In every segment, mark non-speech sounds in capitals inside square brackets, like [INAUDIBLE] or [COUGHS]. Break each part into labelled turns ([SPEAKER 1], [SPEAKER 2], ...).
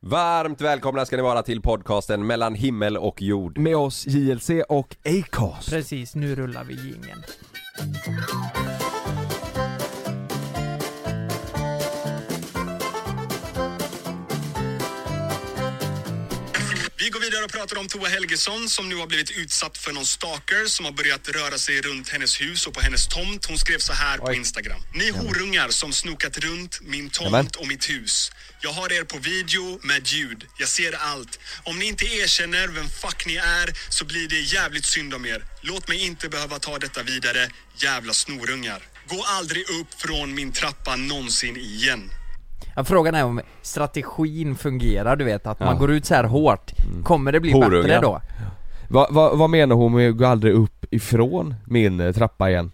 [SPEAKER 1] Varmt välkomna ska ni vara till podcasten mellan himmel och jord.
[SPEAKER 2] Med oss JLC och Acast.
[SPEAKER 3] Precis, nu rullar vi jingeln.
[SPEAKER 4] Vi går vidare och pratar om Tova Helgesson som nu har blivit utsatt för någon stalker som har börjat röra sig runt hennes hus och på hennes tomt. Hon skrev så här på Instagram. Ni horungar som snokat runt min
[SPEAKER 1] Jamen.
[SPEAKER 4] tomt och mitt hus. Jag har er på video med ljud. Jag ser allt. Om ni inte erkänner vem fuck ni är så blir det jävligt synd om er. Låt mig inte behöva ta detta vidare. Jävla snorungar. Gå aldrig upp från min trappa någonsin igen.
[SPEAKER 3] Ja, frågan är om strategin fungerar, du vet, att man går ut så här hårt. Kommer det bli
[SPEAKER 1] Mm. Horunga.
[SPEAKER 3] bättre då?
[SPEAKER 2] Va, va, vad menar hon med gå aldrig upp ifrån min eh, trappa igen?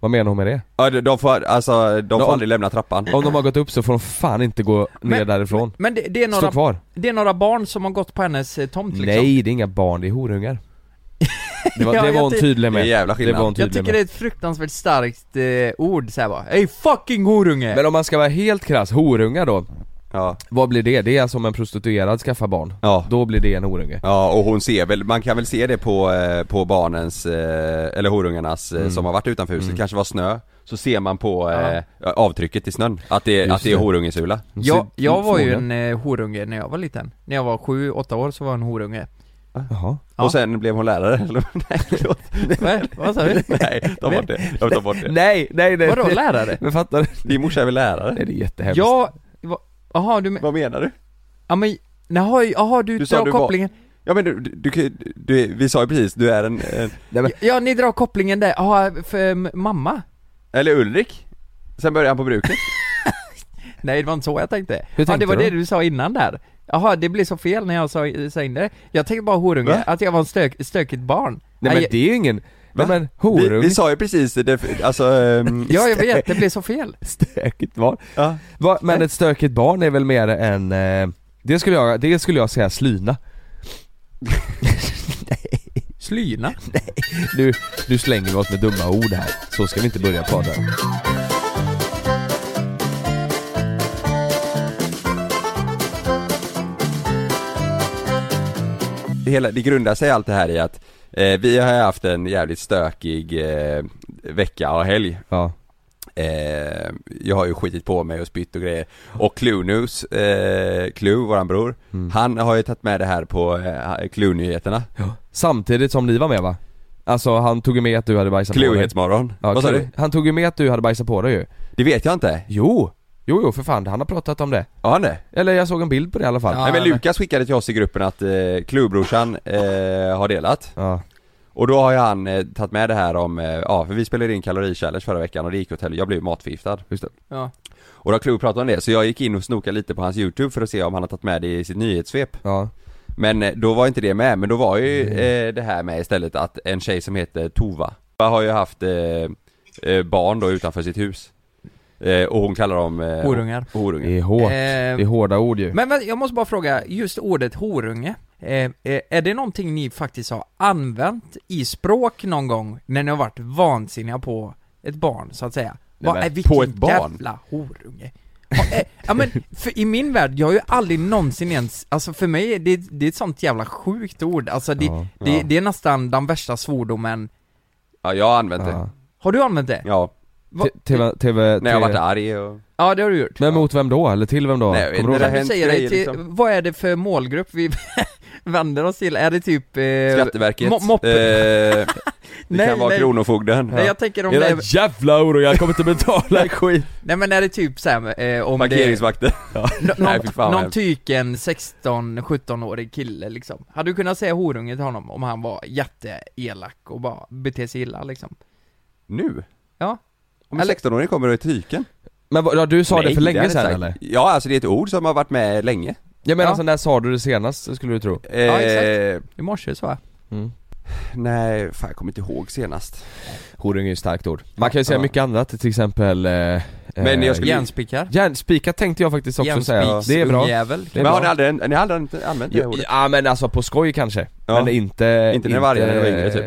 [SPEAKER 2] Vad menar hon med det?
[SPEAKER 1] Ja, de- De får, alltså, de får
[SPEAKER 2] om-
[SPEAKER 1] aldrig lämna trappan.
[SPEAKER 2] Om de har gått upp så får de fan inte gå ner
[SPEAKER 3] Men-
[SPEAKER 2] därifrån.
[SPEAKER 3] Men det, det, är
[SPEAKER 2] Stå
[SPEAKER 3] några,
[SPEAKER 2] kvar.
[SPEAKER 3] det är några barn som har gått på hennes eh, tomt liksom.
[SPEAKER 2] Nej, det är inga barn, det är horungar.
[SPEAKER 3] [LAUGHS]
[SPEAKER 2] Det var,
[SPEAKER 3] Ja,
[SPEAKER 2] det var
[SPEAKER 3] jag
[SPEAKER 2] hon
[SPEAKER 3] ty-
[SPEAKER 2] tydlig med.
[SPEAKER 1] Det är jävla skillnad.
[SPEAKER 2] Det var hon
[SPEAKER 3] Jag
[SPEAKER 2] tydlig
[SPEAKER 3] tycker
[SPEAKER 2] med.
[SPEAKER 3] det är ett fruktansvärt starkt eh, ord såhär bara, Ey fucking horunge!
[SPEAKER 2] Men om man ska vara helt krass, horungar då,
[SPEAKER 1] Ja.
[SPEAKER 2] vad blir det? Det är alltså om en prostituerad skaffar barn.
[SPEAKER 1] Ja.
[SPEAKER 2] Då blir det en horunge.
[SPEAKER 1] Ja och hon ser väl, man kan väl se det på, eh, på barnens, eh, eller horungarnas
[SPEAKER 2] Mm.
[SPEAKER 1] eh, som har varit utanför huset, kanske var snö Så ser man på eh, avtrycket i snön, att det,
[SPEAKER 2] Just
[SPEAKER 1] att det är
[SPEAKER 2] det.
[SPEAKER 1] horungesula
[SPEAKER 3] jag, jag var ju
[SPEAKER 2] Förmodligen.
[SPEAKER 3] en eh, horunge när jag var liten. När jag var sju, åtta år så var jag en
[SPEAKER 1] [LAUGHS]
[SPEAKER 3] horunge.
[SPEAKER 2] Jaha.
[SPEAKER 3] Ja.
[SPEAKER 1] Och sen blev hon lärare,
[SPEAKER 2] [LAUGHS]
[SPEAKER 1] eller? Nej, förlåt.
[SPEAKER 3] Va? Vad sa du?
[SPEAKER 1] Nej, ta bort det, jag vill ta bort det
[SPEAKER 2] Nej, nej, nej.
[SPEAKER 3] Vadå lärare?
[SPEAKER 2] Men fattar du?
[SPEAKER 1] Din morsa är väl lärare?
[SPEAKER 2] Nej, det är jättehemskt.
[SPEAKER 3] Jag, va- jaha du men,
[SPEAKER 1] Vad menar du?
[SPEAKER 3] ja men, jaha, jaha du,
[SPEAKER 1] Du sa
[SPEAKER 3] drar
[SPEAKER 1] du var-
[SPEAKER 3] kopplingen.
[SPEAKER 1] Ja men du, du, du, kan ju- du vi sa ju precis, du är en, en
[SPEAKER 2] Nej, men,
[SPEAKER 3] Ja ni drar kopplingen där, jaha, för m- mamma?
[SPEAKER 1] eller Ulrik? Sen började han på bruket
[SPEAKER 3] Nej det var inte så jag tänkte. ja
[SPEAKER 2] tänkte
[SPEAKER 3] det var
[SPEAKER 2] du?
[SPEAKER 3] det du sa innan där. Jaha, det blev så fel när jag sa, sa in det. Jag tänkte bara horunge,
[SPEAKER 1] Va?
[SPEAKER 3] att jag var en stök, stökigt barn.
[SPEAKER 2] nej, men
[SPEAKER 3] jag-
[SPEAKER 2] det är ju ingen...
[SPEAKER 1] Va?
[SPEAKER 2] Nej, men
[SPEAKER 1] vi,
[SPEAKER 2] horunge,
[SPEAKER 1] vi sa ju precis, det, alltså, ehm,
[SPEAKER 3] Ja jag vet, det blev så fel.
[SPEAKER 2] stökigt barn.
[SPEAKER 1] ja.
[SPEAKER 2] Va, men ett stökigt barn är väl mer än... Eh, det, skulle jag, det skulle jag säga slyna.
[SPEAKER 3] Slyna.
[SPEAKER 2] Nu, nu slänger vi oss med dumma ord här. Så ska vi inte börja prata.
[SPEAKER 1] det, hela, det grundar sig allt det här i att eh, vi har ju haft en jävligt stökig eh, vecka och helg.
[SPEAKER 2] Ja.
[SPEAKER 1] Eh, jag har ju skitit på mig och spytt och grejer. Och Clunus, eh, Clue, våran bror, han har ju tagit med det här på eh, Clue-nyheterna.
[SPEAKER 2] Samtidigt som ni var med va? Alltså han tog ju med att du hade bajsat på dig.
[SPEAKER 1] Cluehetsmorgon.
[SPEAKER 2] Ja,
[SPEAKER 1] Vad sa
[SPEAKER 2] Clue.
[SPEAKER 1] du?
[SPEAKER 2] Han tog ju med att du hade bajsat på dig ju.
[SPEAKER 1] Det vet jag inte.
[SPEAKER 2] Jo! Jo, jo för fan, han har pratat om det.
[SPEAKER 1] Har han det?
[SPEAKER 2] Eller jag såg en bild på det i alla fall.
[SPEAKER 3] Ja.
[SPEAKER 1] Nej men
[SPEAKER 3] nej.
[SPEAKER 1] Lukas skickade till oss i gruppen att eh, Clue-brorsan eh, har delat.
[SPEAKER 2] Ja.
[SPEAKER 1] Och då har ju han eh, tagit med det här om, eh, ja för vi spelade in kalorichallenge förra veckan och det gick åt helvete, jag blev matförgiftad. Just det.
[SPEAKER 3] Ja.
[SPEAKER 1] Och då har Clue pratat om det, så jag gick in och snokade lite på hans youtube för att se om han har tagit med det i sitt nyhetssvep
[SPEAKER 2] Ja.
[SPEAKER 1] Men eh, då var inte det med, men då var ju
[SPEAKER 3] Mm.
[SPEAKER 1] eh, det här med istället att en tjej som heter Tova Tova har ju haft eh, eh, barn då utanför sitt hus eh, Och hon kallar dem eh,
[SPEAKER 3] Horungar.
[SPEAKER 1] horungar.
[SPEAKER 2] Det är hårt.
[SPEAKER 3] Eh,
[SPEAKER 2] Det är hårda ord ju.
[SPEAKER 3] Men vänta, jag måste bara fråga, just ordet horunge, eh, eh, är det någonting ni faktiskt har använt i språk någon gång när ni har varit vansinniga på ett barn, så att säga?
[SPEAKER 1] Nej,
[SPEAKER 3] Vad-
[SPEAKER 1] men
[SPEAKER 3] eh, vilken
[SPEAKER 1] på ett barn?
[SPEAKER 3] jävla horunge. Ja, eh, ja men, för i min värld, jag har ju aldrig någonsin ens, alltså för mig, är det, det är ett sånt jävla sjukt ord, alltså det,
[SPEAKER 2] Ja.
[SPEAKER 3] det,
[SPEAKER 1] Ja.
[SPEAKER 3] det är nästan den värsta svordomen.
[SPEAKER 1] Ja jag har använt det,
[SPEAKER 2] Ja.
[SPEAKER 3] Har du använt det?
[SPEAKER 1] ja,
[SPEAKER 3] Va-
[SPEAKER 2] T- TV, TV,
[SPEAKER 1] när jag varit arg och...
[SPEAKER 3] Ja, det har du gjort.
[SPEAKER 2] Men mot vem då? Eller till vem då?
[SPEAKER 1] Nej, jag vet
[SPEAKER 2] Kommer du
[SPEAKER 1] inte.
[SPEAKER 2] ihåg?
[SPEAKER 1] har hänt
[SPEAKER 3] Kan du säga dig
[SPEAKER 1] grejer,
[SPEAKER 3] till,
[SPEAKER 1] liksom.
[SPEAKER 3] vad är det för målgrupp vi [LAUGHS] vänder oss till? Är det typ... Eh,
[SPEAKER 1] Skatteverket,
[SPEAKER 3] mo- moppe.
[SPEAKER 1] eh, det
[SPEAKER 3] Nej,
[SPEAKER 1] kan vara
[SPEAKER 3] nej.
[SPEAKER 1] Kronofogden
[SPEAKER 3] nej, jag tänker om det
[SPEAKER 2] Era
[SPEAKER 3] är,
[SPEAKER 2] jävla oro, jag kommer inte
[SPEAKER 3] [LAUGHS]
[SPEAKER 2] betala skit!
[SPEAKER 3] Nej men är det typ såhär, eh, om det...
[SPEAKER 1] Parkeringsvakter
[SPEAKER 3] Nå,
[SPEAKER 1] Nej, fy fan,
[SPEAKER 3] någon, någon
[SPEAKER 1] hemskt.
[SPEAKER 3] tyken 16-17-årig kille liksom. Hade du kunnat säga horunge till honom om han var jätteelak och bara bete sig illa liksom?
[SPEAKER 1] Nu?
[SPEAKER 3] Ja.
[SPEAKER 1] Om
[SPEAKER 3] Eller-
[SPEAKER 1] en 16-åring kommer och är tyken?
[SPEAKER 2] Men vad- ja, du sa det
[SPEAKER 1] Nej,
[SPEAKER 2] för länge
[SPEAKER 1] hade
[SPEAKER 2] sedan
[SPEAKER 1] jag
[SPEAKER 2] eller?
[SPEAKER 1] sagt. Ja, alltså det är ett ord som har varit med länge.
[SPEAKER 2] Ja men
[SPEAKER 3] Ja.
[SPEAKER 2] alltså när sa du det senast skulle du tro?
[SPEAKER 1] Eh,
[SPEAKER 3] exakt. I morse så va?
[SPEAKER 1] nej, fan jag kommer inte ihåg senast.
[SPEAKER 2] Horung är ju ett starkt ord. Man kan ju säga
[SPEAKER 1] Ja.
[SPEAKER 2] mycket annat, till exempel... Eh,
[SPEAKER 1] Men jag skulle-
[SPEAKER 3] Järnspikar?
[SPEAKER 2] Järnspika tänkte jag faktiskt också säga, det är bra. Det
[SPEAKER 3] Järnspiks
[SPEAKER 2] är
[SPEAKER 1] Men har ni
[SPEAKER 2] bra.
[SPEAKER 1] aldrig, ni har aldrig inte använt det
[SPEAKER 2] Ja,
[SPEAKER 1] ordet?
[SPEAKER 2] ja men alltså på skoj kanske,
[SPEAKER 1] Ja.
[SPEAKER 2] men inte...
[SPEAKER 1] Inte när vargarna var yngre, typ.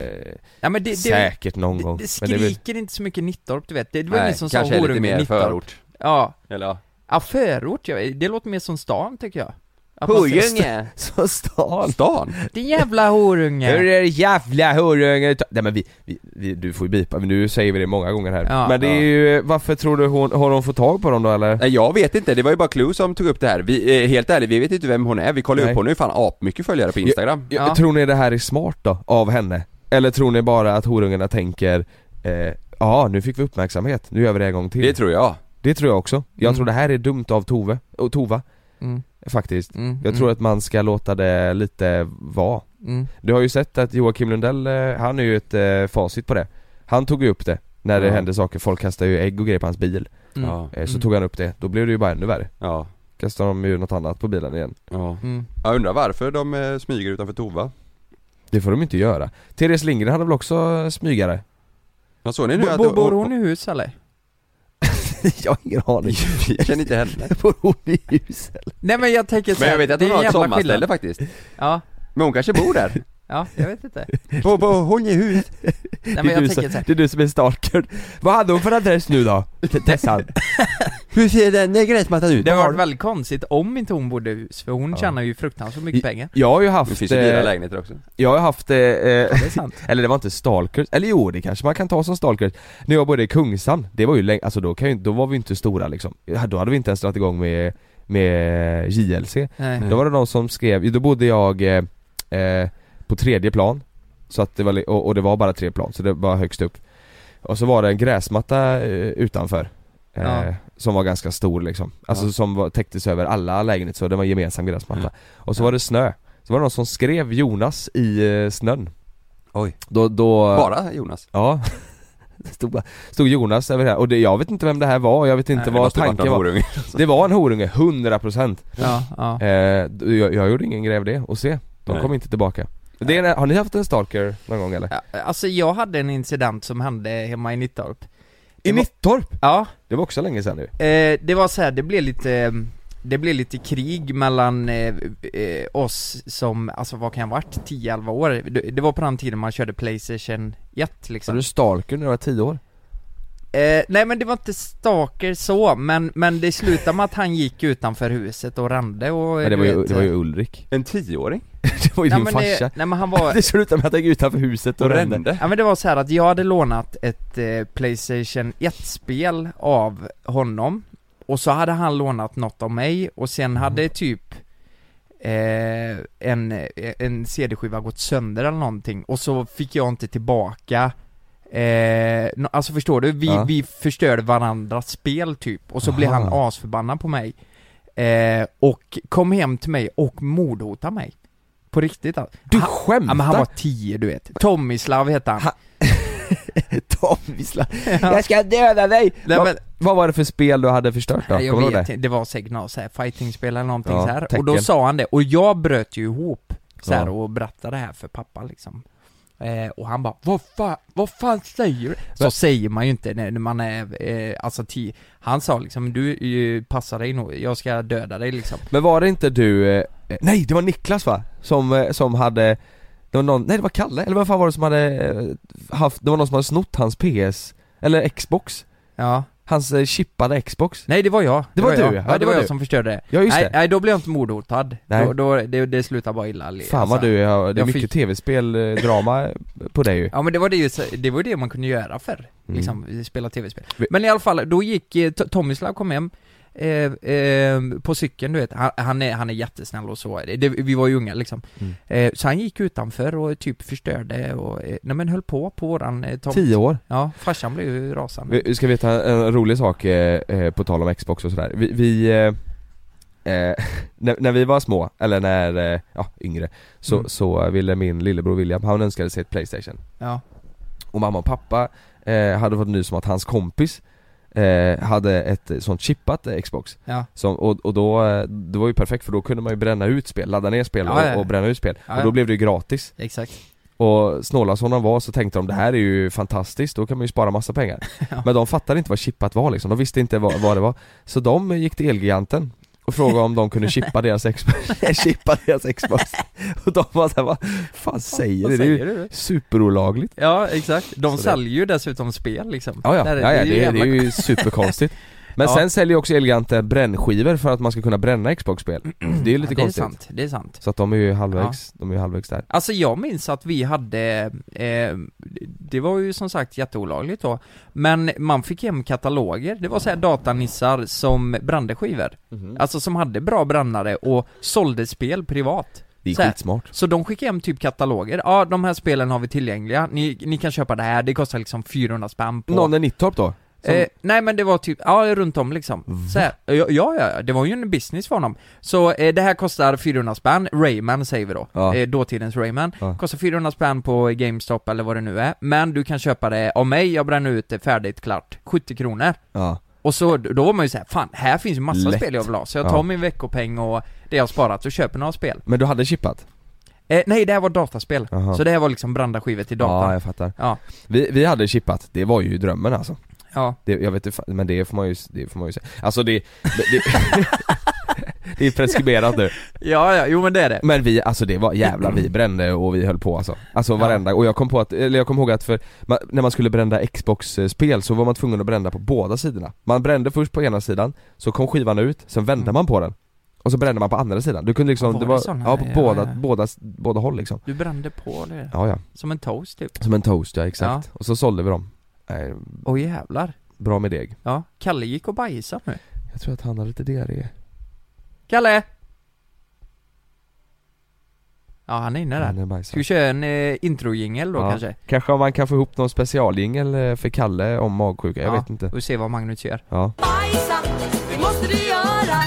[SPEAKER 3] Ja men det, det,
[SPEAKER 2] Säkert någon
[SPEAKER 3] det,
[SPEAKER 2] gång.
[SPEAKER 3] det
[SPEAKER 2] men det är väl-
[SPEAKER 3] skriker inte så mycket Nittorp du vet. Det, det var ingen som sa
[SPEAKER 1] kanske är lite
[SPEAKER 3] horunge i
[SPEAKER 1] mer
[SPEAKER 3] Nittorp.
[SPEAKER 1] förort.
[SPEAKER 3] Ja.
[SPEAKER 1] Eller ja.
[SPEAKER 3] Ja, förort, ja. det låter mer som stan tycker jag. Att man ska-
[SPEAKER 2] Horunge!
[SPEAKER 3] [LAUGHS]
[SPEAKER 2] Så stan!
[SPEAKER 1] Stan?
[SPEAKER 3] Din jävla
[SPEAKER 2] Hur
[SPEAKER 3] horunge!
[SPEAKER 2] är det jävla horunge? Nej men vi, vi, vi, du får ju bipa, men nu säger vi det många gånger här.
[SPEAKER 3] Ja.
[SPEAKER 2] men det är ju, varför tror du hon, har hon fått tag på dem då eller?
[SPEAKER 1] Nej jag vet inte, det var ju bara Clue som tog upp det här. Vi, eh, helt ärligt, vi vet inte vem hon är. Vi kollar
[SPEAKER 2] Nej.
[SPEAKER 1] upp, hon har ju fan apmycket följare på Instagram.
[SPEAKER 2] Jag,
[SPEAKER 3] Ja.
[SPEAKER 2] Tror ni det här är smart då, av henne? Eller tror ni bara att horungarna tänker eh, Ja, nu fick vi uppmärksamhet, nu gör vi det en gång till.
[SPEAKER 1] Det
[SPEAKER 2] Det,
[SPEAKER 1] tror jag.
[SPEAKER 2] tror jag också. Jag
[SPEAKER 3] Mm.
[SPEAKER 2] tror det här är dumt av Tove, och Tova,
[SPEAKER 3] Mm,
[SPEAKER 2] faktiskt.
[SPEAKER 3] mm,
[SPEAKER 2] Jag tror att man ska låta det lite vara.
[SPEAKER 3] mm,
[SPEAKER 2] Du har ju sett att Joakim Lundell, eh, han är ju ett eh, facit på det. Han tog ju upp det när det
[SPEAKER 1] Ja.
[SPEAKER 2] hände saker, folk kastade ju ägg och grejer på hans bil.
[SPEAKER 3] mm,
[SPEAKER 1] Ja.
[SPEAKER 2] Eh, Så
[SPEAKER 3] Mm.
[SPEAKER 2] tog han upp det, då blev det ju bara ännu värre.
[SPEAKER 1] Ja.
[SPEAKER 2] Kastade de ju något annat på bilen igen.
[SPEAKER 1] ja.
[SPEAKER 3] mm.
[SPEAKER 1] Jag undrar varför de eh, smyger utanför Tova.
[SPEAKER 2] Det får de inte göra. Therese Lindgren hade väl också smygare?
[SPEAKER 1] Men såg ni nu
[SPEAKER 3] Bo-
[SPEAKER 1] att
[SPEAKER 3] bo-
[SPEAKER 1] [LAUGHS]
[SPEAKER 3] Bor hon i hus eller?
[SPEAKER 2] jag har ingen [LAUGHS] aning.
[SPEAKER 1] Jag känner inte henne.
[SPEAKER 2] Bor hon i huset?
[SPEAKER 3] Nej men jag tänker
[SPEAKER 1] Men jag vet att hon har ett sommarställe
[SPEAKER 3] skillnad.
[SPEAKER 1] faktiskt.
[SPEAKER 3] Ja,
[SPEAKER 1] Men hon kanske bor där.
[SPEAKER 3] ja, jag
[SPEAKER 1] [LAUGHS]
[SPEAKER 3] vet inte.
[SPEAKER 1] På, på, hon är hus.
[SPEAKER 3] Nej men
[SPEAKER 2] det, är
[SPEAKER 3] jag
[SPEAKER 2] du
[SPEAKER 3] tänker
[SPEAKER 1] [LAUGHS]
[SPEAKER 2] som,
[SPEAKER 3] såhär,
[SPEAKER 2] det är du som är stalkern. Vad hade hon för adress nu då? T-
[SPEAKER 3] [LAUGHS]
[SPEAKER 2] Tessan?
[SPEAKER 1] Hur ser den där gräsmattan ut?
[SPEAKER 3] det hade varit väldigt konstigt om inte hon bodde i hus, för hon
[SPEAKER 2] Ja.
[SPEAKER 3] tjänar ju fruktansvärt mycket
[SPEAKER 1] [LAUGHS]
[SPEAKER 3] pengar.
[SPEAKER 2] Jag har ju
[SPEAKER 1] Det
[SPEAKER 2] haft,
[SPEAKER 1] finns ju dyra
[SPEAKER 2] eh,
[SPEAKER 1] lägenheter också.
[SPEAKER 2] jag har haft, eh, eh,
[SPEAKER 3] Det är sant.
[SPEAKER 2] eller det var inte stalkers, eller jo det kanske man kan ta som stalkers. När jag bodde i Kungshamn, det var ju länge, alltså då, kan ju, då var vi inte stora liksom. Ja, Då hade vi inte ens dragit igång med, med eh, JLC.
[SPEAKER 1] Mm.
[SPEAKER 3] Nej.
[SPEAKER 2] Då var det någon som skrev, då bodde jag eh, eh, på tredje plan så att det var, li- och, och det var bara tre plan, så det var högst upp Och så var det en gräsmatta eh, utanför eh,
[SPEAKER 3] Ja.
[SPEAKER 2] Som var ganska stor liksom, alltså
[SPEAKER 1] Ja. Mm.
[SPEAKER 2] som var, täcktes över alla lägenheter så det var en gemensam gräsmatta
[SPEAKER 1] Ja.
[SPEAKER 2] Och så var det snö, så var det någon som skrev Jonas i eh, snön
[SPEAKER 1] Oj.
[SPEAKER 2] Då, då
[SPEAKER 1] Bara Jonas.
[SPEAKER 2] Ja [LAUGHS] Det stod, bara- stod Jonas över det här, och det, jag vet inte vem det här var, jag vet inte
[SPEAKER 3] Nej, det
[SPEAKER 2] vad
[SPEAKER 1] Måste ju varit
[SPEAKER 2] tanken
[SPEAKER 1] någon
[SPEAKER 2] var
[SPEAKER 1] horunge.
[SPEAKER 2] Det var en horunge, 100%
[SPEAKER 3] Ja, ja.
[SPEAKER 2] Eh, d- jag, jag gjorde ingen grej av det, och se, de
[SPEAKER 1] Nej.
[SPEAKER 2] kom inte tillbaka det är, en- Har ni haft en stalker någon gång eller?
[SPEAKER 3] Ja, Alltså jag hade en incident som hände hemma i Nittorp.
[SPEAKER 2] I
[SPEAKER 3] det var-
[SPEAKER 2] Nittorp?
[SPEAKER 3] Ja,
[SPEAKER 2] Det var också länge sedan nu
[SPEAKER 3] eh, det var så här, det blev lite, eh, det blev lite krig mellan eh, eh, oss som, alltså vad kan jag ha varit, 10-11 år? Det, det var på den tiden man körde Playstation 1
[SPEAKER 2] Så
[SPEAKER 3] liksom.
[SPEAKER 2] du stalker när du var 10 år?
[SPEAKER 3] Eh, nej men det var inte stalker så, men, men det slutade med att han gick utanför huset och rände och...
[SPEAKER 2] Nej det
[SPEAKER 3] du
[SPEAKER 2] var ju,
[SPEAKER 3] vet, eh,
[SPEAKER 2] det var ju
[SPEAKER 1] [LAUGHS]
[SPEAKER 2] Ulrik
[SPEAKER 1] En tioåring?
[SPEAKER 2] Det var ju
[SPEAKER 3] nej,
[SPEAKER 2] din
[SPEAKER 3] men
[SPEAKER 2] farsa
[SPEAKER 3] Det, nej men
[SPEAKER 2] [LAUGHS]
[SPEAKER 3] han var...
[SPEAKER 2] Det slutade med att jag gick utanför huset och,
[SPEAKER 1] Och
[SPEAKER 2] rände
[SPEAKER 1] rände?
[SPEAKER 3] Ja men det var så här att jag hade lånat ett eh, Playstation 1-spel av honom Och så hade han lånat något av mig och sen
[SPEAKER 2] Mm.
[SPEAKER 3] hade typ eh, en, eh, en CD-skiva gått sönder eller någonting och så fick jag inte tillbaka Eh, nå- alltså förstår du? Vi,
[SPEAKER 2] Ja.
[SPEAKER 3] vi förstörde varandras spel typ, och så blev
[SPEAKER 2] Aha.
[SPEAKER 3] han asförbannad på mig eh, Och kom hem till mig och mordhotade mig På riktigt alltså.
[SPEAKER 2] Du
[SPEAKER 3] Han-
[SPEAKER 2] skämtar?
[SPEAKER 3] Ja men han var 10 du vet, Tomislav hette han
[SPEAKER 2] Ha- Tomvissla
[SPEAKER 3] Ja.
[SPEAKER 2] [LAUGHS] Jag ska döda dig!
[SPEAKER 3] Nej,
[SPEAKER 2] Va-
[SPEAKER 3] men-
[SPEAKER 2] Vad var det för spel du hade förstört då?
[SPEAKER 3] Nej, jag
[SPEAKER 2] Kommer du ihåg
[SPEAKER 3] vet
[SPEAKER 2] det?
[SPEAKER 3] inte, det var säkert något såhär fightingspel eller någonting
[SPEAKER 2] Ja,
[SPEAKER 3] så här. Och då
[SPEAKER 2] tecken.
[SPEAKER 3] sa han det, och jag bröt ju ihop så här,
[SPEAKER 2] Ja.
[SPEAKER 3] och berättade det här för pappa liksom eh, Och han bara 'Vad fan, vad fan säger du?' Så
[SPEAKER 2] Men-
[SPEAKER 3] säger man ju inte när när man är, eh, alltså tio Han sa liksom 'Du, eh, passa dig nog, jag ska döda dig' liksom
[SPEAKER 2] Men var det inte du, eh, nej det var Niklas va? Som, eh, som hade, det var någon, nej det var Kalle, eller vad fan var det som hade eh, haft, det var någon som hade snott hans PS, eller Xbox,
[SPEAKER 3] Ja
[SPEAKER 2] hans eh, chippade Xbox
[SPEAKER 3] Nej det var jag,
[SPEAKER 2] Det var du,
[SPEAKER 3] jag.
[SPEAKER 2] ja,
[SPEAKER 3] ja, det,
[SPEAKER 2] det var
[SPEAKER 3] var jag
[SPEAKER 2] du.
[SPEAKER 3] som förstörde det
[SPEAKER 2] Ja just
[SPEAKER 3] nej,
[SPEAKER 2] det,
[SPEAKER 3] nej, då blev jag inte mordhotad,
[SPEAKER 2] Nej.
[SPEAKER 3] Då, då, det, det slutade bara illa alltså.
[SPEAKER 2] fan vad du, ja, det är
[SPEAKER 3] jag
[SPEAKER 2] mycket
[SPEAKER 3] fick-
[SPEAKER 2] tv-spel, eh, drama eh, på dig ju
[SPEAKER 3] Ja men det var det, ju så- det var det man kunde göra förr,
[SPEAKER 2] Mm.
[SPEAKER 3] liksom, spela tv-spel.
[SPEAKER 2] Vi-
[SPEAKER 3] Men i alla fall, då gick eh, To- Tomislav kom hem Eh, eh, på cykeln du vet, han, han, är, han är jättesnäll och så, det, vi var ju unga liksom
[SPEAKER 2] Mm.
[SPEAKER 3] eh, Så han gick utanför och typ förstörde och, eh, nej men höll på på våran eh, tom
[SPEAKER 2] Tio år.
[SPEAKER 3] Ja, farsan blev ju rasande
[SPEAKER 2] Vi vi ska veta en rolig sak eh, eh, på tal om Xbox och sådär. Vi, vi eh, eh, [LAUGHS] när, när vi var små, eller när, eh, ja yngre, så,
[SPEAKER 3] Mm.
[SPEAKER 2] så ville min lillebror William, han önskade sig ett Playstation.
[SPEAKER 3] Ja,
[SPEAKER 2] Och mamma och pappa eh, hade fått nys om att hans kompis eh, hade ett sånt chippat eh, Xbox
[SPEAKER 3] ja,
[SPEAKER 2] som, och, och då, eh, det var ju perfekt för då kunde man ju bränna ut spel, ladda ner spel
[SPEAKER 3] Ja, ja, ja.
[SPEAKER 2] och, och bränna ut spel
[SPEAKER 3] Ja,
[SPEAKER 2] Och
[SPEAKER 3] ja.
[SPEAKER 2] då blev det ju gratis
[SPEAKER 3] exakt
[SPEAKER 2] Och snåla som de var så tänkte de det här är ju fantastiskt, då kan man ju spara massa pengar
[SPEAKER 3] [LAUGHS] Ja.
[SPEAKER 2] Men de fattade inte vad chippat var liksom, de visste inte vad, vad det var Så de gick till Elgiganten och frågade om de kunde
[SPEAKER 3] [LAUGHS]
[SPEAKER 2] chippa deras Xbox, [LAUGHS] chippa deras Xbox Och de var såhär, vad fan säger
[SPEAKER 3] Vad
[SPEAKER 2] du? Det är ju
[SPEAKER 3] säger du?
[SPEAKER 2] superolagligt
[SPEAKER 3] Ja, exakt. De
[SPEAKER 2] Så det-
[SPEAKER 3] säljer ju dessutom spel liksom
[SPEAKER 2] Ja, ja,
[SPEAKER 3] Där-
[SPEAKER 2] ja, ja det,
[SPEAKER 3] jävla- [LAUGHS]
[SPEAKER 2] det är ju superkonstigt Men
[SPEAKER 3] Ja.
[SPEAKER 2] sen säljer ju också Elgiganten brännskivor för att man ska kunna bränna
[SPEAKER 3] [CLEARS THROAT]
[SPEAKER 2] Xbox-spel Det är ju lite
[SPEAKER 3] ja, det är
[SPEAKER 2] konstigt
[SPEAKER 3] sant, det är sant.
[SPEAKER 2] Så att de är ju halvvägs, de är ju halvvägs där
[SPEAKER 3] Alltså jag minns att vi hade, eh, det var ju som sagt jätteolagligt då, men man fick hem kataloger, det var så här datanissar som brände skivor. Alltså som hade bra brännare och sålde spel privat.
[SPEAKER 2] Det är
[SPEAKER 3] Så här.
[SPEAKER 2] skitsmart
[SPEAKER 3] Så de skickade hem typ kataloger, ja de här spelen har vi tillgängliga, ni, ni kan köpa det här, det kostar liksom 400 spänn på...
[SPEAKER 2] Någon i Nittorp då? Som,
[SPEAKER 3] Eh, nej men det var typ, ja runt om liksom. Så här, ja, ja, ja, det var ju en business för honom. Så eh, det här kostar 400 spänn, Rayman säger vi då,
[SPEAKER 2] Ja.
[SPEAKER 3] eh, dåtidens Rayman.
[SPEAKER 2] Ja.
[SPEAKER 3] Kostar 400 spänn på GameStop eller vad det nu är, men du kan köpa det av mig, jag bränner ut det färdigt, klart, 70 kronor.
[SPEAKER 2] ja.
[SPEAKER 3] Och så, då var man ju såhär, fan här finns ju massa
[SPEAKER 2] Lätt.
[SPEAKER 3] spel jag vill ha, så jag
[SPEAKER 2] Ja.
[SPEAKER 3] tar min veckopeng och det jag har sparat och köper några spel.
[SPEAKER 2] Men du hade chippat?
[SPEAKER 3] Eh, nej det här var dataspel,
[SPEAKER 2] Aha.
[SPEAKER 3] så det här var liksom brända skivor till
[SPEAKER 2] Ja,
[SPEAKER 3] datan.
[SPEAKER 2] jag fattar
[SPEAKER 3] Ja,
[SPEAKER 2] vi, vi hade chippat, det var ju drömmen alltså
[SPEAKER 3] ja.
[SPEAKER 2] det, Jag vet inte, fa- men det får man ju, det får man ju säga Alltså det, det, [LAUGHS] det är preskriberat nu
[SPEAKER 3] Ja, ja, jo men det är det.
[SPEAKER 2] Men vi, alltså det var jävla
[SPEAKER 3] Mm.
[SPEAKER 2] vi brände och vi höll på alltså. Alltså varenda, och jag kom på att, eller jag kom ihåg att för, man, när man skulle brända Xbox-spel så var man tvungen att brända på båda sidorna. Man brände först på ena sidan, så kom skivan ut, sen vände
[SPEAKER 3] Mm.
[SPEAKER 2] man på den. Och så brände man på andra sidan. Du kunde liksom,
[SPEAKER 3] Var
[SPEAKER 2] det
[SPEAKER 3] det
[SPEAKER 2] var,
[SPEAKER 3] såna?
[SPEAKER 2] ja på
[SPEAKER 3] Ja,
[SPEAKER 2] båda,
[SPEAKER 3] ja.
[SPEAKER 2] båda, båda håll liksom.
[SPEAKER 3] Du brände på det,
[SPEAKER 2] Ja ja,
[SPEAKER 3] som en toast typ.
[SPEAKER 2] som en toast ja exakt. Och så sålde vi dem. Nej,
[SPEAKER 3] Åh jävlar.
[SPEAKER 2] bra med deg.
[SPEAKER 3] Ja, Kalle gick och bajsade nu.
[SPEAKER 2] Jag tror att han hade lite diarré.
[SPEAKER 3] Kalle! Ja, han är inne där.
[SPEAKER 2] Han är bajsad.
[SPEAKER 3] Ska vi köra en eh, introjingel då
[SPEAKER 2] Mm. Ja.
[SPEAKER 3] kanske?
[SPEAKER 2] Kanske om man kan få ihop någon specialjingel eh, för Kalle om magsjuka, jag
[SPEAKER 3] Ja.
[SPEAKER 2] vet inte.
[SPEAKER 3] Och se vad Magnus gör.
[SPEAKER 2] Ja.
[SPEAKER 5] Bajsa, det måste du göra.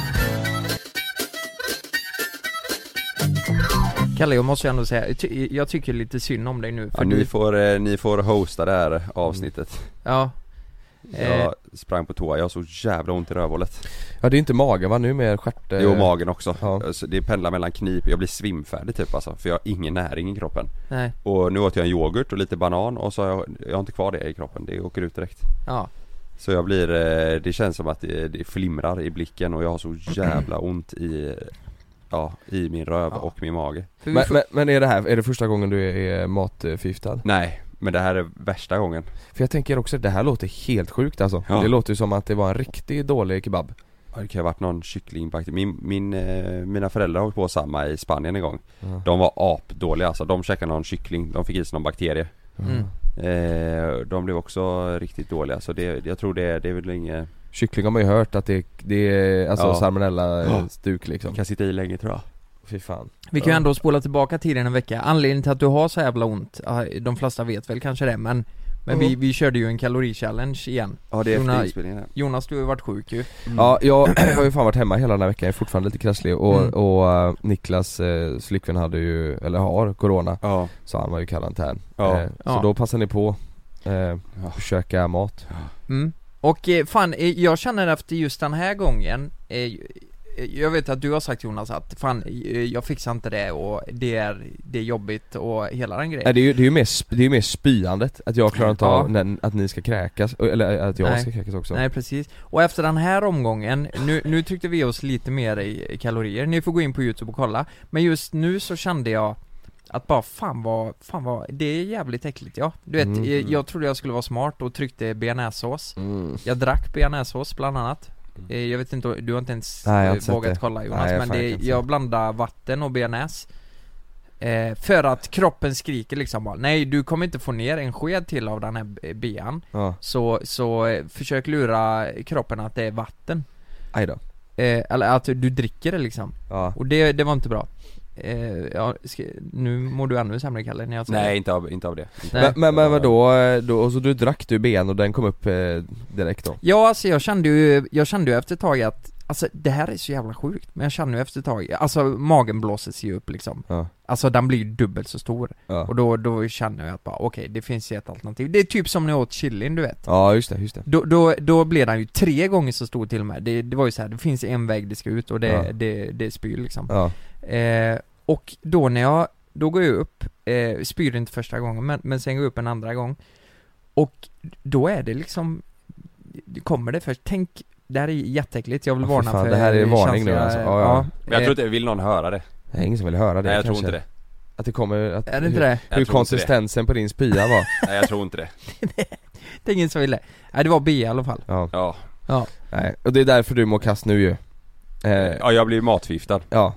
[SPEAKER 3] Kalle, jag måste ju ändå säga, jag ty- jag tycker lite synd om dig nu för
[SPEAKER 1] Ja,
[SPEAKER 3] du...
[SPEAKER 1] ni, får, eh, ni får hosta det här avsnittet
[SPEAKER 3] Ja. Eh,
[SPEAKER 1] Jag sprang på toa, jag har så jävla ont i rövhålet
[SPEAKER 2] ja, det är inte magen va? Nu mer stjärt... eh,
[SPEAKER 1] Jo magen också,
[SPEAKER 2] ja.
[SPEAKER 1] Så det pendlar mellan knip, jag blir svimfärdig typ alltså För jag har ingen näring i kroppen
[SPEAKER 3] nej.
[SPEAKER 1] Och nu åt jag en yoghurt och lite banan och så har jag, jag har inte kvar det i kroppen, det åker ut direkt
[SPEAKER 3] Ja.
[SPEAKER 1] Så jag blir, eh, det känns som att det, det flimrar i blicken och jag har så jävla ont i Ja, i min röv
[SPEAKER 3] Ja.
[SPEAKER 1] och min mage
[SPEAKER 3] För vi
[SPEAKER 2] Men,
[SPEAKER 3] får...
[SPEAKER 2] men, men är det här, är det första gången du är, är matförgiftad?
[SPEAKER 1] Nej, men det här är värsta gången
[SPEAKER 2] För jag tänker också, det här låter helt sjukt alltså.
[SPEAKER 1] Ja.
[SPEAKER 2] Det låter ju som att det var en riktigt dålig kebab
[SPEAKER 1] Ja, Det kan ha varit någon kycklingbakterie, min, min, eh, mina föräldrar har åkt på samma i Spanien en gång
[SPEAKER 2] Ja.
[SPEAKER 1] De var apdåliga alltså, de käkade någon kyckling, de fick i sig någon bakterie
[SPEAKER 3] Mm.
[SPEAKER 1] Eh, de blev också riktigt dåliga så det, jag tror det, det är väl inget
[SPEAKER 2] Kyckling har man ju hört att det, det är alltså
[SPEAKER 1] Ja. Ja.
[SPEAKER 2] salmonella-stuk liksom
[SPEAKER 1] kan sitta i länge tror jag
[SPEAKER 2] Fy fan
[SPEAKER 3] vi kan ju ändå spola tillbaka tiden en vecka. Anledningen till att du har så jävla ont, ja, de flesta vet väl kanske det, men, men vi, vi körde ju en kalori-challenge igen.
[SPEAKER 1] Ja det är efter
[SPEAKER 3] Jonas-
[SPEAKER 1] inspelningen här.
[SPEAKER 3] Jonas, du har ju varit sjuk ju.
[SPEAKER 2] Ja, jag [CLEARS THROAT] har ju fan varit hemma hela den här veckan, jag är fortfarande lite krasslig och,
[SPEAKER 3] Mm.
[SPEAKER 2] och eh, Niklas eh, flickvän hade ju, eller har, corona
[SPEAKER 1] Ja,
[SPEAKER 2] Så han var ju i karantän
[SPEAKER 1] Ja.
[SPEAKER 2] eh, Så
[SPEAKER 3] Ja.
[SPEAKER 2] då passade ni på eh,
[SPEAKER 1] Ja.
[SPEAKER 2] att käka mat
[SPEAKER 3] Mm. Och eh, fan, eh, jag känner efter just den här gången, eh, eh, jag vet att du har sagt Jonas att fan, eh, jag fixar inte det och det är, det är jobbigt och hela den
[SPEAKER 2] Nej
[SPEAKER 3] grejen.
[SPEAKER 2] det är ju, det är ju, mer, sp- det är ju mer spyandet, att jag klarar inte av
[SPEAKER 3] Ja.
[SPEAKER 2] när, att ni ska kräkas, eller att jag
[SPEAKER 3] Nej.
[SPEAKER 2] ska kräkas också
[SPEAKER 3] Nej precis. Och efter den här omgången, nu, nu tryckte vi oss lite mer i i kalorier, ni får gå in på youtube och kolla. Men just nu så kände jag att bara fan vad, fan vad, det är jävligt äckligt ja. Du vet,
[SPEAKER 2] Mm.
[SPEAKER 3] eh, jag trodde jag skulle vara smart och tryckte bearnaisesås. Jag drack bearnaisesås bland annat. Eh, Jag vet inte, du har inte ens
[SPEAKER 2] Mm. Nej, jag har
[SPEAKER 3] eh,
[SPEAKER 2] inte sett
[SPEAKER 3] vågat
[SPEAKER 2] det.
[SPEAKER 3] kolla Jonas,
[SPEAKER 2] Nej, jag har
[SPEAKER 3] men
[SPEAKER 2] fan
[SPEAKER 3] det,
[SPEAKER 2] inte sett
[SPEAKER 3] jag blandar vatten och bearnaise eh, För att kroppen skriker liksom bara, nej du kommer inte få ner en sked till av den här b- bean
[SPEAKER 2] Ja,
[SPEAKER 3] Så, så eh, försök lura kroppen att det är vatten
[SPEAKER 2] aj då.
[SPEAKER 3] eh, Eller att du dricker det liksom,
[SPEAKER 2] Ja.
[SPEAKER 3] och det, det var inte bra eh, ja, ska, Nu mår du ännu sämre Kalle när jag säger
[SPEAKER 1] Nej inte av, inte av det
[SPEAKER 3] Nej.
[SPEAKER 2] Men, men, men vadå, eh, då, och så du drack du ben och den kom upp eh, direkt då?
[SPEAKER 3] Ja alltså jag kände ju, jag kände ju efter ett tag att Alltså det här är så jävla sjukt, men jag känner ju efter ett tag, alltså magen blåses ju upp liksom
[SPEAKER 2] Ja.
[SPEAKER 3] Alltså den blir ju dubbelt så stor
[SPEAKER 2] Ja,
[SPEAKER 3] Och då, då känner jag att bara okej, det finns ju ett alternativ Det är typ som när jag åt chilin du vet
[SPEAKER 2] ja just det, just det.
[SPEAKER 3] då, då, då blev den ju tre gånger så stor till och med Det, det var ju så här, det finns en väg det ska ut och det,
[SPEAKER 2] Ja.
[SPEAKER 3] det, det, är spyr liksom
[SPEAKER 2] Ja.
[SPEAKER 3] eh, Och då när jag, då går jag upp, eh, spyr inte första gången men, men sen går jag upp en andra gång Och då är det liksom, det kommer det först, tänk det här är jätteäckligt, jag vill
[SPEAKER 2] Ja, fy
[SPEAKER 3] varna
[SPEAKER 2] fan,
[SPEAKER 3] för
[SPEAKER 2] det här är varning nu,
[SPEAKER 3] känsliga-
[SPEAKER 2] alltså. Ja, ja.
[SPEAKER 1] Men jag tror inte, vill någon höra det?
[SPEAKER 2] Det är ingen som vill höra det
[SPEAKER 1] Nej jag
[SPEAKER 2] kanske.
[SPEAKER 1] tror inte det
[SPEAKER 2] Att det kommer, att,
[SPEAKER 3] eh, Är det inte det?
[SPEAKER 2] hur,
[SPEAKER 1] jag
[SPEAKER 2] hur
[SPEAKER 1] tror inte det.
[SPEAKER 2] konsistensen på din spya var.
[SPEAKER 1] Nej jag tror inte det
[SPEAKER 3] Det är ingen som ville. Nej det var B i alla fall.
[SPEAKER 2] Ja.
[SPEAKER 1] Ja,
[SPEAKER 3] Ja.
[SPEAKER 2] Nej. Och det är därför du mår kass nu ju eh,
[SPEAKER 1] [LAUGHS] Ja, jag blev matförgiftad.
[SPEAKER 2] Ja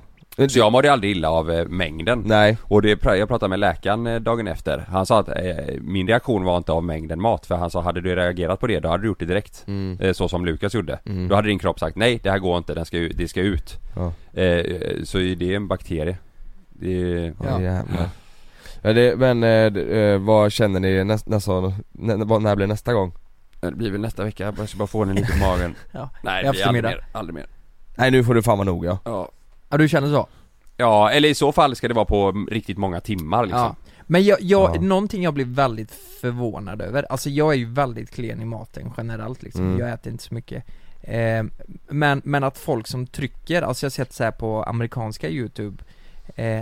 [SPEAKER 1] Så jag mådde aldrig illa av eh, mängden.
[SPEAKER 2] Nej,
[SPEAKER 1] Och det, pra- jag pratade med läkaren eh, dagen efter. Han sa att eh, min reaktion var inte av mängden mat. För han sa, hade du reagerat på det, då hade du gjort det direkt.
[SPEAKER 2] Mm.
[SPEAKER 1] Eh, så som Lukas gjorde.
[SPEAKER 2] Mm.
[SPEAKER 1] Då hade din kropp sagt, nej det här går inte, den ska, u- det ska ut.
[SPEAKER 2] Ja.
[SPEAKER 1] Eh, så det är en bakterie. Det,
[SPEAKER 2] ja. jävlar ja, det, Men eh, d- eh, vad känner ni nästa, nästa, nä, vad- när blir nästa gång?
[SPEAKER 1] det blir väl nästa vecka, jag ska bara få den lite på [LAUGHS] magen.
[SPEAKER 3] Ja.
[SPEAKER 1] Nej
[SPEAKER 3] I
[SPEAKER 1] det blir aldrig
[SPEAKER 3] eftermiddag.
[SPEAKER 1] mer, aldrig mer.
[SPEAKER 2] Nej nu får du fan vara nog ja
[SPEAKER 1] Ja.
[SPEAKER 3] ja, du känner så?
[SPEAKER 1] ja, eller i så fall ska det vara på mm, riktigt många timmar liksom.
[SPEAKER 3] Ja. Men jag, jag
[SPEAKER 2] Ja.
[SPEAKER 3] någonting jag blir väldigt förvånad över, alltså jag är ju väldigt klen i maten generellt liksom,
[SPEAKER 2] Mm.
[SPEAKER 3] jag äter inte så mycket eh, men, men att folk som trycker, alltså jag har sett så här på amerikanska youtube eh,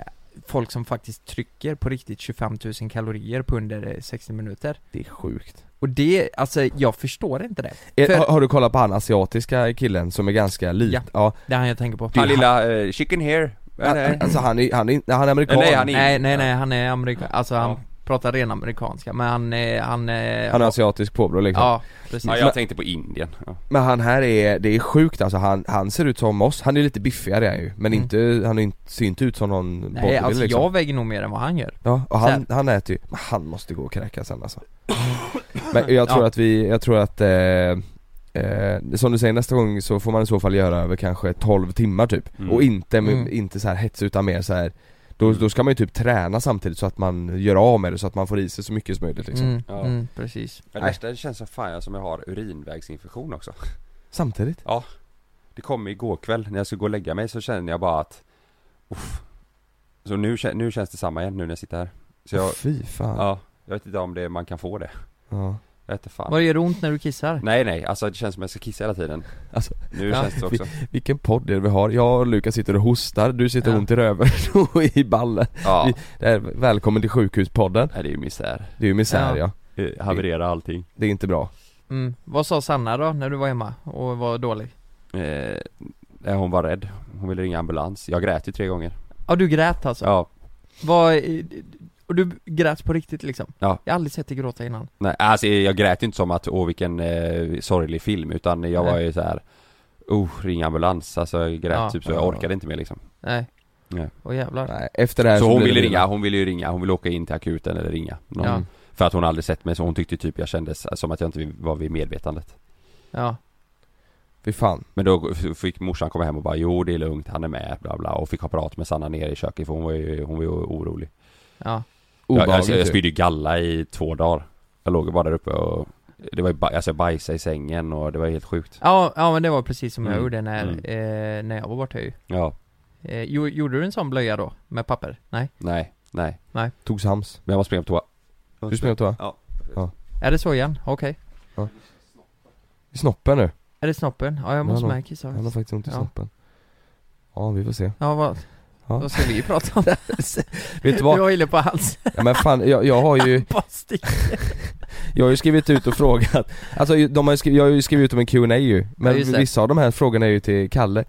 [SPEAKER 3] Folk som faktiskt trycker på riktigt 25 000 kalorier på under eh, 60 minuter
[SPEAKER 2] Det är sjukt
[SPEAKER 3] Och det, alltså jag förstår inte det
[SPEAKER 2] Eh,
[SPEAKER 3] För-
[SPEAKER 2] har, har du kollat på han asiatiska killen som är ganska lit?
[SPEAKER 3] Ja.
[SPEAKER 2] ja.
[SPEAKER 3] Det är han jag tänker på
[SPEAKER 1] Han lilla eh, chicken here.
[SPEAKER 2] Han,
[SPEAKER 1] Nej, nej.
[SPEAKER 2] alltså han är, han är, inte- han är amerikan
[SPEAKER 1] Nej, han är-
[SPEAKER 3] Nej nej nej, han är amerikan, alltså han
[SPEAKER 1] Ja. alltså-
[SPEAKER 3] pratar ren amerikanska men han, eh, han, eh,
[SPEAKER 2] Han har asiatisk påbrå liksom
[SPEAKER 3] Ja, precis
[SPEAKER 1] Ja, jag tänkte på Indien. Ja.
[SPEAKER 2] Men han här är, det är sjukt alltså, han, han ser ut som oss, han är lite biffigare är han ju men
[SPEAKER 3] Mm.
[SPEAKER 2] inte, han är inte, ser inte ut som någon
[SPEAKER 3] Nej
[SPEAKER 2] bodybuilder,
[SPEAKER 3] alltså
[SPEAKER 2] liksom.
[SPEAKER 3] jag väger nog mer än vad han gör
[SPEAKER 2] Ja, och
[SPEAKER 3] Så
[SPEAKER 2] han,
[SPEAKER 3] här.
[SPEAKER 2] han äter ju, men han måste gå och kräkas
[SPEAKER 1] [COUGHS]
[SPEAKER 2] sen alltså Men jag tror
[SPEAKER 3] Ja.
[SPEAKER 2] att vi, jag tror att eh, eh, som du säger nästa gång så får man i så fall göra över kanske 12 timmar typ
[SPEAKER 1] Mm.
[SPEAKER 2] och inte, med-
[SPEAKER 3] Mm.
[SPEAKER 2] inte så här hets utan mer så här. Då, då ska man ju typ träna samtidigt så att man gör av med det så att man får i sig så mycket som möjligt liksom
[SPEAKER 3] Mm,
[SPEAKER 1] Ja.
[SPEAKER 3] mm, precis.
[SPEAKER 1] Men
[SPEAKER 2] Nej.
[SPEAKER 1] det känns som fan jag som jag har urinvägsinfektion också.
[SPEAKER 2] Samtidigt?
[SPEAKER 1] Det kom igår kväll när jag skulle gå och lägga mig så kände jag bara att uff. Så nu, kä- nu känns det samma igen nu när jag sitter här Så jag,
[SPEAKER 2] Fy fan
[SPEAKER 1] ja, jag vet inte om det, man kan få det
[SPEAKER 2] Ja.
[SPEAKER 1] Jag vet inte fan
[SPEAKER 3] Vad gör det ont när du kissar?
[SPEAKER 1] Nej nej, alltså det känns som jag ska kissa hela tiden
[SPEAKER 2] Alltså,
[SPEAKER 1] Nu
[SPEAKER 2] ja,
[SPEAKER 1] känns det också
[SPEAKER 2] Vilken podd det är vi har, jag och Lukas sitter och hostar, du sitter
[SPEAKER 3] Ja.
[SPEAKER 2] ont i röven [LAUGHS] och i ballen
[SPEAKER 1] Ja,
[SPEAKER 2] vi- det är, Välkommen till sjukhuspodden,
[SPEAKER 1] nej, det är ju misär
[SPEAKER 2] det är ju misär ja,
[SPEAKER 3] Ja.
[SPEAKER 1] Eh, Haverera allting
[SPEAKER 2] det är inte bra
[SPEAKER 3] Mm. Vad sa Sanna då när du var hemma och var dålig?
[SPEAKER 1] eh, nej, Hon var rädd, hon ville ringa ambulans Jag grät ju tre gånger
[SPEAKER 3] Ja du grät alltså?
[SPEAKER 1] Ja,
[SPEAKER 3] Vad, och du grät på riktigt liksom?
[SPEAKER 1] Ja.
[SPEAKER 3] Jag har aldrig sett dig gråta innan
[SPEAKER 1] nej alltså jag grät ju inte som att åh vilken eh, sorglig film utan jag var
[SPEAKER 3] Nej.
[SPEAKER 1] ju så här. Oh, ring ambulans, alltså jag grät
[SPEAKER 3] Ja.
[SPEAKER 1] typ så, jag orkade inte mer liksom
[SPEAKER 3] Nej
[SPEAKER 1] Nej.
[SPEAKER 3] Åh jävlar
[SPEAKER 2] Nej, efter det här
[SPEAKER 1] Så hon
[SPEAKER 2] blir det
[SPEAKER 1] ville
[SPEAKER 2] bilen.
[SPEAKER 1] ringa, hon ville ju ringa, hon ville åka in till akuten eller ringa någon,
[SPEAKER 3] Ja.
[SPEAKER 1] För att hon aldrig sett mig så hon tyckte typ jag kändes som att jag inte var vid medvetandet
[SPEAKER 3] Ja,
[SPEAKER 2] Fy fan,
[SPEAKER 1] Men då f- fick morsan komma hem och bara jo det är lugnt, han är med bla bla och fick ha prat med Sanna nere i köket för hon var ju, hon var ju orolig
[SPEAKER 3] ja,
[SPEAKER 1] jag,
[SPEAKER 2] obehagligt typ.
[SPEAKER 1] jag, jag
[SPEAKER 2] ju.
[SPEAKER 1] spydde ju galla i två dagar Jag låg ju bara där uppe och det var ju, ba- alltså jag bajsade i sängen och det var helt sjukt
[SPEAKER 3] ja, ja men det var precis som jag
[SPEAKER 1] Mm.
[SPEAKER 3] gjorde när,
[SPEAKER 1] Mm.
[SPEAKER 3] eh, när jag var borta ju
[SPEAKER 1] Ja,
[SPEAKER 3] eh, jo- Gjorde du en sån blöja då? Med papper? Nej?
[SPEAKER 1] nej, nej
[SPEAKER 2] Tog sams.
[SPEAKER 1] Men jag måste springa på toa
[SPEAKER 2] Du sprang på toa?
[SPEAKER 1] Ja.
[SPEAKER 3] Är det så igen? Okej
[SPEAKER 2] I snoppen nu.
[SPEAKER 3] Är det snoppen? Ja jag
[SPEAKER 2] Men
[SPEAKER 3] måste
[SPEAKER 2] han har-
[SPEAKER 3] med och kissa
[SPEAKER 2] Han har faktiskt ont i
[SPEAKER 3] Ja.
[SPEAKER 2] snoppen. Ja, vi får se.
[SPEAKER 3] Ja vad,
[SPEAKER 2] Ja.
[SPEAKER 3] vad ska vi prata om?
[SPEAKER 2] Vet du
[SPEAKER 3] Du
[SPEAKER 2] vad?
[SPEAKER 3] var inne på hans
[SPEAKER 2] [LAUGHS] Ja, men fan, jag, jag har ju,
[SPEAKER 3] plastik
[SPEAKER 2] jag har ju skrivit ut och frågat. Alltså ju- de har ju skrivit, jag har ju skrivit ut om en Q&A ju. Men
[SPEAKER 3] Ja, just det.
[SPEAKER 2] vissa av de här frågorna är ju till Kalle.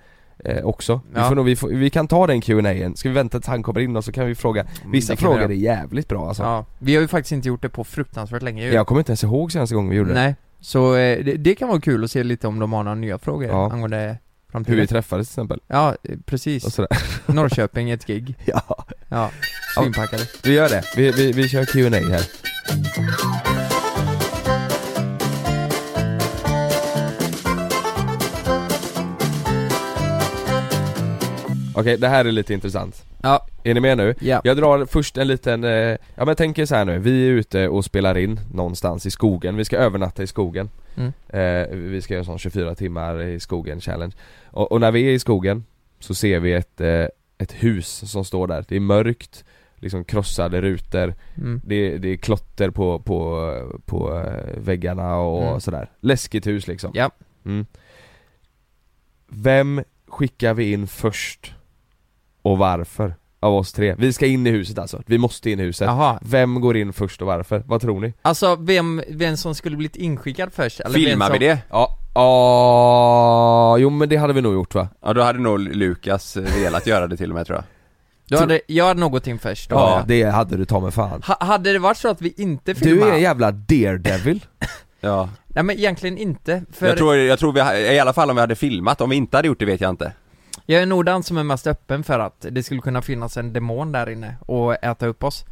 [SPEAKER 2] Eh, också. Vi,
[SPEAKER 3] Ja.
[SPEAKER 2] får nog, vi, får, vi kan ta den Q&A Ska vi vänta tills han kommer in och så kan vi fråga. Vissa
[SPEAKER 3] Mm, Det kan vi
[SPEAKER 2] frågor
[SPEAKER 3] göra.
[SPEAKER 2] är jävligt bra alltså.
[SPEAKER 3] Ja, vi har ju faktiskt inte gjort det på fruktansvärt länge ju.
[SPEAKER 2] Jag kommer inte ens ihåg senaste gången vi gjorde det.
[SPEAKER 3] Nej, så eh, det, det kan vara kul att se lite om de har några nya frågor
[SPEAKER 2] Ja.
[SPEAKER 3] angående
[SPEAKER 2] Hur
[SPEAKER 3] framtiden.
[SPEAKER 2] vi träffades till exempel.
[SPEAKER 3] ja, eh, precis.
[SPEAKER 2] Och sådär.
[SPEAKER 3] [LAUGHS] Norrköping, ett gig.
[SPEAKER 2] [LAUGHS] Ja.
[SPEAKER 3] Ja, svinpackade.
[SPEAKER 2] Vi gör det. Vi, vi, vi kör Q&A här. Okej, det här är lite intressant.
[SPEAKER 3] Ja,
[SPEAKER 2] Är ni med nu?
[SPEAKER 3] ja.
[SPEAKER 2] Jag drar först en liten, eh, ja men jag tänker så här nu, vi är ute och spelar in någonstans i skogen, vi ska övernatta i skogen
[SPEAKER 3] Mm.
[SPEAKER 2] eh, Vi ska göra en sån 24 timmar i skogen challenge och, och när vi är i skogen så ser vi ett, eh, ett hus som står där, det är mörkt, liksom krossade rutor
[SPEAKER 3] Mm.
[SPEAKER 2] det, det är klotter på, på, på eh, väggarna och
[SPEAKER 3] Mm.
[SPEAKER 2] sådär. Läskigt hus liksom.
[SPEAKER 3] Ja.
[SPEAKER 2] Mm. Vem skickar vi in först? Och varför? Av oss tre. Vi ska in i huset alltså. Vi måste in i huset.
[SPEAKER 3] Jaha,
[SPEAKER 2] Vem går in först och varför? Vad tror ni?
[SPEAKER 3] alltså vem, vem som skulle blivit inskickad först? Eller vem
[SPEAKER 1] Filmar vi
[SPEAKER 3] som...
[SPEAKER 1] det?
[SPEAKER 2] Ja, ah, jo men det hade vi nog gjort va?
[SPEAKER 1] Ja då hade nog Lukas eh, velat göra det till och med tror jag
[SPEAKER 3] Du hade, jag hade någonting först då.
[SPEAKER 2] Ja, det hade du ta med fan.
[SPEAKER 3] Ha, hade det varit så att vi inte
[SPEAKER 2] Du
[SPEAKER 3] filmade?
[SPEAKER 2] är en jävla daredevil.
[SPEAKER 1] Ja.
[SPEAKER 3] Nej men egentligen inte, för
[SPEAKER 1] Jag
[SPEAKER 3] jag,
[SPEAKER 1] tror, jag tror vi, ha- i alla fall om vi hade filmat, om vi inte hade gjort det vet jag inte
[SPEAKER 3] jag är nog den som är mest öppen för att det skulle kunna finnas en demon där inne och äta upp oss.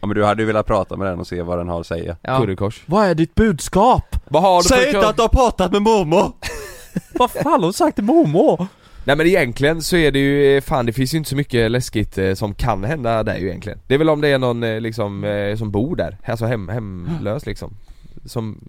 [SPEAKER 1] Ja men du hade ju velat prata med den och se vad den har att säga
[SPEAKER 3] Ja.
[SPEAKER 2] Kurrekors
[SPEAKER 3] Vad är ditt budskap?
[SPEAKER 2] Vad har du för kund?
[SPEAKER 1] du har pratat med mormor!
[SPEAKER 3] [LAUGHS] Vad fan har du sagt till mormor?
[SPEAKER 2] Nej men egentligen så är det ju, eh, fan det finns ju inte så mycket läskigt eh, som kan hända där ju egentligen Det är väl om det är någon eh, liksom, eh, som bor där, alltså hem, hemlös liksom Som,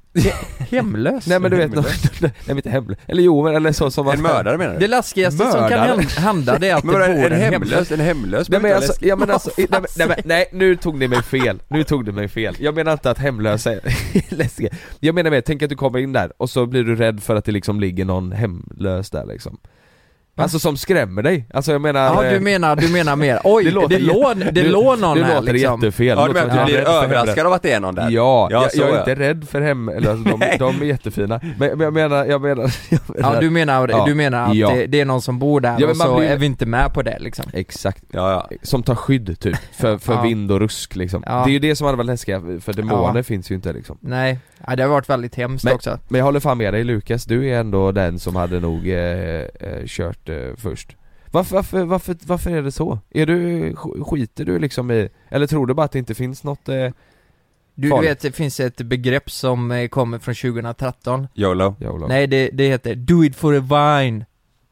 [SPEAKER 3] Hemlös?
[SPEAKER 2] nej men du vet, någon, [LAUGHS] nej men inte hemlös, eller jo men eller så som
[SPEAKER 1] En mördare menar du?
[SPEAKER 3] Det läskigaste som kan
[SPEAKER 2] Mördare.
[SPEAKER 3] hän- hända det är att
[SPEAKER 1] men vadå,
[SPEAKER 3] det
[SPEAKER 1] en,
[SPEAKER 3] bor
[SPEAKER 1] en hemlös, en hemlös
[SPEAKER 2] Nej men
[SPEAKER 1] behöver inte
[SPEAKER 2] alltså,
[SPEAKER 1] vara
[SPEAKER 2] ja, men alltså nej, men, nej, men, nej nu tog ni mig fel, nu tog ni mig fel Jag menar inte att hemlösa är [LAUGHS] läskiga Jag menar mer, tänk att du kommer in där och så blir du rädd för att det liksom ligger någon hemlös där liksom Alltså som skrämmer dig, alltså jag menar
[SPEAKER 3] Ja
[SPEAKER 2] eh,
[SPEAKER 3] du menar, du menar mer, oj det,
[SPEAKER 2] låter
[SPEAKER 3] låter, det,
[SPEAKER 2] jätte-
[SPEAKER 3] låg, det
[SPEAKER 2] du-
[SPEAKER 3] låg någon
[SPEAKER 2] du
[SPEAKER 3] här
[SPEAKER 2] låter
[SPEAKER 3] liksom
[SPEAKER 2] jättefel
[SPEAKER 1] Ja
[SPEAKER 2] Det
[SPEAKER 1] du
[SPEAKER 2] låter
[SPEAKER 1] menar att du
[SPEAKER 2] som
[SPEAKER 1] blir
[SPEAKER 2] jag är rädd
[SPEAKER 1] överraskad
[SPEAKER 2] för hemlösa.
[SPEAKER 1] av att det är någon där?
[SPEAKER 2] Ja,
[SPEAKER 1] Ja,
[SPEAKER 2] jag,
[SPEAKER 1] så
[SPEAKER 2] jag är
[SPEAKER 1] ja.
[SPEAKER 2] inte rädd för hemlösa, de, de är jättefina Men men jag menar, jag menar, [LAUGHS] jag menar
[SPEAKER 3] Ja du menar,
[SPEAKER 2] Ja.
[SPEAKER 3] du menar att
[SPEAKER 2] Ja.
[SPEAKER 3] det, det är någon som bor där
[SPEAKER 2] Ja, men
[SPEAKER 3] och
[SPEAKER 2] man
[SPEAKER 3] så
[SPEAKER 2] blir-
[SPEAKER 3] är vi inte med på det liksom
[SPEAKER 2] Exakt,
[SPEAKER 1] Ja, ja.
[SPEAKER 2] som tar skydd typ, för, för
[SPEAKER 3] Ja.
[SPEAKER 2] vind och rusk liksom
[SPEAKER 3] Ja.
[SPEAKER 2] Det är ju det som hade varit läskiga, för demoner
[SPEAKER 3] Ja.
[SPEAKER 2] finns ju inte liksom
[SPEAKER 3] Nej, ja, det har varit väldigt hemskt
[SPEAKER 2] Men-
[SPEAKER 3] också
[SPEAKER 2] Men jag håller fan med dig Lukas, du är ändå den som hade nog eh, eh, kört eh, först varför, varför, varför, varför är det så? Är du, sk- skiter du liksom i, eller tror du bara att det inte finns något eh,
[SPEAKER 3] Du, du
[SPEAKER 2] Farligt.
[SPEAKER 3] vet, det finns ett begrepp som eh, kommer från 2013
[SPEAKER 1] YOLO
[SPEAKER 2] jävla...
[SPEAKER 3] Nej det, det heter 'Do it for a vine'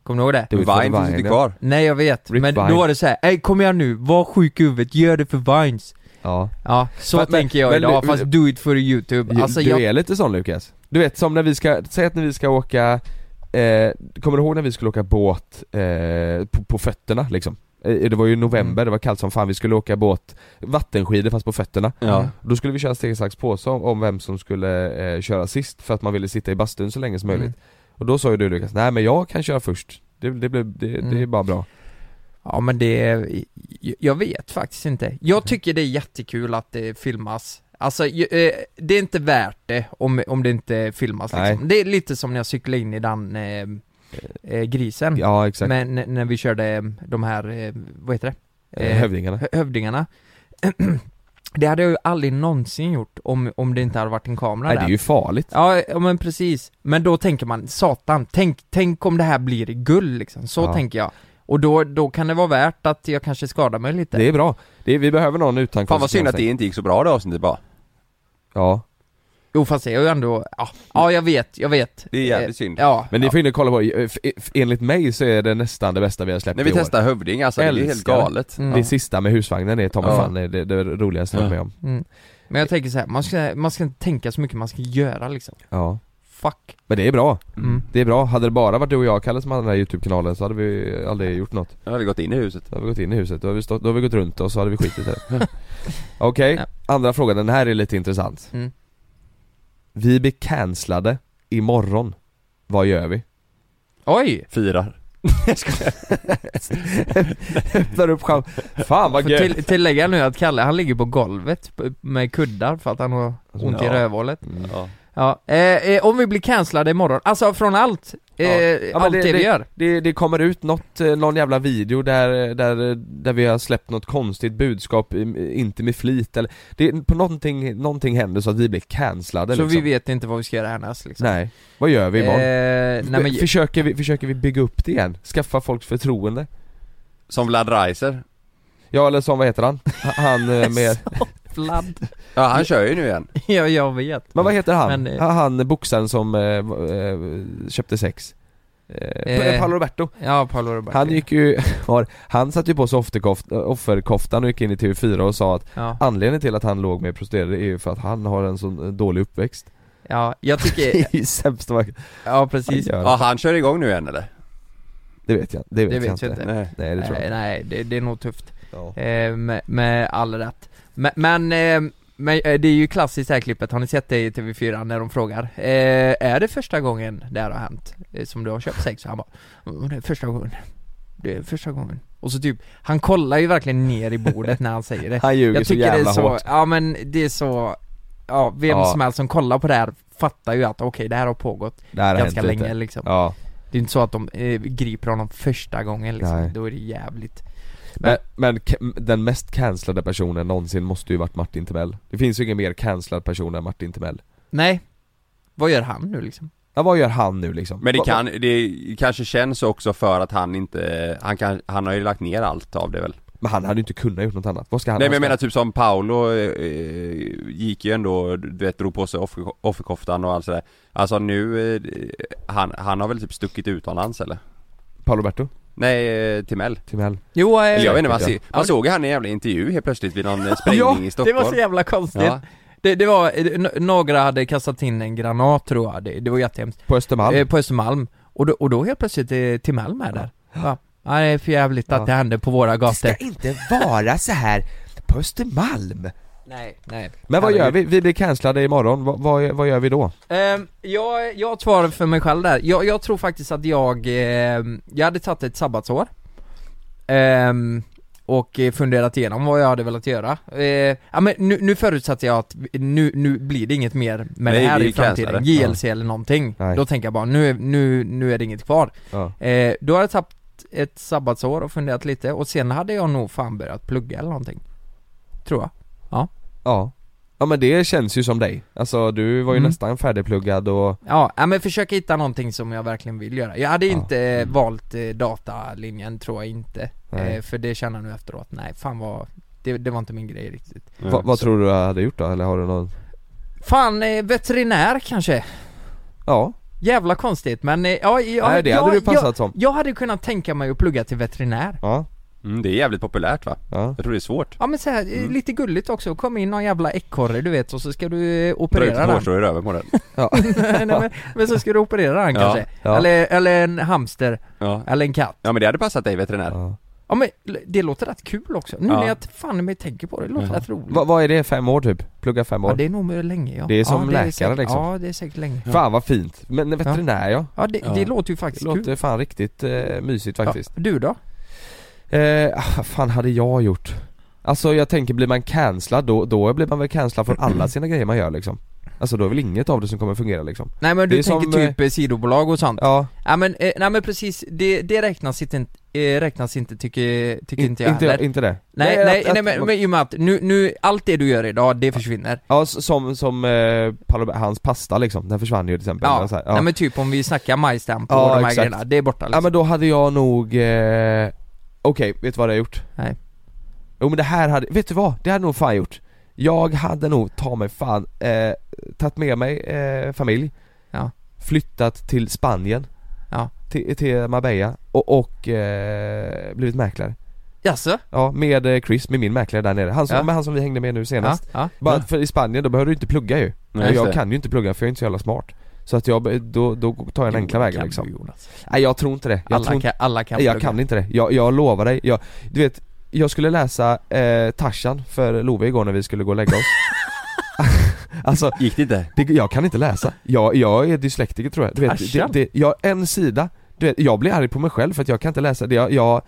[SPEAKER 3] Kommer du ihåg det?
[SPEAKER 2] Du-
[SPEAKER 1] Vine,
[SPEAKER 2] vet vad
[SPEAKER 1] finns
[SPEAKER 2] Vine
[SPEAKER 1] inte
[SPEAKER 2] är.
[SPEAKER 1] kvar
[SPEAKER 3] Nej jag vet,
[SPEAKER 2] Rip
[SPEAKER 3] men då
[SPEAKER 2] Vine.
[SPEAKER 3] var det så här, "Ey, kom igen nu, var sjuk i huvudet, gör det för vines'
[SPEAKER 2] Ja.
[SPEAKER 3] Ja, så
[SPEAKER 2] Men-
[SPEAKER 3] tänker jag
[SPEAKER 2] men-
[SPEAKER 3] idag,
[SPEAKER 2] men-
[SPEAKER 3] fast do it for youtube Alltså
[SPEAKER 2] du
[SPEAKER 3] jag,
[SPEAKER 2] är lite sån Lukas. Du vet som när vi ska, säg att när vi ska åka, eh, kommer du ihåg när vi skulle åka båt eh, på, på fötterna liksom? Eh, Det var ju november,
[SPEAKER 3] Mm.
[SPEAKER 2] det var kallt som fan, vi skulle åka båt, vattenskidor fast på fötterna
[SPEAKER 1] Ja.
[SPEAKER 2] Då skulle vi köra steg, sax, påse om, om vem som skulle eh, köra sist för att man ville sitta i bastun så länge som möjligt
[SPEAKER 3] Mm.
[SPEAKER 2] Och då sa ju du Lukas, nej men jag kan köra först Det, det, blev, det, det är
[SPEAKER 3] Mm.
[SPEAKER 2] bara bra
[SPEAKER 3] Ja men det, jag vet faktiskt inte.
[SPEAKER 2] Mm.
[SPEAKER 3] Jag tycker det är jättekul att det filmas. Alltså, ju- eh, det är inte värt det om, om det inte filmas
[SPEAKER 2] Nej.
[SPEAKER 3] liksom. Det är lite som när jag cyklade in i den eh, eh, grisen.
[SPEAKER 1] Mm.
[SPEAKER 2] Ja exakt,
[SPEAKER 3] men n- när vi körde eh, de här, eh, vad heter det?
[SPEAKER 2] Eh, Hövdingarna
[SPEAKER 3] hö- hövdingarna. [CLEARS THROAT] det hade jag ju aldrig någonsin gjort om, om det inte hade varit en kamera
[SPEAKER 2] Nej
[SPEAKER 3] där.
[SPEAKER 2] det är ju farligt
[SPEAKER 3] Ja, ja, men precis. Men då tänker man, satan, tänk, tänk om det här blir guld liksom. Så
[SPEAKER 2] Ja.
[SPEAKER 3] tänker jag. Och då, då kan det vara värt att jag kanske skadar mig lite.
[SPEAKER 2] Det är bra, det är, vi behöver någon utan
[SPEAKER 1] Fan vad synd att det
[SPEAKER 2] konsekvenser.
[SPEAKER 1] inte gick så bra det avsnittet bara
[SPEAKER 2] Ja
[SPEAKER 3] Jo fast det är ju ändå, ja, ja jag vet, jag vet. Eh,
[SPEAKER 1] Det är jävligt synd
[SPEAKER 3] Ja.
[SPEAKER 2] Men ni får in kolla på, eh, f- f- enligt mig så är det nästan det bästa vi har släppt
[SPEAKER 1] När vi
[SPEAKER 2] i år.
[SPEAKER 1] testar Hövding alltså, det är ju helt
[SPEAKER 2] Älskar.
[SPEAKER 1] galet
[SPEAKER 3] Mm.
[SPEAKER 2] Det sista med husvagnen är Tom
[SPEAKER 1] Ja.
[SPEAKER 2] fan det, det, det roligaste jag
[SPEAKER 1] Ja.
[SPEAKER 2] varit med om
[SPEAKER 3] Mm. Men jag tänker så här, man ska, man ska inte tänka så mycket, man ska göra liksom.
[SPEAKER 2] Ja
[SPEAKER 3] Fuck.
[SPEAKER 2] Men det är bra,
[SPEAKER 3] Mm.
[SPEAKER 2] det är bra. Hade det bara varit du och jag Kalle som hade den här YouTube-kanalen så hade vi aldrig gjort något
[SPEAKER 1] Nu har vi gått in i huset
[SPEAKER 2] Då hade vi gått in i huset, då hade vi, stått, då hade vi gått runt och så hade vi skitit i det [LAUGHS] Okej, andra frågan, den här är lite intressant
[SPEAKER 3] Mm.
[SPEAKER 2] Vi blir cancellade imorgon, vad gör
[SPEAKER 3] [LAUGHS]
[SPEAKER 2] vi?
[SPEAKER 3] Oj!
[SPEAKER 1] Firar
[SPEAKER 2] Öppnar upp chans... Fan vad
[SPEAKER 3] Får
[SPEAKER 2] gött!
[SPEAKER 3] till, tillägga nu att Kalle, han ligger på golvet p- med kuddar för att han har ont i
[SPEAKER 1] Ja.
[SPEAKER 3] rövhålet.
[SPEAKER 2] Mm.
[SPEAKER 1] ja.
[SPEAKER 3] Ja, eh, eh, om vi blir cancellade imorgon, alltså från allt, eh,
[SPEAKER 2] Ja. Ja, men
[SPEAKER 3] allt det,
[SPEAKER 2] det-
[SPEAKER 3] vi gör.
[SPEAKER 2] Det, det kommer ut något, eh, någon jävla video där, där, där vi har släppt något konstigt budskap, i- inte med flit eller det, på någonting, någonting händer så att vi blir cancellade
[SPEAKER 3] Så
[SPEAKER 2] liksom.
[SPEAKER 3] vi vet inte vad vi ska göra härnäst liksom.
[SPEAKER 2] Nej, vad gör vi imorgon?
[SPEAKER 3] Eh, nej men,
[SPEAKER 2] försöker, vi, försöker vi bygga upp det igen? Skaffa folks förtroende?
[SPEAKER 1] Som Vlad Reiser
[SPEAKER 2] Ja eller som, vad heter han? Ha- Han eh,
[SPEAKER 3] [LAUGHS]
[SPEAKER 2] med,
[SPEAKER 3] fladd.
[SPEAKER 1] Ja han kör ju nu igen
[SPEAKER 3] [LAUGHS] ja, jag vet.
[SPEAKER 2] men vad heter han?
[SPEAKER 3] Men, eh,
[SPEAKER 2] Ha- han boxaren som eh, va- eh, köpte sex eh,
[SPEAKER 3] Eh,
[SPEAKER 2] Paolo Roberto
[SPEAKER 3] Ja, Paolo Roberto.
[SPEAKER 2] Han gick ju, [LAUGHS] var, han satte ju på sig offerkoft- offerkoftan och gick in i TV4 och sa att
[SPEAKER 3] ja.
[SPEAKER 2] Anledningen till att han låg med prostituerade är ju för att han har en sån eh, dålig uppväxt
[SPEAKER 3] [LAUGHS] ja,
[SPEAKER 2] [LAUGHS]
[SPEAKER 3] jag
[SPEAKER 2] Det
[SPEAKER 3] tycker,
[SPEAKER 2] är ju sämst man kan
[SPEAKER 3] ja precis.
[SPEAKER 1] Ja
[SPEAKER 2] göra
[SPEAKER 1] han kör igång nu igen eller?
[SPEAKER 2] Det vet jag, det vet,
[SPEAKER 3] Det
[SPEAKER 2] jag
[SPEAKER 3] vet
[SPEAKER 2] inte
[SPEAKER 3] jag inte.
[SPEAKER 1] Nej
[SPEAKER 2] Nej det tror jag
[SPEAKER 3] Nej,
[SPEAKER 2] inte
[SPEAKER 3] nej det, det är nog tufft.
[SPEAKER 2] ja.
[SPEAKER 3] Eh, med, med all rätt. Men, men, eh, men eh, det är ju klassiskt det här klippet, har ni sett det i TV4 när de frågar? Eh, är det första gången det här har hänt? eh, Som du har köpt sex? Han bara, "Mm, det är första gången. Det är första gången. Och så typ, han kollar ju verkligen ner i bordet när han säger det.
[SPEAKER 2] Han ljuger
[SPEAKER 3] Jag
[SPEAKER 2] så
[SPEAKER 3] tycker det är
[SPEAKER 2] jävla
[SPEAKER 3] så,
[SPEAKER 2] hårt
[SPEAKER 3] ja men det är så, ja vem
[SPEAKER 2] Ja.
[SPEAKER 3] som helst som kollar på det här fattar ju att okej det här har pågått
[SPEAKER 2] Det här har
[SPEAKER 3] ganska
[SPEAKER 2] hänt
[SPEAKER 3] länge
[SPEAKER 2] lite.
[SPEAKER 3] liksom.
[SPEAKER 2] Ja,
[SPEAKER 3] Det är inte så att de eh, griper honom första gången liksom,
[SPEAKER 2] Nej.
[SPEAKER 3] då är det jävligt
[SPEAKER 2] men, men ca- den mest cancellade personen någonsin måste ju varit Martin Timell Det finns ju ingen mer cancellad person än Martin Timell
[SPEAKER 3] Nej, Vad gör han nu liksom?
[SPEAKER 2] Ja, vad gör han nu liksom?
[SPEAKER 1] Men det
[SPEAKER 2] Vad-
[SPEAKER 1] kan, det kanske känns också för att han inte, han kan, han har ju lagt ner allt av det väl?
[SPEAKER 2] Men han hade ju inte kunnat gjort något annat, vad ska han
[SPEAKER 1] Nej men jag
[SPEAKER 2] han ska-
[SPEAKER 1] menar typ som Paolo eh, gick ju ändå, du vet drog på sig offer, offerkoftan och allt sådär Alltså nu, eh, han, han har väl typ stuckit utomlands eller?
[SPEAKER 2] Paolo Berto,
[SPEAKER 1] Nej, eh, Timell
[SPEAKER 2] Timell
[SPEAKER 3] Jo, eh,
[SPEAKER 1] Eller jag vet inte, man, se,
[SPEAKER 3] Ja,
[SPEAKER 1] man
[SPEAKER 3] det-
[SPEAKER 1] såg ju han i en jävla intervju helt plötsligt vid någon eh, sprängning i
[SPEAKER 3] [LAUGHS] det
[SPEAKER 1] Stockholm
[SPEAKER 3] var så jävla konstigt.
[SPEAKER 1] Ja.
[SPEAKER 3] Det, det var, eh, n- några hade kastat in en granat tror jag, det, det var jättehemskt.
[SPEAKER 2] På Östermalm
[SPEAKER 3] Eh, på Östermalm. Och då, och då helt plötsligt är Timell med där. Ja. Ja, det är för jävligt att
[SPEAKER 2] Ja.
[SPEAKER 3] det händer på våra gator.
[SPEAKER 2] inte vara så här på Östermalm
[SPEAKER 3] Nej, nej.
[SPEAKER 2] Men vad
[SPEAKER 3] Herregud.
[SPEAKER 2] gör vi? Vi blir cancellade imorgon, vad, vad, vad gör vi då?
[SPEAKER 3] Ehm, jag, jag svarar för mig själv där. Jag, jag tror faktiskt att jag, ehm, jag hade tagit ett sabbatsår Ehm, Och eh, funderat igenom vad jag hade velat göra. Eh, ja, men nu, nu förutsätter jag att vi- nu, nu blir det inget mer med
[SPEAKER 1] Nej,
[SPEAKER 3] det här
[SPEAKER 1] vi
[SPEAKER 3] i framtiden,
[SPEAKER 1] cancelar
[SPEAKER 2] det.
[SPEAKER 3] JLC eller någonting.
[SPEAKER 2] Nej.
[SPEAKER 3] Då tänker jag bara, nu, nu, nu är det inget kvar.
[SPEAKER 2] Ja.
[SPEAKER 3] Eh, då har jag tagit ett sabbatsår och funderat lite och sen hade jag nog fan börjat plugga eller någonting. Tror jag.
[SPEAKER 2] ja Ja men det känns ju som dig, alltså du var ju
[SPEAKER 3] Mm.
[SPEAKER 2] nästan färdigpluggad och
[SPEAKER 3] Ja, ja, men försöka hitta någonting som jag verkligen vill göra. Jag hade
[SPEAKER 2] Ja. Mm.
[SPEAKER 3] inte valt eh, datalinjen, tror jag inte.
[SPEAKER 2] Nej.
[SPEAKER 3] Eh, för det känner jag nu efteråt, nej fan vad, det, det var inte min grej riktigt.
[SPEAKER 1] Ja.
[SPEAKER 2] vad, vad tror du jag hade gjort då? Eller har du någon?
[SPEAKER 3] Fan, eh, veterinär kanske?
[SPEAKER 2] Ja,
[SPEAKER 3] Jävla konstigt men, eh, ja, ja
[SPEAKER 2] nej det
[SPEAKER 3] jag,
[SPEAKER 2] hade du passat
[SPEAKER 3] jag,
[SPEAKER 2] som
[SPEAKER 3] jag hade kunnat tänka mig att plugga till veterinär.
[SPEAKER 2] Ja,
[SPEAKER 1] mm, Det är jävligt populärt va?
[SPEAKER 2] ja
[SPEAKER 1] Jag tror det är svårt
[SPEAKER 3] Ja men så här, eh,
[SPEAKER 1] Mm.
[SPEAKER 3] lite gulligt också, kom in någon jävla ekorre du vet och så ska du eh,
[SPEAKER 1] Dra ut
[SPEAKER 3] operera
[SPEAKER 1] ett
[SPEAKER 3] den.
[SPEAKER 1] hårstrå i röven på den
[SPEAKER 3] [LAUGHS] nej, men, men så ska du operera den
[SPEAKER 1] Ja,
[SPEAKER 3] kanske.
[SPEAKER 2] [LAUGHS] ja.
[SPEAKER 3] Eller, eller en hamster,
[SPEAKER 1] ja.
[SPEAKER 3] eller en katt.
[SPEAKER 1] ja men det hade passat dig veterinär
[SPEAKER 2] Ja.
[SPEAKER 3] Ja men det låter rätt kul också, nu
[SPEAKER 1] Ja.
[SPEAKER 3] när jag t- fan i mig tänker på det, det låter
[SPEAKER 1] Ja.
[SPEAKER 3] rätt roligt
[SPEAKER 2] Vad- Vad är det? Fem år typ? Plugga fem
[SPEAKER 3] Ja
[SPEAKER 2] år?
[SPEAKER 3] det är nog med länge ja
[SPEAKER 2] Det är som
[SPEAKER 3] ja,
[SPEAKER 2] läkare,
[SPEAKER 3] säkert,
[SPEAKER 2] liksom.
[SPEAKER 3] Ja det är säkert länge
[SPEAKER 2] Fan vad fint, men veterinär ja,
[SPEAKER 3] Ja det,
[SPEAKER 1] Ja.
[SPEAKER 3] det låter ju faktiskt
[SPEAKER 2] det
[SPEAKER 3] kul
[SPEAKER 2] låter fan riktigt eh, mysigt faktiskt
[SPEAKER 3] ja. Du då?
[SPEAKER 2] Eh, ah, vad fan hade jag gjort? Alltså jag tänker, blir man cancellad då, då blir man väl cancellad från
[SPEAKER 3] Mm.
[SPEAKER 2] alla sina grejer man gör liksom Alltså då är väl inget av det som kommer fungera liksom
[SPEAKER 3] Nej men
[SPEAKER 2] Det
[SPEAKER 3] du
[SPEAKER 2] är
[SPEAKER 3] tänker
[SPEAKER 2] som,
[SPEAKER 3] typ eh, sidobolag och sånt? Ja,
[SPEAKER 2] Ja,
[SPEAKER 3] men, eh, nej men precis, det, det räknas inte, eh, räknas inte tycker, tycker
[SPEAKER 2] in,
[SPEAKER 3] inte jag
[SPEAKER 2] inte,
[SPEAKER 3] heller
[SPEAKER 2] inte det
[SPEAKER 3] Nej,
[SPEAKER 2] att-
[SPEAKER 3] nej,
[SPEAKER 2] att-
[SPEAKER 3] nej men, men i och med att nu, nu, allt det du gör idag, det försvinner
[SPEAKER 2] Ja, s- som, som eh, Paolo- hans pasta liksom, den försvann ju till exempel
[SPEAKER 3] Ja,
[SPEAKER 2] Och så här,
[SPEAKER 3] nej men typ om vi snackar majstamp och
[SPEAKER 2] Ja,
[SPEAKER 3] de här
[SPEAKER 2] exakt.
[SPEAKER 3] grejerna, det är borta liksom.
[SPEAKER 2] Ja men då hade jag nog, eh... okej, vet du vad jag hade gjort?
[SPEAKER 3] Nej.
[SPEAKER 2] Jo men det här hade, vet du vad? Det hade jag nog fan gjort Jag hade nog, ta mig fan, eh, tagit med mig eh, familj
[SPEAKER 3] Ja.
[SPEAKER 2] Flyttat till Spanien
[SPEAKER 3] Ja.
[SPEAKER 2] Till, till Marbella och, och eh, blivit mäklare
[SPEAKER 3] Jaså?
[SPEAKER 2] Ja, med eh, Chris, med min mäklare där nere, han som,
[SPEAKER 3] Ja.
[SPEAKER 2] men han som vi hängde med nu
[SPEAKER 3] Ja,
[SPEAKER 2] senast
[SPEAKER 3] ja.
[SPEAKER 2] Bara för i Spanien, då behöver du inte plugga ju
[SPEAKER 1] Nej,
[SPEAKER 2] Och
[SPEAKER 1] just
[SPEAKER 2] jag
[SPEAKER 1] det.
[SPEAKER 2] kan ju inte plugga för jag är inte så jävla smart Så att jag, be- då, då tar jag den enkla
[SPEAKER 3] Jo,
[SPEAKER 2] vägen
[SPEAKER 3] kan
[SPEAKER 2] liksom
[SPEAKER 3] du, Jonas.
[SPEAKER 2] Nej jag tror inte det, jag
[SPEAKER 3] alla,
[SPEAKER 2] tror inte
[SPEAKER 3] kan, alla kan
[SPEAKER 2] Nej, jag
[SPEAKER 3] plugga.
[SPEAKER 2] kan inte det, jag, jag lovar dig, jag, du vet Jag skulle läsa eh, Tarzan för Love igår när vi skulle gå och
[SPEAKER 3] [LAUGHS]
[SPEAKER 2] lägga oss Alltså,
[SPEAKER 1] Gick det inte?
[SPEAKER 2] det, jag kan inte läsa, jag, jag är dyslektiker tror jag, du vet, det,
[SPEAKER 3] Tarzan?
[SPEAKER 2] det, jag, en sida, du vet, jag blir arg på mig själv för att jag kan inte läsa, det, jag, jag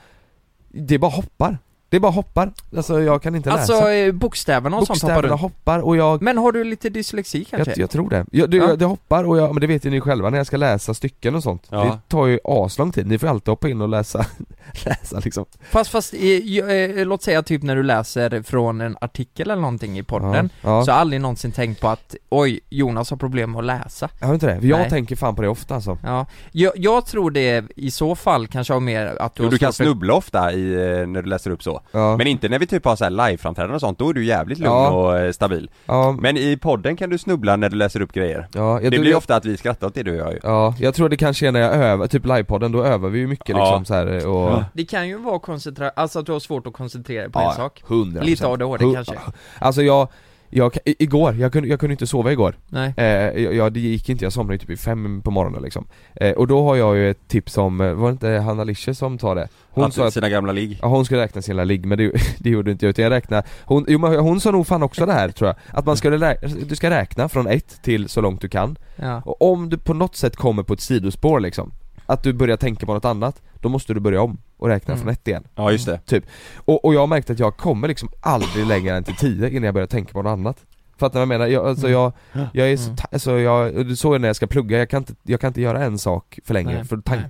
[SPEAKER 2] det bara hoppar, det bara hoppar, alltså jag kan inte
[SPEAKER 3] Alltså
[SPEAKER 2] läsa
[SPEAKER 3] eh, bokstäverna och sånt hoppar
[SPEAKER 2] Bokstäverna
[SPEAKER 3] runt.
[SPEAKER 2] hoppar och jag
[SPEAKER 3] Men har du lite dyslexi kanske?
[SPEAKER 2] jag, jag tror det. Jag, det,
[SPEAKER 3] Ja.
[SPEAKER 2] jag, det hoppar och jag, men det vet ju ni själva när jag ska läsa stycken och sånt.
[SPEAKER 1] Ja.
[SPEAKER 2] Det tar ju aslång tid, ni får alltid hoppa in och läsa, [LAUGHS] läsa liksom.
[SPEAKER 3] Fast, fast eh, ju- eh, låt säga typ när du läser från en artikel eller någonting i podden
[SPEAKER 2] Ja.
[SPEAKER 3] Så
[SPEAKER 2] Ja.
[SPEAKER 3] har jag aldrig någonsin tänkt på att oj, Jonas har problem med att läsa.
[SPEAKER 2] Jag har inte det, jag
[SPEAKER 3] Nej.
[SPEAKER 2] tänker fan på det ofta alltså.
[SPEAKER 3] Ja, jag, jag tror det i så fall kanske har mer att du
[SPEAKER 1] Jo,
[SPEAKER 3] har
[SPEAKER 1] du kan
[SPEAKER 3] svårt för-
[SPEAKER 1] snubbla ofta i, eh, när du läser upp så
[SPEAKER 2] Ja.
[SPEAKER 1] Men inte när vi typ har så här liveframträdanden och sånt, då är du jävligt lugn
[SPEAKER 2] Ja.
[SPEAKER 1] och eh, stabil
[SPEAKER 2] ja.
[SPEAKER 1] Men i podden kan du snubbla när du läser upp grejer
[SPEAKER 2] ja. Jag,
[SPEAKER 1] Det
[SPEAKER 2] tror-
[SPEAKER 1] blir
[SPEAKER 2] jag,
[SPEAKER 1] ofta att vi skrattar åt det du och jag ju
[SPEAKER 2] ja, jag tror det kanske är när jag övar, typ livepodden, då övar vi ju mycket
[SPEAKER 1] Ja.
[SPEAKER 2] liksom så här och...
[SPEAKER 1] Ja.
[SPEAKER 3] Det kan ju vara koncentra... alltså att du har svårt att koncentrera dig på en sak.
[SPEAKER 2] 100%.
[SPEAKER 3] Lite ADHD
[SPEAKER 2] Hu-
[SPEAKER 3] kanske.
[SPEAKER 2] Alltså jag, jag, i- igår, jag kunde, jag kunde inte sova igår.
[SPEAKER 3] Nej.
[SPEAKER 2] Eh, jag, jag- det gick inte, jag somnade ju typ i fem på morgonen liksom. Eh, och då har jag ju ett tips om, eh, var det inte Hanna Lische som tar det? Hon
[SPEAKER 1] att,
[SPEAKER 2] sa att
[SPEAKER 1] Sina gamla ligg
[SPEAKER 2] Ja hon skulle räkna sin lilla ligg men det, [LAUGHS] det gjorde inte jag utan jag räknade, hon, jo, men hon sa nog fan också det här tror jag, att man skulle lä- du ska räkna från ett till så långt du kan
[SPEAKER 3] Ja.
[SPEAKER 2] och om du på något sätt kommer på ett sidospår liksom, att du börjar tänka på något annat, då måste du börja om och räkna
[SPEAKER 3] Mm.
[SPEAKER 2] från ett igen typ.
[SPEAKER 1] Ja just det
[SPEAKER 2] och, och jag har märkt att jag kommer liksom aldrig längre än till tio innan jag börjar tänka på något annat Fattar du vad jag menar? Jag, alltså jag, jag är så,
[SPEAKER 3] Mm.
[SPEAKER 2] ta- alltså jag, och du såg ju när jag ska plugga, jag kan inte, jag kan inte göra en sak för länge
[SPEAKER 3] Nej.
[SPEAKER 2] för tanken
[SPEAKER 3] Nej.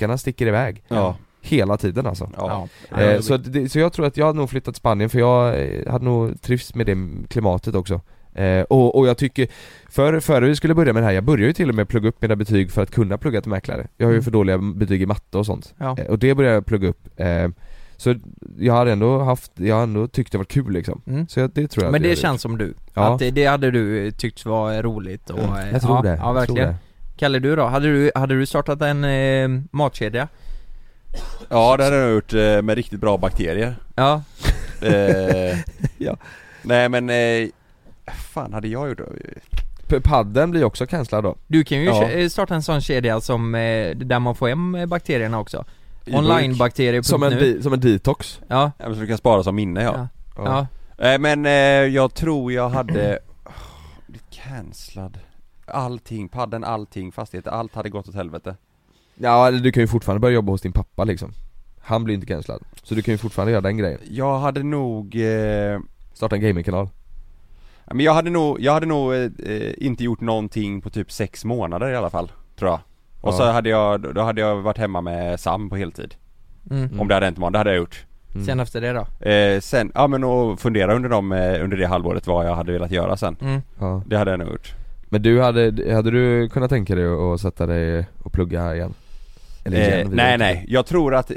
[SPEAKER 2] Backarna sticker iväg.
[SPEAKER 6] Ja.
[SPEAKER 2] Hela tiden alltså.
[SPEAKER 6] Ja.
[SPEAKER 2] Eh, så, det, så jag tror att jag hade nog flyttat till Spanien för jag eh, hade nog trivts med det klimatet också. Eh, och, och jag tycker, för, före vi skulle börja med det här, jag började ju till och med plugga upp mina betyg för att kunna plugga till mäklare. Jag har ju
[SPEAKER 3] Mm.
[SPEAKER 2] för dåliga betyg i matte och sånt.
[SPEAKER 3] Ja.
[SPEAKER 2] Eh, och det började jag plugga upp. Eh, så jag har ändå haft, jag har ändå tyckt det var kul liksom.
[SPEAKER 3] Mm.
[SPEAKER 2] Så jag, det tror jag
[SPEAKER 3] Men
[SPEAKER 2] att jag
[SPEAKER 3] det
[SPEAKER 2] hade
[SPEAKER 3] känns som du.
[SPEAKER 2] Ja.
[SPEAKER 3] Att det, det hade du eh, tyckt var roligt och...
[SPEAKER 2] gjort.
[SPEAKER 3] eh,
[SPEAKER 2] Jag tror
[SPEAKER 3] ja,
[SPEAKER 2] det.
[SPEAKER 3] Ja,
[SPEAKER 2] jag tror
[SPEAKER 3] verkligen.
[SPEAKER 2] det.
[SPEAKER 3] Kalle du då? Hade du, hade du startat en eh, matkedja?
[SPEAKER 1] Ja det hade jag gjort eh, med riktigt bra
[SPEAKER 2] [LAUGHS]
[SPEAKER 1] bakterier
[SPEAKER 3] Ja.
[SPEAKER 1] eh,
[SPEAKER 2] Ja.
[SPEAKER 1] Nej men, eh, fan hade jag gjort det?
[SPEAKER 2] P- Padden blir också cancellad då.
[SPEAKER 3] Du kan ju
[SPEAKER 1] Ja.
[SPEAKER 3] ke- eh, starta en sån kedja som, eh, där man får hem eh, bakterierna också.
[SPEAKER 1] I burk.
[SPEAKER 3] Onlinebakterier.nu
[SPEAKER 2] Som en, di- som en detox.
[SPEAKER 3] Ja,
[SPEAKER 1] Ja, men så du kan spara som minne ja.
[SPEAKER 3] Ja. ja.
[SPEAKER 1] Eh, men eh, jag tror jag hade, [CLEARS THROAT] Åh, blivit cancellad Allting, padden, allting, fastigheter, allt hade gått åt helvete
[SPEAKER 2] Ja, eller du kan ju fortfarande börja jobba hos din pappa liksom. Han blir inte cancellad. Så du kan ju fortfarande göra den grejen.
[SPEAKER 1] Jag hade nog eh,
[SPEAKER 2] Starta en gamingkanal.
[SPEAKER 1] Ja, Men jag hade nog, jag hade nog eh, eh, inte gjort någonting på typ sex månader i alla fall, tror jag Och så
[SPEAKER 2] Ja.
[SPEAKER 1] hade jag, då hade jag varit hemma med Sam på heltid
[SPEAKER 3] Mm.
[SPEAKER 1] Om det hade hänt imorgon, det hade jag gjort
[SPEAKER 2] Mm.
[SPEAKER 3] Sen efter det då?
[SPEAKER 1] eh, Sen, ja men och fundera under dem, eh, under det halvåret vad jag hade velat göra sen
[SPEAKER 3] Mm.
[SPEAKER 2] Ja.
[SPEAKER 1] Det hade jag nog gjort
[SPEAKER 2] Men du, hade, hade du kunnat tänka dig att sätta dig och plugga igen? Eller igen?
[SPEAKER 1] eh,
[SPEAKER 2] vi
[SPEAKER 1] Nej
[SPEAKER 2] vet
[SPEAKER 1] nej, jag tror att eh,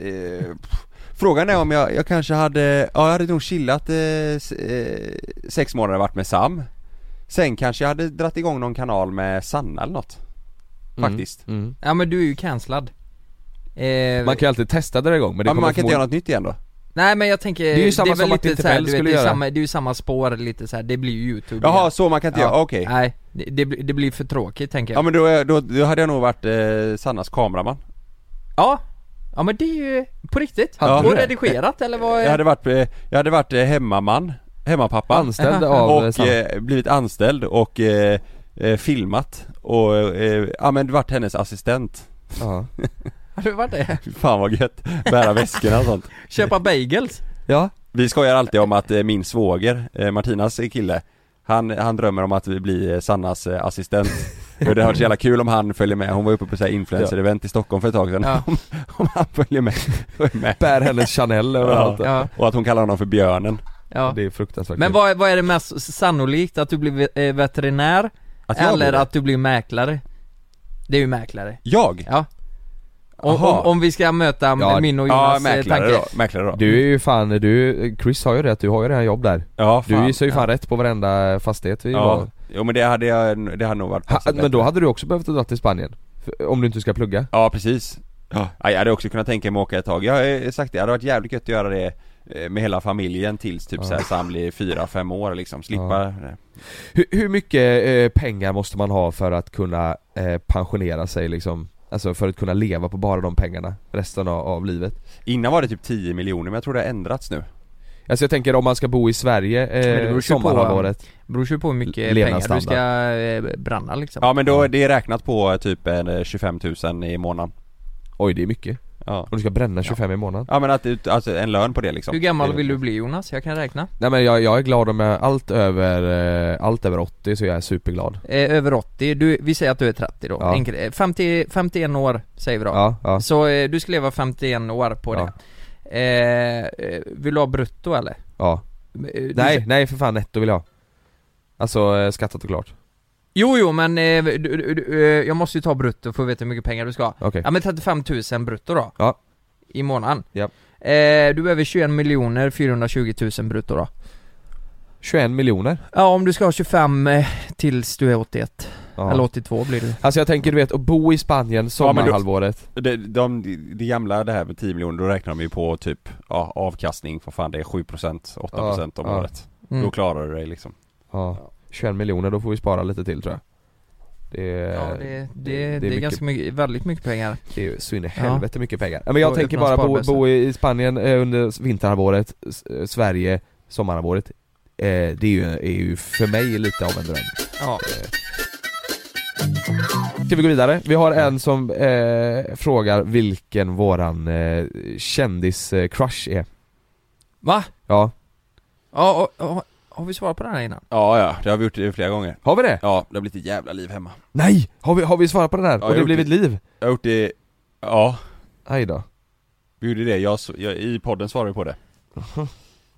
[SPEAKER 1] pff, Frågan är om jag, jag kanske hade, ja jag hade nog chillat eh, s- eh, sex månader varit med Sam Sen kanske jag hade dratt igång någon kanal med Sanna eller något
[SPEAKER 2] inte.
[SPEAKER 1] Faktiskt
[SPEAKER 2] Mm. Mm.
[SPEAKER 3] Ja men du är ju cancellad. Eh,
[SPEAKER 2] Man kan ju alltid testa det där igång men det
[SPEAKER 1] Ja men
[SPEAKER 2] kommer
[SPEAKER 1] man kan inte
[SPEAKER 2] förmodligen-
[SPEAKER 1] göra något nytt igen då?
[SPEAKER 3] Nej men jag tänker,
[SPEAKER 2] är ju samma
[SPEAKER 3] väl
[SPEAKER 2] som
[SPEAKER 3] lite
[SPEAKER 2] Martin
[SPEAKER 3] så här,
[SPEAKER 2] Timell
[SPEAKER 3] du vet,
[SPEAKER 2] skulle
[SPEAKER 3] det är
[SPEAKER 2] göra.
[SPEAKER 3] Samma, det är ju samma spår lite så här. det blir ju youtube
[SPEAKER 1] Jaha,
[SPEAKER 3] igen.
[SPEAKER 1] så man kan inte
[SPEAKER 3] Ja.
[SPEAKER 1] göra, okej.
[SPEAKER 3] Nej, det, det, blir- det blir för tråkigt tänker jag.
[SPEAKER 1] Ja men då, är- då, då hade jag nog varit eh, Sannas kameraman.
[SPEAKER 3] Ja, ja men det är ju på riktigt.
[SPEAKER 1] Hade du
[SPEAKER 3] och
[SPEAKER 1] det?
[SPEAKER 3] redigerat eller vad?
[SPEAKER 1] Jag hade varit, eh, jag hade varit eh, hemmaman, hemmapappa. [LAUGHS]
[SPEAKER 2] Anställd av
[SPEAKER 1] och
[SPEAKER 2] Sam.
[SPEAKER 1] eh, blivit anställd och eh, eh, filmat och eh, ja men varit hennes assistent.
[SPEAKER 2] Ja.
[SPEAKER 3] Hade du varit det?
[SPEAKER 1] Fan vad gött,
[SPEAKER 2] [LAUGHS]
[SPEAKER 1] bära väskorna och sånt.
[SPEAKER 3] Köpa bagels?
[SPEAKER 2] ja.
[SPEAKER 1] Vi skojar alltid om att eh, min svåger, eh, Martinas kille, han, han drömmer om att bli eh, Sannas eh,
[SPEAKER 2] [LAUGHS]
[SPEAKER 1] assistent. Och det hade varit så jävla kul om han följer med, hon var uppe på så här influencer-event i Stockholm för ett tag sedan.
[SPEAKER 3] Ja.
[SPEAKER 1] [LAUGHS] Om, om han följer med, följer med.
[SPEAKER 2] Bär
[SPEAKER 1] [LAUGHS]
[SPEAKER 2] hennes Chanel överallt.
[SPEAKER 3] Ja,
[SPEAKER 1] Och att hon kallar honom för björnen.
[SPEAKER 3] ja.
[SPEAKER 2] Det är fruktansvärt
[SPEAKER 3] Men
[SPEAKER 2] kul.
[SPEAKER 3] vad, vad är det mest sannolikt? Att du blir ve- eh, veterinär?
[SPEAKER 1] Att jag
[SPEAKER 3] eller
[SPEAKER 1] blir det?
[SPEAKER 3] att du blir mäklare? Det är ju mäklare.
[SPEAKER 1] Jag?
[SPEAKER 3] Ja. Om,
[SPEAKER 1] Aha.
[SPEAKER 3] om, om vi ska möta
[SPEAKER 2] Ja,
[SPEAKER 3] min och
[SPEAKER 1] Ja,
[SPEAKER 3] Jonas eh,
[SPEAKER 1] mäklare
[SPEAKER 3] tanke.
[SPEAKER 1] då, mäklare då.
[SPEAKER 2] Du är ju fan, du, Chris har ju rätt, du har ju redan jobb där.
[SPEAKER 1] ja,
[SPEAKER 2] Du
[SPEAKER 1] fan.
[SPEAKER 2] gissar ju fan rätt på varenda fastighet vi
[SPEAKER 1] ja.
[SPEAKER 2] var.
[SPEAKER 1] Jo men det hade jag, det hade nog varit
[SPEAKER 2] Ha,
[SPEAKER 1] passat
[SPEAKER 2] men då
[SPEAKER 1] bättre.
[SPEAKER 2] hade du också behövt dra till Spanien? För, om du inte ska plugga?
[SPEAKER 1] Ja precis. Ja. jag hade också kunnat tänka mig att åka ett tag. Jag har eh, sagt det, det hade varit jävligt gött att göra det eh, med hela familjen tills typ
[SPEAKER 2] Ja.
[SPEAKER 1] såhär så han blir fyra, fem år liksom, slippa det.
[SPEAKER 2] Hur, hur mycket eh, pengar måste man ha för att kunna eh, pensionera sig liksom? Alltså för att kunna leva på bara de pengarna resten av, av livet?
[SPEAKER 1] Innan var det typ 10 miljoner men jag tror det har ändrats nu.
[SPEAKER 2] Alltså jag tänker om man ska bo i Sverige
[SPEAKER 3] det beror
[SPEAKER 2] eh,
[SPEAKER 3] ju på-
[SPEAKER 2] sommarhalvåret
[SPEAKER 3] Beror ju på hur mycket pengar du
[SPEAKER 2] Levnadsstandard.
[SPEAKER 3] ska eh, bränna liksom.
[SPEAKER 1] Ja men då, det är räknat på eh, typ en, eh, 25 000 i månaden.
[SPEAKER 2] Oj det är mycket.
[SPEAKER 1] Ja.
[SPEAKER 2] Om du ska bränna 25 i månaden.
[SPEAKER 1] Ja men att, ut- alltså en lön på det
[SPEAKER 3] Hur
[SPEAKER 1] liksom.
[SPEAKER 3] gammal vill du bli Jonas? Jag kan räkna.
[SPEAKER 2] Nej men jag, jag är glad om jag, allt över, eh, allt över 80 så jag är superglad.
[SPEAKER 3] Eh, över 80, du, vi säger att du är 30 då.
[SPEAKER 2] Ja.
[SPEAKER 3] Enkel- eh, 50, 51 år säger vi då.
[SPEAKER 2] Ja, ja.
[SPEAKER 3] Så eh, du ska leva 51 år på
[SPEAKER 2] Ja.
[SPEAKER 3] det. Eh, eh, vill du ha brutto eller?
[SPEAKER 2] ja.
[SPEAKER 3] Eh, du-
[SPEAKER 2] Nej, nej för fan netto vill jag ha. Alltså eh, skattat och klart.
[SPEAKER 3] Jo, jo, men eh, du, du, du, eh, jag måste ju ta brutto för att veta hur mycket pengar du ska ha.
[SPEAKER 2] Okej.
[SPEAKER 3] Ja men 35 000 brutto då.
[SPEAKER 2] Ja.
[SPEAKER 3] I månaden.
[SPEAKER 2] Ja.
[SPEAKER 3] Eh, du behöver 21 miljoner 420 000 brutto då.
[SPEAKER 2] 21 miljoner?
[SPEAKER 3] Ja, om du ska ha 25 eh, tills du är 81.
[SPEAKER 2] Ja.
[SPEAKER 3] Eller 82 blir det.
[SPEAKER 2] Alltså jag tänker du vet, att bo i Spanien sommarhalvåret
[SPEAKER 7] Det, de, det gamla det här med 10 miljoner, då räknar de ju på typ ja, avkastning, vad fan det är 7%, 8% om
[SPEAKER 2] Ja, ja.
[SPEAKER 7] året.
[SPEAKER 3] Mm.
[SPEAKER 7] Då klarar du dig liksom.
[SPEAKER 2] ja. 21 miljoner, då får vi spara lite till tror jag Det är,
[SPEAKER 3] Ja, det, det, det, är
[SPEAKER 2] mycket-
[SPEAKER 3] ganska mycket, väldigt mycket pengar.
[SPEAKER 2] det är ju så in i helvete mycket pengar Ja, Men jag
[SPEAKER 3] Och
[SPEAKER 2] tänker
[SPEAKER 3] öppna
[SPEAKER 2] bara bo,
[SPEAKER 3] sparbössa.
[SPEAKER 2] bo i Spanien eh, under vinterhalvåret, S- eh, Sverige, sommarhalvåret eh, Det är ju, är ju för mig lite av en dröm
[SPEAKER 3] Ja.
[SPEAKER 2] Ska vi gå vidare? Vi har en som eh, frågar vilken våran eh, kändis-crush är
[SPEAKER 3] Va?
[SPEAKER 2] Ja,
[SPEAKER 3] Ja, och, och, har vi svarat på den här innan?
[SPEAKER 7] Ja, ja, det har vi gjort eh, flera gånger.
[SPEAKER 2] har vi det?
[SPEAKER 7] Ja, det har blivit ett jävla liv hemma.
[SPEAKER 2] Nej! Har vi, har vi svarat på den här?
[SPEAKER 7] jag
[SPEAKER 2] och det
[SPEAKER 7] gjorde
[SPEAKER 2] blivit liv?
[SPEAKER 7] Jag har gjort det, ja,
[SPEAKER 2] Aj då.
[SPEAKER 7] vi gjorde det. Jag, så- jag, I podden svarade vi på det.
[SPEAKER 3] Ja,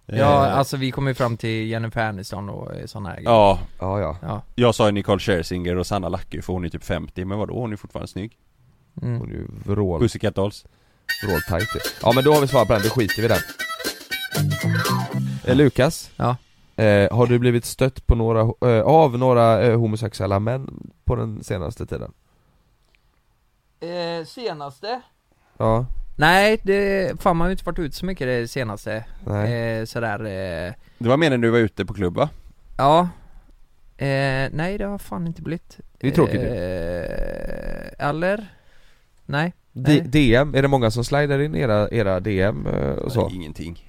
[SPEAKER 7] Eh,
[SPEAKER 3] alltså vi kom ju fram till Jennifer Aniston och sådana här grejer.
[SPEAKER 7] Ja,
[SPEAKER 2] Ja, ja.
[SPEAKER 3] Ja.
[SPEAKER 7] jag sa ju Nicole Scherzinger och Sanna Lackey för hon är typ 50, men vadå hon är fortfarande snygg.
[SPEAKER 3] Mm.
[SPEAKER 2] Hon är ju vrål,
[SPEAKER 7] Pussycat Dolls.
[SPEAKER 2] vråltajt ju. Ja men då har vi svarat på den, då skiter vi i den. Eh, Lukas?
[SPEAKER 3] Ja.
[SPEAKER 2] Eh, har du blivit stött på några, ho- eh, av några eh, homosexuella män på den senaste tiden?
[SPEAKER 3] Eh, senaste?
[SPEAKER 2] Ja,
[SPEAKER 3] Nej, det, fan man har ju inte varit ut så mycket det senaste.
[SPEAKER 2] nej.
[SPEAKER 3] Eh, sådär, eh,
[SPEAKER 7] Det var mer när du var ute på klubb va?
[SPEAKER 3] ja. Eh, nej det har fan inte blivit.
[SPEAKER 2] Det är tråkigt ju.
[SPEAKER 3] eh, Eller? Nej.
[SPEAKER 2] D-
[SPEAKER 3] nej.
[SPEAKER 2] DM, är det många som slidar in i era, era DM eh, och så?
[SPEAKER 7] Nej, Ingenting.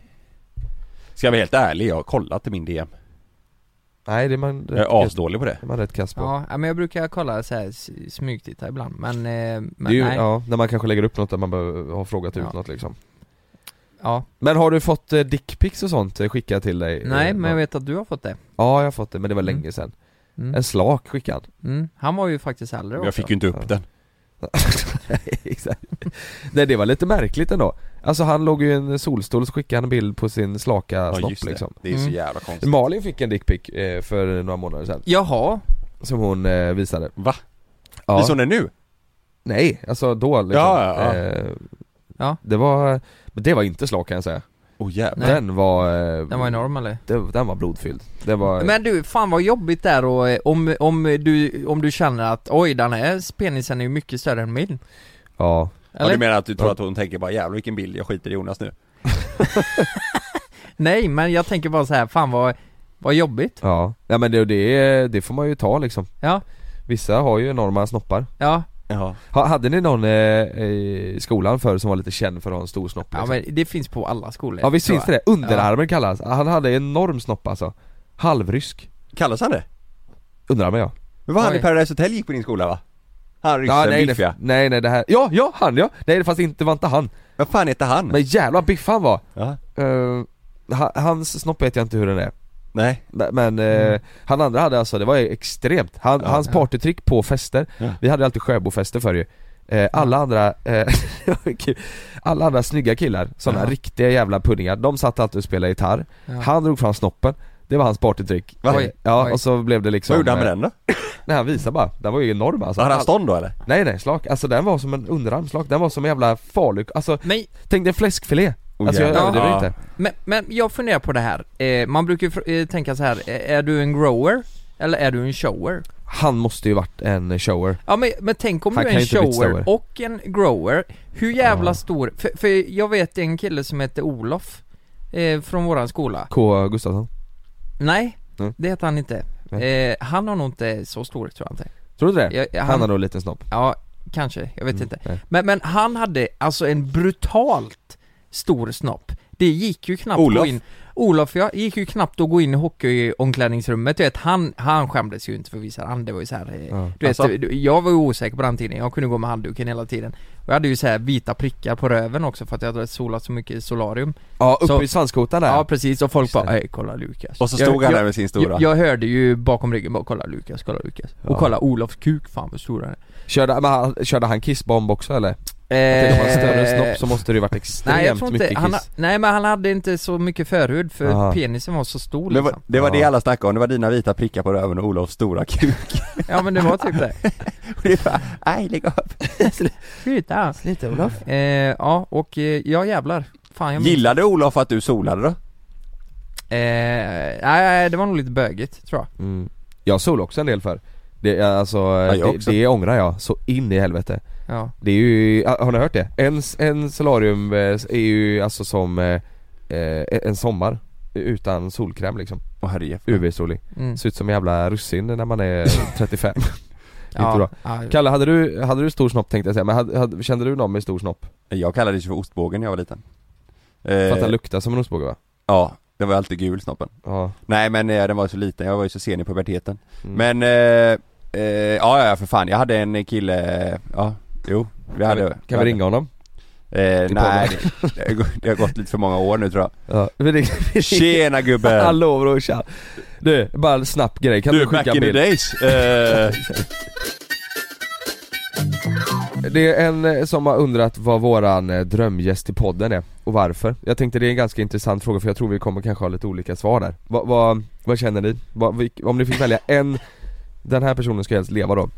[SPEAKER 7] Ska jag vara helt ärlig, jag har kollat i min DM.
[SPEAKER 2] Nej, det är man
[SPEAKER 7] Jag
[SPEAKER 2] rätt,
[SPEAKER 7] är
[SPEAKER 2] kass-
[SPEAKER 7] asdålig på det.
[SPEAKER 2] det är man rätt kass på.
[SPEAKER 3] Ja, ja, men jag brukar kolla så här, s- smygtitta ibland men, eh, men
[SPEAKER 2] det är ju,
[SPEAKER 3] nej. Ja.
[SPEAKER 2] ja, när man kanske lägger upp något där man behöver ha frågat ut
[SPEAKER 3] Ja.
[SPEAKER 2] något liksom. Men har du fått eh, dickpics och sånt eh, skickat till dig?
[SPEAKER 3] Nej
[SPEAKER 2] Eh,
[SPEAKER 3] men jag vet att du har fått det.
[SPEAKER 2] Ja, jag har fått det, men det var
[SPEAKER 3] Mm.
[SPEAKER 2] länge sedan.
[SPEAKER 3] Mm.
[SPEAKER 2] En slak skickade han.
[SPEAKER 3] Mm. Han var ju faktiskt äldre också.
[SPEAKER 7] Jag fick ju inte upp
[SPEAKER 2] Ja.
[SPEAKER 7] den.
[SPEAKER 2] [LAUGHS] Exakt. Nej det var lite märkligt ändå. Alltså han låg ju i en solstol så skickade han en bild på sin slaka
[SPEAKER 7] Ja
[SPEAKER 2] snopp
[SPEAKER 7] just det,
[SPEAKER 2] liksom.
[SPEAKER 7] det är så
[SPEAKER 3] Mm.
[SPEAKER 7] jävla konstigt.
[SPEAKER 2] Malin fick en dickpic eh, för några månader sedan,
[SPEAKER 3] Jaha,
[SPEAKER 2] som hon eh, visade.
[SPEAKER 7] Va?
[SPEAKER 2] Ja.
[SPEAKER 7] Visar hon det nu?
[SPEAKER 2] Nej, alltså då liksom.
[SPEAKER 7] Ja, ja, ja.
[SPEAKER 2] Eh,
[SPEAKER 3] Ja.
[SPEAKER 2] Det var, men det var inte slak kan jag säga.
[SPEAKER 7] Åh oh, jävlar.
[SPEAKER 3] Nej.
[SPEAKER 2] Den var... Eh,
[SPEAKER 3] den var enorm eller?
[SPEAKER 2] Den, den var blodfylld. Den var...
[SPEAKER 3] Men du, fan vad jobbigt där och eh, om, om du, om du känner att oj den här penisen är ju mycket större än min.
[SPEAKER 2] Ja.
[SPEAKER 7] Ja,
[SPEAKER 3] Eller?
[SPEAKER 7] du menar att du tror att hon tänker bara jävlar vilken bild, jag skiter i Jonas nu.
[SPEAKER 3] Nej men jag tänker bara så här, fan vad, vad jobbigt.
[SPEAKER 2] Ja. Ja men det, det, är- det får man ju ta liksom.
[SPEAKER 3] Ja,
[SPEAKER 2] Vissa har ju enorma snoppar.
[SPEAKER 3] ja.
[SPEAKER 7] Ja.
[SPEAKER 2] Ha, hade ni någon eh, i skolan förr som var lite känd för att ha en stor snopp?
[SPEAKER 3] ja
[SPEAKER 2] liksom?
[SPEAKER 3] men det finns på alla skolor.
[SPEAKER 2] ja visst
[SPEAKER 3] tror
[SPEAKER 2] finns det
[SPEAKER 3] jag.
[SPEAKER 2] det? Underarmen kallas Han hade enorm snopp alltså. Halvrysk.
[SPEAKER 7] Kallas han det?
[SPEAKER 2] Underarmen ja.
[SPEAKER 7] Men var han
[SPEAKER 3] Oj.
[SPEAKER 7] i Paradise Hotel gick på din skola va? Han ryssen,
[SPEAKER 2] ja nej, det,
[SPEAKER 7] biffiga.
[SPEAKER 2] nej nej det här, ja ja han ja! Nej det fanns inte, det var inte han.
[SPEAKER 7] Vad fan heter han?
[SPEAKER 2] Men jävla biff han var!
[SPEAKER 7] Ja.
[SPEAKER 2] Eh, ha- hans snopp vet jag inte hur den är.
[SPEAKER 7] Nej.
[SPEAKER 2] Men men, eh, han andra hade alltså, det var ju extremt. Han,
[SPEAKER 7] Mm. Ja.
[SPEAKER 2] hans partytrick på fester,
[SPEAKER 7] Ja.
[SPEAKER 2] vi hade alltid Sjöbofester förr ju. Eh, alla andra, eh, [LAUGHS] det var kul. alla andra snygga killar, sådana
[SPEAKER 3] Ja.
[SPEAKER 2] riktiga jävla punningar, de satt alltid och spelade gitarr. Han drog fram snoppen, det var hans partytrick.
[SPEAKER 7] Va?
[SPEAKER 2] Eh, Ja,
[SPEAKER 3] Oj.
[SPEAKER 2] och så blev det liksom...
[SPEAKER 7] Vad gjorde han med
[SPEAKER 2] eh,
[SPEAKER 7] den då?
[SPEAKER 2] Nej han visade bara, den var ju enorm alltså.
[SPEAKER 7] Hade han stånd då eller?
[SPEAKER 2] Nej nej, slak. Alltså den var som en underarmslak, den var som en jävla farluk, alltså
[SPEAKER 3] Men,
[SPEAKER 2] tänk dig en fläskfilé. alltså jag
[SPEAKER 3] jävlar.
[SPEAKER 2] överdriver
[SPEAKER 7] Oh, Ja.
[SPEAKER 2] inte.
[SPEAKER 3] men, men jag funderar på det här, eh, man brukar ju fr- eh, tänka så här, eh, är du en grower? Eller är du en shower?
[SPEAKER 2] Han måste ju varit en shower.
[SPEAKER 3] Ja men, men tänk om
[SPEAKER 2] Han
[SPEAKER 3] du
[SPEAKER 2] kan
[SPEAKER 3] är en
[SPEAKER 2] ju inte bli
[SPEAKER 3] shower
[SPEAKER 2] större.
[SPEAKER 3] och en grower, hur jävla
[SPEAKER 2] Ja.
[SPEAKER 3] stor, för, för jag vet en kille som heter Olof eh, Från våran skola
[SPEAKER 2] K Gustafsson.
[SPEAKER 3] Nej,
[SPEAKER 2] Mm.
[SPEAKER 3] det heter han inte eh, Han har nog inte så stor tror jag inte
[SPEAKER 2] Tror du det?
[SPEAKER 3] jag, jag-
[SPEAKER 2] han,
[SPEAKER 3] han, Mm,
[SPEAKER 2] har nog Mm. en liten snopp.
[SPEAKER 3] Ja, kanske, jag vet inte
[SPEAKER 2] nej.
[SPEAKER 3] men, men han hade alltså en brutalt stor snopp Det gick ju knappt att
[SPEAKER 7] Olof?
[SPEAKER 3] gå in Olof ja, gick ju knappt att gå in i hockeyomklädningsrummet, du vet han, han skämdes ju inte för att visa han, det var ju så här, eh,
[SPEAKER 2] Ja.
[SPEAKER 3] Du vet,
[SPEAKER 7] Alltså?
[SPEAKER 3] du- jag var ju osäker på den tiden, jag kunde gå med handduken hela tiden Och jag hade ju så här vita prickar på röven också för att jag hade solat så mycket i solarium
[SPEAKER 2] Ja, uppe
[SPEAKER 3] Så-
[SPEAKER 2] i svanskotan där.
[SPEAKER 3] Ja
[SPEAKER 2] Ja,
[SPEAKER 3] precis, och folk
[SPEAKER 2] Just det.
[SPEAKER 3] bara 'Ey, kolla Lukas'
[SPEAKER 7] Och så stod
[SPEAKER 3] jag,
[SPEAKER 7] han där med sin stora.
[SPEAKER 3] jag, jag hörde ju bakom ryggen bara 'Kolla Lukas, kolla Lukas'
[SPEAKER 2] Ja.
[SPEAKER 3] Och kolla Olofs kuk, fan vad stor han är
[SPEAKER 2] körde, men han, körde han kissbomb också eller? Att det var en
[SPEAKER 3] Eh,
[SPEAKER 2] större snopp så måste det ju varit extremt
[SPEAKER 3] Nej jag tror inte,
[SPEAKER 2] mycket kiss
[SPEAKER 3] han, ha- nej men han hade inte så mycket förhud för
[SPEAKER 2] Aha.
[SPEAKER 3] penisen var så stor
[SPEAKER 7] Det var,
[SPEAKER 3] liksom.
[SPEAKER 7] det var
[SPEAKER 2] Ja.
[SPEAKER 7] det alla snackade om, det var dina vita prickar på röven och Olofs stora kuk
[SPEAKER 3] Ja men det var typ det
[SPEAKER 7] [LAUGHS]
[SPEAKER 2] [LAUGHS]
[SPEAKER 7] Och det var, nej lägg av
[SPEAKER 3] Sluta!
[SPEAKER 8] Sluta Olof.
[SPEAKER 3] Eh, ja och eh, ja jävlar Fan jag
[SPEAKER 7] [LAUGHS]
[SPEAKER 3] minns-
[SPEAKER 7] Gillade Olof att du solade då?
[SPEAKER 3] eh, Nej det var nog lite bögigt tror jag
[SPEAKER 2] mm. Jag sol också en del för det, alltså,
[SPEAKER 7] jag
[SPEAKER 2] det,
[SPEAKER 7] också.
[SPEAKER 2] det ångrar jag så in i helvete
[SPEAKER 3] Ja,
[SPEAKER 2] Det är ju, har ni hört det? En, en solarium eh, är ju alltså som eh, eh, en sommar utan solkräm liksom,
[SPEAKER 7] Åh herrejävlar
[SPEAKER 2] UV-solig
[SPEAKER 3] mm.
[SPEAKER 2] Ser ut som en jävla russin när man
[SPEAKER 3] [LAUGHS]
[SPEAKER 2] är 35 Det är
[SPEAKER 3] ja,
[SPEAKER 2] inte bra.
[SPEAKER 3] ja,
[SPEAKER 2] Kalle, hade du, hade du stor snopp tänkte jag säga, men hade, hade, kände du någon med stor snopp?
[SPEAKER 7] Jag kallades ju för ostbågen när jag var liten
[SPEAKER 2] För att
[SPEAKER 7] eh,
[SPEAKER 2] han luktade som en ostbåge va?
[SPEAKER 7] Ja, den var alltid gul snoppen
[SPEAKER 2] Ja,
[SPEAKER 7] Nej men eh, den var ju så liten, jag var ju så sen i puberteten
[SPEAKER 2] Mm.
[SPEAKER 7] Men, eh, eh, ja ja för fan, jag hade en kille, ja, jo vi hade,
[SPEAKER 2] kan vi ringa honom?
[SPEAKER 7] Eh,
[SPEAKER 2] till
[SPEAKER 7] nej, det, det har gått- det har gått lite för många år nu
[SPEAKER 2] [LAUGHS]
[SPEAKER 7] tror jag
[SPEAKER 2] Ja, vi ringer, vi ringer.
[SPEAKER 7] Tjena gubben!
[SPEAKER 2] Hallå brorsan! Du, bara en snabb grej, kan du,
[SPEAKER 7] Du, back
[SPEAKER 2] skicka en
[SPEAKER 7] in the
[SPEAKER 2] bild? [LAUGHS]
[SPEAKER 7] days! Eh,
[SPEAKER 2] Det är en eh, som har undrat vad våran eh, drömgäst i podden är och varför. Jag tänkte det är en ganska intressant fråga för jag tror vi kommer kanske ha lite olika svar där. Vad, vad, vad känner ni? Vad, vilk- om ni fick välja en, den här personen ska helst leva då?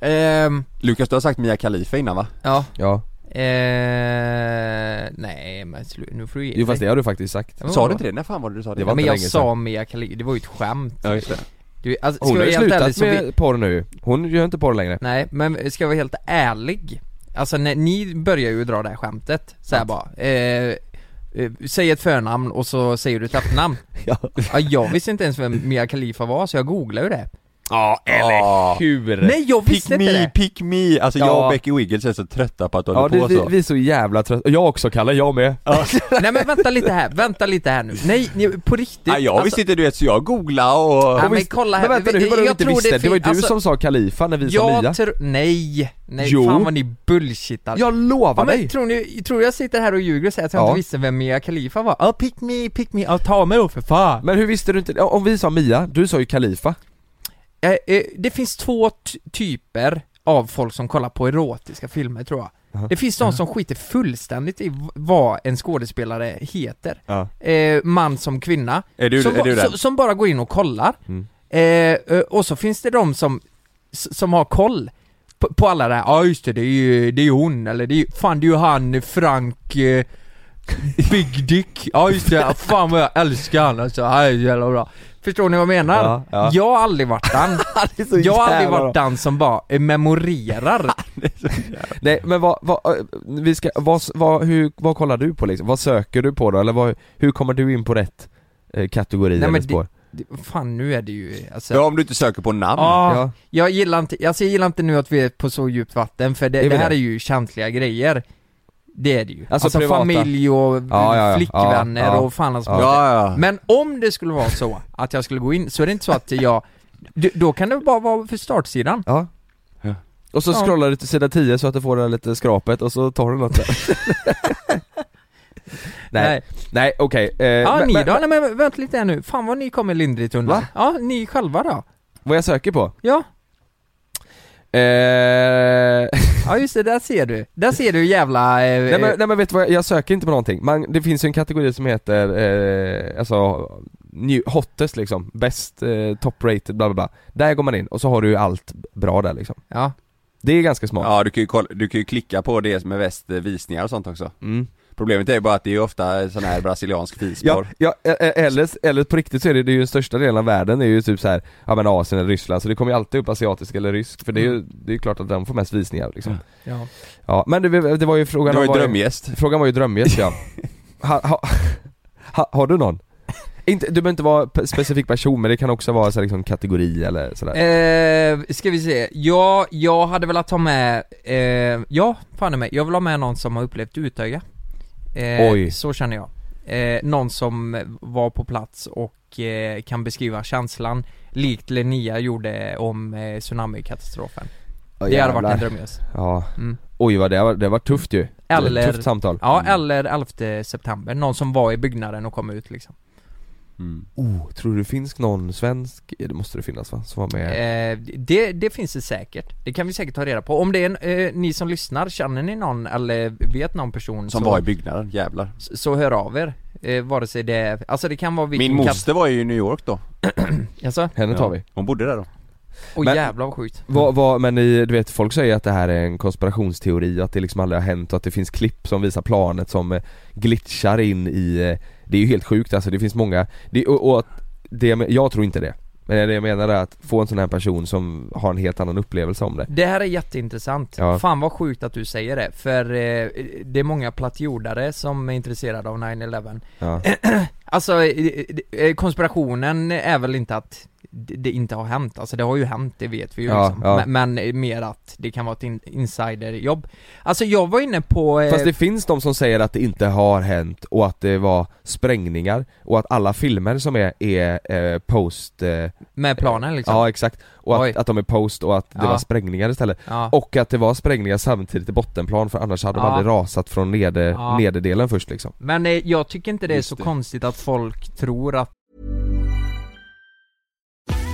[SPEAKER 3] Ehm,
[SPEAKER 7] Lukas du har sagt Mia Khalifa innan va?
[SPEAKER 3] ja.
[SPEAKER 2] Ja,
[SPEAKER 3] Eh, nej men slu- nu får du ge
[SPEAKER 2] jo fast det
[SPEAKER 3] dig.
[SPEAKER 2] har du faktiskt sagt.
[SPEAKER 3] Ja, men
[SPEAKER 7] Sa
[SPEAKER 3] vadå?
[SPEAKER 7] du inte det? När fan var det du sa det?
[SPEAKER 2] Det var
[SPEAKER 3] Men
[SPEAKER 2] inte
[SPEAKER 3] jag
[SPEAKER 2] länge
[SPEAKER 3] sa Mia Khalifa, det var ju ett skämt
[SPEAKER 7] Ja just det
[SPEAKER 3] du, alltså, ska
[SPEAKER 2] Hon har
[SPEAKER 3] jag
[SPEAKER 2] ju
[SPEAKER 3] vara helt ärlig
[SPEAKER 2] slutat
[SPEAKER 3] så vi,
[SPEAKER 2] med porr nu Hon gör inte porr längre.
[SPEAKER 3] Nej men ska jag vara helt ärlig Alltså när, ni börjar ju dra det här skämtet så här bara eh, eh, Säg ett förnamn och så säger du ett efternamn
[SPEAKER 2] Ja.
[SPEAKER 3] ja, Jag visste inte ens vem Mia Khalifa var så jag googlade ju det
[SPEAKER 7] Ja eller hur!
[SPEAKER 3] Nej jag
[SPEAKER 7] Pick
[SPEAKER 3] visste inte
[SPEAKER 7] me,
[SPEAKER 3] det!
[SPEAKER 7] pick me! Alltså jag
[SPEAKER 2] Ja.
[SPEAKER 7] och Becky Wiggles är så trötta på att du
[SPEAKER 2] Ja,
[SPEAKER 7] håller
[SPEAKER 2] det,
[SPEAKER 7] på
[SPEAKER 2] vi,
[SPEAKER 7] så
[SPEAKER 2] vi är så jävla trötta. Jag också Kalle, jag med.
[SPEAKER 3] Nej men vänta lite här, vänta lite här nu Nej, ni, på riktigt alltså,
[SPEAKER 7] Nej jag visste inte du vet så jag googlade och...
[SPEAKER 3] Ja,
[SPEAKER 2] Hon
[SPEAKER 3] men
[SPEAKER 2] visste-
[SPEAKER 3] kolla här,
[SPEAKER 2] Men vänta nu,
[SPEAKER 3] vi-
[SPEAKER 2] hur var det du
[SPEAKER 3] jag
[SPEAKER 2] inte
[SPEAKER 3] tror det
[SPEAKER 2] visste? Det, var ju du
[SPEAKER 3] fin- alltså-
[SPEAKER 2] som sa Kalifa när vi sa Mia.
[SPEAKER 3] Jag tror, nej, nej
[SPEAKER 2] Jo.
[SPEAKER 3] fan vad ni bullshittar
[SPEAKER 2] Jag
[SPEAKER 3] Ja,
[SPEAKER 2] lovar
[SPEAKER 3] men
[SPEAKER 2] dig!
[SPEAKER 3] tror ni, tror jag sitter här och ljuger och säger att jag
[SPEAKER 2] Ja.
[SPEAKER 3] inte visste vem Mia Khalifa var? Ja, pick me, pick me, ja ta mig då för fan!
[SPEAKER 2] Men hur visste du inte? Ja, Om vi sa Mia, du sa ju Kalifa.
[SPEAKER 3] Eh, eh, det finns två t- typer av folk som kollar på erotiska filmer tror jag.
[SPEAKER 2] Jaha.
[SPEAKER 3] Det finns de som skiter fullständigt i v- vad en skådespelare heter.
[SPEAKER 2] Ja.
[SPEAKER 3] Eh, man som kvinna.
[SPEAKER 7] Är du,
[SPEAKER 3] som,
[SPEAKER 7] är
[SPEAKER 3] ba-
[SPEAKER 7] du den?
[SPEAKER 3] som, som bara går in och kollar.
[SPEAKER 2] Mm.
[SPEAKER 3] Eh, eh, och så finns det de som, s- som har koll på, på alla det här, ja just det, det är ju det är ju hon, eller det är, ju- fan det är ju han Frank eh, [LAUGHS] Big Dick, ja just det, ja, fan vad jag älskar han alltså, han är jävla bra Förstår ni vad jag menar?
[SPEAKER 2] Ja, ja.
[SPEAKER 3] Jag har aldrig
[SPEAKER 2] [LAUGHS]
[SPEAKER 3] varit den, jag har aldrig varit den som bara eh, memorerar
[SPEAKER 2] Nej men vad, vad, eh, vi ska, vad, vad, hur, vad kollar du på liksom? Vad söker du på då? Eller vad, hur kommer du in på rätt eh, kategori
[SPEAKER 3] Nej,
[SPEAKER 2] eller
[SPEAKER 3] men det-
[SPEAKER 2] spår?
[SPEAKER 3] Det- Fan nu är det ju, alltså
[SPEAKER 7] Ja om du inte söker på namn
[SPEAKER 3] Ja,
[SPEAKER 2] Ja.
[SPEAKER 3] jag gillar inte, alltså jag gillar inte nu att vi är på så djupt vatten för det,
[SPEAKER 2] Är vi
[SPEAKER 3] det här
[SPEAKER 2] det?
[SPEAKER 3] är ju känsliga grejer Det är det ju,
[SPEAKER 2] Alltså
[SPEAKER 3] alltså,
[SPEAKER 2] privata.
[SPEAKER 3] familj och
[SPEAKER 2] ja, ja.
[SPEAKER 3] flickvänner
[SPEAKER 2] Ja, ja.
[SPEAKER 3] och fan alltså, hans
[SPEAKER 2] Ja.
[SPEAKER 7] ja, ja.
[SPEAKER 3] Men om det skulle vara så att jag skulle gå in, så är det inte så att jag d- Då kan det bara vara för startsidan
[SPEAKER 2] Ja.
[SPEAKER 7] Ja.
[SPEAKER 2] Och så
[SPEAKER 3] Ja.
[SPEAKER 2] scrollar du till sida 10 så att du får det här lite skrapet och så tar du
[SPEAKER 3] [LAUGHS]
[SPEAKER 2] något där. Nej, nej okej. Eh,
[SPEAKER 3] Ja
[SPEAKER 2] men-
[SPEAKER 3] ni
[SPEAKER 2] men-
[SPEAKER 3] då? Nej men vänta lite här nu, fan vad ni kommer lindrigt undan
[SPEAKER 2] Va?
[SPEAKER 3] Ja, ni själva då?
[SPEAKER 2] Vad jag söker på?
[SPEAKER 3] Ja,
[SPEAKER 2] Eh,
[SPEAKER 3] ja just det, där ser du, där ser du jävla... Eh,
[SPEAKER 2] nej, men,
[SPEAKER 3] eh,
[SPEAKER 2] nej men vet du vad, jag, jag söker inte på någonting. Man, det finns ju en kategori som heter, eh, alltså, new, hottest liksom, bäst, eh, top rated, bla bla bla. Där går man in och så har du ju allt bra där liksom.
[SPEAKER 3] ja,
[SPEAKER 2] Det är ganska smart.
[SPEAKER 7] Ja du kan, ju kolla, du kan ju klicka på det som är väst eh, visningar och sånt också
[SPEAKER 2] Mm.
[SPEAKER 7] Problemet är ju bara att det är ju ofta sån här brasiliansk
[SPEAKER 2] Ja,
[SPEAKER 7] fisporr
[SPEAKER 2] ja, e- e- eller, eller på riktigt så är det, det är ju den största delen av världen är ju typ så här, ja men Asien eller Ryssland, så det kommer ju alltid upp asiatisk eller rysk, för det är ju, det är ju klart att de får mest visningar liksom.
[SPEAKER 3] ja
[SPEAKER 2] Ja, men det, det var ju frågan
[SPEAKER 7] Du har ju
[SPEAKER 2] om vad-
[SPEAKER 7] drömgäst
[SPEAKER 2] Frågan var ju drömgäst
[SPEAKER 3] [LAUGHS]
[SPEAKER 2] ja. ha, ha, ha, har du någon? Inte, du behöver inte vara pe- specifik person men det kan också vara så här, liksom kategori eller sådär.
[SPEAKER 3] Eh, ska vi se, ja, jag hade velat ha med, eh, ja, fan i mig, jag vill ha med någon som har upplevt Utöja eh,
[SPEAKER 2] Oj.
[SPEAKER 3] Så känner jag eh, Någon som var på plats och eh, kan beskriva känslan Likt Linnea gjorde om eh, tsunamikatastrofen Det hade varit en drömgäst
[SPEAKER 2] Ja.
[SPEAKER 3] Mm.
[SPEAKER 2] Oj vad det var, det var tufft ju.
[SPEAKER 3] Eller-
[SPEAKER 2] Tufft samtal.
[SPEAKER 3] Ja, eller 11 september, någon som var i byggnaden och kom ut liksom
[SPEAKER 2] Oh, tror du finns någon svensk, det måste det finnas va, som var med?
[SPEAKER 3] Eh, det, det finns det säkert. Det kan vi säkert ta reda på. Om det är en, eh, ni som lyssnar, känner ni någon eller vet någon person
[SPEAKER 7] Som
[SPEAKER 3] så,
[SPEAKER 7] var i byggnaden, jävlar.
[SPEAKER 3] så, så hör av er. Eh, vare sig det är, alltså det kan vara
[SPEAKER 7] Min moster var ju i New York då.
[SPEAKER 3] Kan, alltså,
[SPEAKER 2] Henne tar vi.
[SPEAKER 7] Hon bodde där då.
[SPEAKER 3] och
[SPEAKER 2] Men-
[SPEAKER 3] jävlar vad sjukt.
[SPEAKER 2] Vad, vad, men ni, du vet folk säger att det här är en konspirationsteori och att det liksom aldrig har hänt och att det finns klipp som visar planet som eh, glitchar in i eh, Det är ju helt sjukt alltså, det finns många, det, och, och att det, jag men- jag tror inte det Men det jag menar är att få en sån här person som har en helt annan upplevelse om det
[SPEAKER 3] Det här är jätteintressant.
[SPEAKER 2] Ja.
[SPEAKER 3] Fan vad sjukt att du säger det, för eh, det är många plattjordare som är intresserade av 9-11.
[SPEAKER 2] ja.
[SPEAKER 3] [CLEARS THROAT] Alltså, eh, eh, konspirationen är väl inte att det det inte har hänt, alltså det har ju hänt, det vet vi ju
[SPEAKER 2] Ja,
[SPEAKER 3] liksom.
[SPEAKER 2] ja.
[SPEAKER 3] Men, men mer att det kan vara ett in- insiderjobb. Alltså jag var inne på... eh,
[SPEAKER 2] Fast det finns de som säger att det inte har hänt och att det var sprängningar och att alla filmer som är, är eh, post eh,
[SPEAKER 3] Med planen liksom?
[SPEAKER 2] Ja exakt, och
[SPEAKER 3] Oj.
[SPEAKER 2] att, att de är post och att det
[SPEAKER 3] Ja.
[SPEAKER 2] var sprängningar istället
[SPEAKER 3] Ja.
[SPEAKER 2] Och att det var sprängningar samtidigt i bottenplan för annars hade de
[SPEAKER 3] Ja.
[SPEAKER 2] aldrig rasat från neder,
[SPEAKER 3] Ja.
[SPEAKER 2] nederdelen först liksom
[SPEAKER 3] Men eh, jag tycker inte det är
[SPEAKER 7] Just
[SPEAKER 3] så
[SPEAKER 7] det.
[SPEAKER 3] konstigt att folk tror att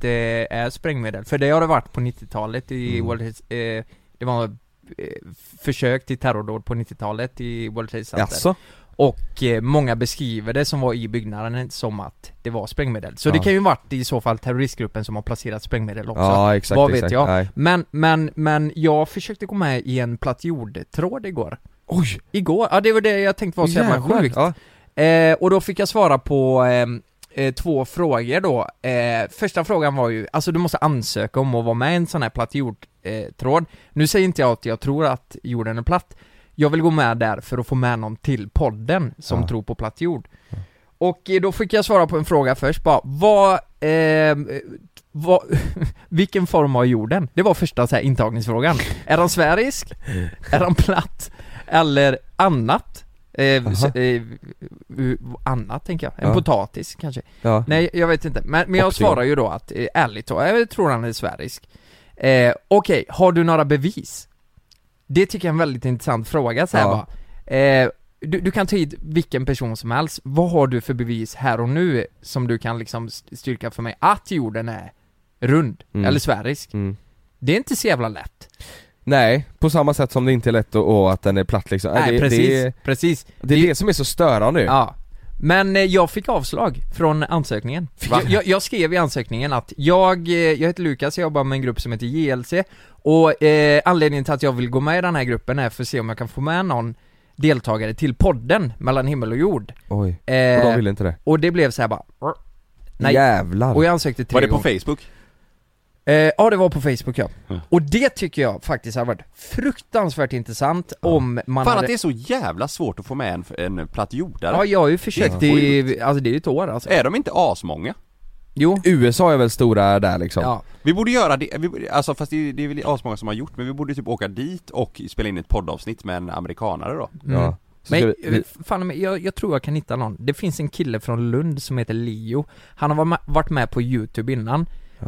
[SPEAKER 3] det eh, är sprängmedel, för det har det varit på 90-talet i
[SPEAKER 2] Mm.
[SPEAKER 3] World Trade, eh, Det var eh, f- försök till terrordåd på 90-talet i World Trade Center
[SPEAKER 2] Jaså?
[SPEAKER 3] Och eh, många beskriver det som var i byggnaden som att det var sprängmedel Så det
[SPEAKER 2] Ja.
[SPEAKER 3] kan ju varit i så fall terroristgruppen som har placerat sprängmedel också
[SPEAKER 2] Ja exakt,
[SPEAKER 3] Vad vet
[SPEAKER 2] exakt.
[SPEAKER 3] jag?
[SPEAKER 2] Nej.
[SPEAKER 3] Men, men, men jag försökte gå med i en platt jordtråd igår
[SPEAKER 2] Oj!
[SPEAKER 3] Igår, ja det var det jag tänkte var så jävla
[SPEAKER 2] jävlar.
[SPEAKER 3] sjukt
[SPEAKER 2] Ja.
[SPEAKER 3] Eh, och då fick jag svara på ehm, eh, två frågor då. Eh, första frågan var ju, alltså du måste ansöka om att vara med i en sån här platt jordtråd. Eh, tråd. nu säger inte jag att jag tror att jorden är platt. Jag vill gå med där för att få med någon till podden som
[SPEAKER 2] Ja.
[SPEAKER 3] tror på platt jord. Och eh, då fick jag svara på en fråga först bara, vad, ehm, eh, vad, [LAUGHS] vilken form har jorden? Det var första så här intagningsfrågan. är den sfärisk? är den platt? Eller annat? Eh, s-
[SPEAKER 2] Jaha.
[SPEAKER 3] eh, v- annat tänker jag, en
[SPEAKER 2] Ja.
[SPEAKER 3] potatis kanske?
[SPEAKER 2] Ja.
[SPEAKER 3] Nej jag vet inte, men, men jag
[SPEAKER 2] Option.
[SPEAKER 3] svarar ju då att eh, ärligt talat, jag tror han är sfärisk eh, Okej, har du några bevis? Det tycker jag är en väldigt intressant fråga så här
[SPEAKER 2] Ja.
[SPEAKER 3] bara eh, du, du kan ta hit vilken person som helst, vad har du för bevis här och nu som du kan liksom st- styrka för mig att jorden är rund,
[SPEAKER 2] Mm.
[SPEAKER 3] eller sfärisk?
[SPEAKER 2] Mm.
[SPEAKER 3] Det är inte så jävla lätt
[SPEAKER 2] Nej, på samma sätt som det inte är lätt att, och att den är platt liksom
[SPEAKER 3] Nej
[SPEAKER 2] det,
[SPEAKER 3] precis,
[SPEAKER 2] Det,
[SPEAKER 3] precis
[SPEAKER 2] det är det som är så störande ju.
[SPEAKER 3] Ja, men eh, jag fick avslag från ansökningen.
[SPEAKER 2] Va?
[SPEAKER 3] Jag, jag skrev i ansökningen att jag, eh, jag heter Lukas, jag jobbar med en grupp som heter JLC och eh, anledningen till att jag vill gå med i den här gruppen är för att se om jag kan få med någon deltagare till podden mellan himmel och jord.
[SPEAKER 2] Oj,
[SPEAKER 3] Eh,
[SPEAKER 2] och de ville inte det?
[SPEAKER 3] och det blev så här bara Nej.
[SPEAKER 2] Jävlar!
[SPEAKER 3] Och jag ansökte tre
[SPEAKER 7] Var det på
[SPEAKER 3] gånger.
[SPEAKER 7] Facebook?
[SPEAKER 3] Eh, ja, det var på Facebook ja. Och det tycker jag faktiskt har varit fruktansvärt intressant om man
[SPEAKER 7] Fan
[SPEAKER 3] hade...
[SPEAKER 7] att det är så jävla svårt att få med en, en platt jordare.
[SPEAKER 3] Ja, jag har ju försökt
[SPEAKER 7] Det är
[SPEAKER 3] i, alltså det är ju ett år alltså.
[SPEAKER 7] Är de inte asmånga?
[SPEAKER 3] Jo.
[SPEAKER 2] USA är väl stora där liksom?
[SPEAKER 3] Ja.
[SPEAKER 7] Vi borde göra det, vi, borde- alltså fast det, det är väl asmånga som har gjort, men vi borde typ åka dit och spela in ett poddavsnitt med en amerikanare då.
[SPEAKER 3] Mm.
[SPEAKER 2] Ja. Så ska
[SPEAKER 3] Men,
[SPEAKER 2] vi- vi-
[SPEAKER 3] fan, men jag, jag tror jag kan hitta någon. Det finns en kille från Lund som heter Leo. Han har varit med- varit med på YouTube innan.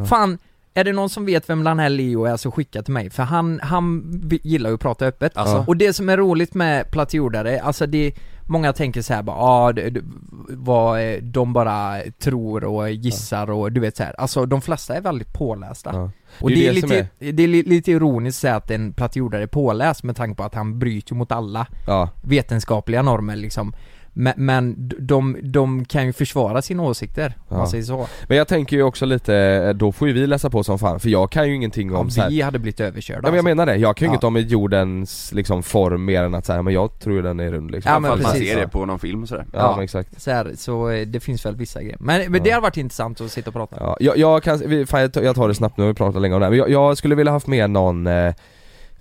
[SPEAKER 3] Fan, är det någon som vet vem den här Leo är så skicka till mig, för han, han vi- gillar ju att prata öppet.
[SPEAKER 7] Alltså.
[SPEAKER 3] Och det som är roligt med plattjordare, alltså det Många tänker så här bara, ah, det- det- vad eh, de bara tror och gissar och du vet så här. alltså de flesta är väldigt pålästa.
[SPEAKER 2] Ja.
[SPEAKER 3] Och
[SPEAKER 2] Det
[SPEAKER 3] det,
[SPEAKER 2] är
[SPEAKER 3] är
[SPEAKER 2] det som
[SPEAKER 3] lite, det är li- lite ironiskt att säga att en plattjordare är påläst med tanke på att han bryter ju mot alla
[SPEAKER 2] ja.
[SPEAKER 3] vetenskapliga normer liksom men, men de, de kan ju försvara sina åsikter, om man
[SPEAKER 2] Ja.
[SPEAKER 3] säger så.
[SPEAKER 2] Men jag tänker ju också lite, eh, då får ju vi läsa på som fan för jag kan ju ingenting om
[SPEAKER 3] Om
[SPEAKER 2] så här,
[SPEAKER 3] vi hade blivit överkörda alltså.
[SPEAKER 2] Ja, men jag menar det, jag kan ju
[SPEAKER 3] Ja.
[SPEAKER 2] inget om jordens liksom form mer än att säga men jag tror den är rund liksom.
[SPEAKER 3] Ja, men
[SPEAKER 7] Fast man
[SPEAKER 3] precis,
[SPEAKER 7] ser
[SPEAKER 3] ja.
[SPEAKER 7] det på någon film och sådär.
[SPEAKER 2] Ja,
[SPEAKER 3] Ja.
[SPEAKER 2] men exakt.
[SPEAKER 3] alltså. så, här, så eh, det finns väl vissa grejer. Men, men det hade varit intressant att sitta och prata.
[SPEAKER 2] Ja, jag, jag kan, vi, fan, jag tar- jag tar det snabbt nu, har vi pratat länge om det här. Men jag, jag skulle vilja haft med någon, eh,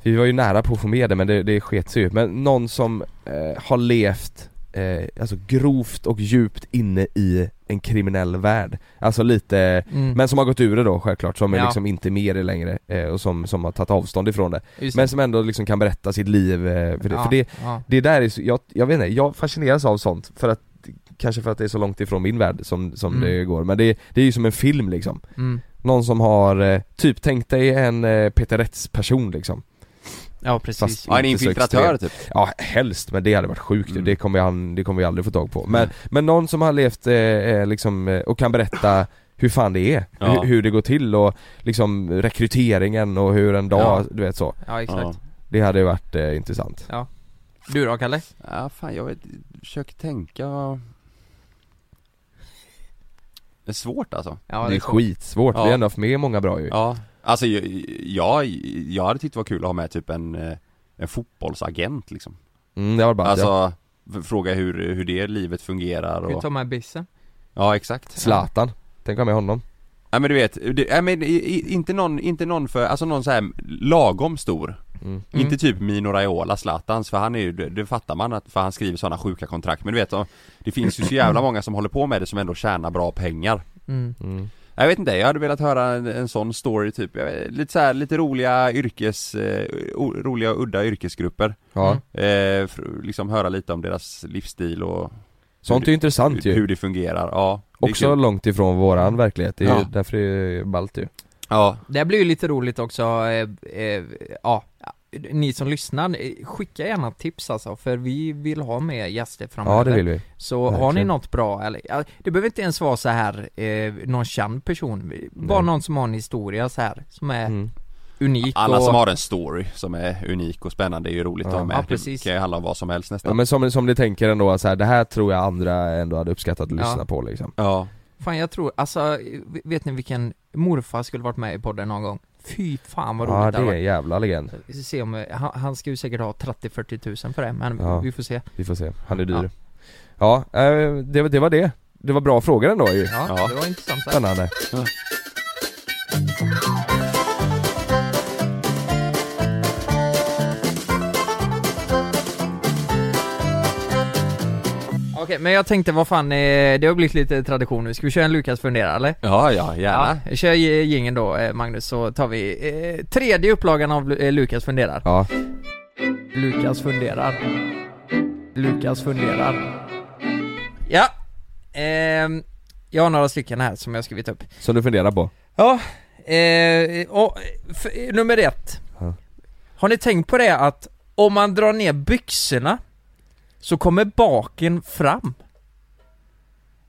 [SPEAKER 2] vi var ju nära på att få med det men det, det sket sig ju, men någon som eh, har levt eh, alltså grovt och djupt inne i en kriminell värld Alltså lite,
[SPEAKER 3] Mm.
[SPEAKER 2] men som har gått ur det då självklart, som är
[SPEAKER 3] Ja.
[SPEAKER 2] liksom inte med i det längre eh, och som, som har tagit avstånd ifrån det
[SPEAKER 3] Just
[SPEAKER 2] Men som ändå liksom kan berätta sitt liv, eh, för det,
[SPEAKER 3] Ja,
[SPEAKER 2] för det,
[SPEAKER 3] ja.
[SPEAKER 2] det där är så, jag, jag vet inte, jag fascineras av sånt för att Kanske för att det är så långt ifrån min värld som, som
[SPEAKER 3] Mm.
[SPEAKER 2] det går, men det, det är ju som en film liksom
[SPEAKER 3] Mm.
[SPEAKER 2] Någon som har, eh, typ tänk dig en eh, Peter Rätts-person liksom
[SPEAKER 3] Ja, precis.
[SPEAKER 2] Fast
[SPEAKER 1] Ja, en
[SPEAKER 2] inte så
[SPEAKER 1] infiltratör
[SPEAKER 2] extrem.
[SPEAKER 1] typ.
[SPEAKER 2] Ja helst, men det hade varit sjukt
[SPEAKER 1] Mm.
[SPEAKER 2] det, kommer han, det kommer vi aldrig få tag på Men, men någon som har levt eh, eh, liksom, eh, och kan berätta hur fan det är,
[SPEAKER 1] Ja.
[SPEAKER 2] hur, hur det går till och liksom rekryteringen och hur en dag,
[SPEAKER 3] Ja.
[SPEAKER 2] du vet så
[SPEAKER 3] Ja, exakt.
[SPEAKER 2] Det hade ju varit eh, intressant
[SPEAKER 3] Du då, Kalle?
[SPEAKER 1] Ja, fan jag vet, försöker tänka Det är svårt alltså
[SPEAKER 3] Ja,
[SPEAKER 2] Det är skitsvårt, vi
[SPEAKER 1] Ja.
[SPEAKER 2] har ändå haft med många bra ju
[SPEAKER 1] Ja, alltså jag, jag, jag hade tyckt det var kul att ha med typ en, eh, en fotbollsagent liksom
[SPEAKER 2] mm, det var bara, ja.
[SPEAKER 1] Alltså, f- fråga hur, hur det livet fungerar
[SPEAKER 3] Ska vi
[SPEAKER 1] och
[SPEAKER 3] ta med bissen?
[SPEAKER 1] Ja exakt
[SPEAKER 2] Zlatan, tänk att ha med honom
[SPEAKER 1] Nej men du vet, det, nej, men i- i- inte någon, inte någon för, alltså någon så här lagom stor
[SPEAKER 2] Mm.
[SPEAKER 1] Inte typ Mino Raiola, Zlatans, för han är ju, det, det fattar man att, för han skriver sådana sjuka kontrakt Men du vet, det finns ju så jävla många som håller på med det som ändå tjänar bra pengar
[SPEAKER 3] Mm.
[SPEAKER 2] mm.
[SPEAKER 1] Jag vet inte, jag hade velat höra en, en sån story typ, jag vet, lite så här, lite roliga yrkes, eh, o, roliga och udda yrkesgrupper
[SPEAKER 2] Ja,
[SPEAKER 3] Mm.
[SPEAKER 1] eh, för, Liksom höra lite om deras livsstil och
[SPEAKER 2] sånt är ju intressant
[SPEAKER 1] hur,
[SPEAKER 2] ju
[SPEAKER 1] hur det fungerar, ja det är
[SPEAKER 2] Också
[SPEAKER 1] kul.
[SPEAKER 2] långt ifrån våran verklighet, det är ju
[SPEAKER 1] Ja.
[SPEAKER 2] därför det är ballt ju
[SPEAKER 1] Ja,
[SPEAKER 3] Det här blir ju lite roligt också, eh, eh, ja, ni som lyssnar, eh, skicka gärna tips alltså, för vi vill ha med gäster framöver.
[SPEAKER 2] Ja det vill vi
[SPEAKER 3] Så har ni
[SPEAKER 2] Verkligen.
[SPEAKER 3] något bra, eller, ja, det behöver inte ens vara så här eh, någon känd person, bara någon som har en historia så här som är
[SPEAKER 2] mm.
[SPEAKER 3] unik
[SPEAKER 1] alla
[SPEAKER 3] och...
[SPEAKER 1] som har en story som är unik och spännande är ju roligt att
[SPEAKER 2] Ja.
[SPEAKER 1] ha med
[SPEAKER 3] Ja, precis.
[SPEAKER 1] Det kan ju handla om vad som helst
[SPEAKER 2] Ja
[SPEAKER 1] nästan
[SPEAKER 2] men som, som ni tänker ändå så här, det här tror jag andra ändå hade uppskattat att lyssna
[SPEAKER 3] Ja.
[SPEAKER 2] på liksom
[SPEAKER 1] Ja,
[SPEAKER 3] Fan jag tror, alltså, v- vet ni vilken morfar skulle varit med i podden någon gång? Fy fan vad roligt
[SPEAKER 2] Ja
[SPEAKER 3] det
[SPEAKER 2] det
[SPEAKER 3] hade
[SPEAKER 2] är
[SPEAKER 3] varit.
[SPEAKER 2] en jävla legend,
[SPEAKER 3] Vi ska se om, eh, han, han ska ju säkert ha 30-40 tusen för det, men
[SPEAKER 2] Ja.
[SPEAKER 3] vi får se.
[SPEAKER 2] vi får se, han är dyr Ja, eh, det, var- det var det Det var bra frågor ändå ju,
[SPEAKER 3] Ja,
[SPEAKER 1] Ja.
[SPEAKER 3] det var intressant där.
[SPEAKER 2] spännande
[SPEAKER 3] Okej, men jag tänkte vad fan, eh, det har blivit lite tradition nu, ska vi köra en Lukas fundera eller?
[SPEAKER 1] ja, ja gärna
[SPEAKER 3] Ja, kör gingen då eh, Magnus så tar vi eh, tredje upplagan av Lu- eh, Lukas funderar.
[SPEAKER 2] Ja,
[SPEAKER 3] Lukas funderar. Lukas funderar. Ja. Ehm, jag har några stycken här som jag har skrivit upp.
[SPEAKER 2] som du funderar på?
[SPEAKER 3] Ja. Eh, och, f- nummer ett.
[SPEAKER 2] Ja.
[SPEAKER 3] Har ni tänkt på det att om man drar ner byxorna så kommer baken fram?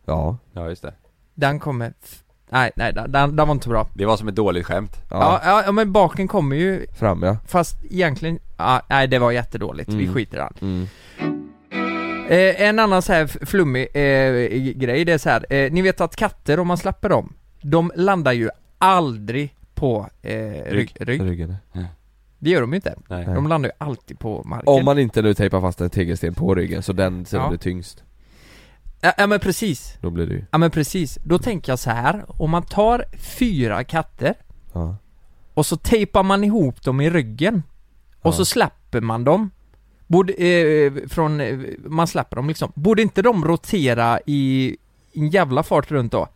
[SPEAKER 2] Ja,
[SPEAKER 1] ja. just det
[SPEAKER 3] Den kommer... F- nej, nej, den, den, den var inte bra.
[SPEAKER 1] Det var som ett dåligt skämt
[SPEAKER 2] ja,
[SPEAKER 3] ja, ja men baken kommer ju
[SPEAKER 2] fram ja
[SPEAKER 3] Fast egentligen, ah, nej det var jättedåligt, vi
[SPEAKER 2] Mm.
[SPEAKER 3] skiter i den.
[SPEAKER 2] mm.
[SPEAKER 3] Eh, en annan så här f- flummig eh, grej, det är så här. Eh, ni vet att katter om man släpper dem, de landar ju aldrig på eh, rygg. rygg.
[SPEAKER 2] Ryggen
[SPEAKER 3] Det gör de ju inte.
[SPEAKER 1] Nej.
[SPEAKER 3] De landar ju alltid på marken.
[SPEAKER 2] Om man inte nu tejpar fast en tegelsten på ryggen så den sen
[SPEAKER 3] Ja.
[SPEAKER 2] blir tyngst,
[SPEAKER 3] Ja, ja men precis,
[SPEAKER 2] då blir det ju
[SPEAKER 3] ja men precis. Då tänker jag så här. om man tar fyra katter
[SPEAKER 2] Ja,
[SPEAKER 3] och så tejpar man ihop dem i ryggen
[SPEAKER 2] Ja.
[SPEAKER 3] och så släpper man dem Borde, eh, från, eh, man släpper dem liksom. Borde inte de rotera i en jävla fart runt då?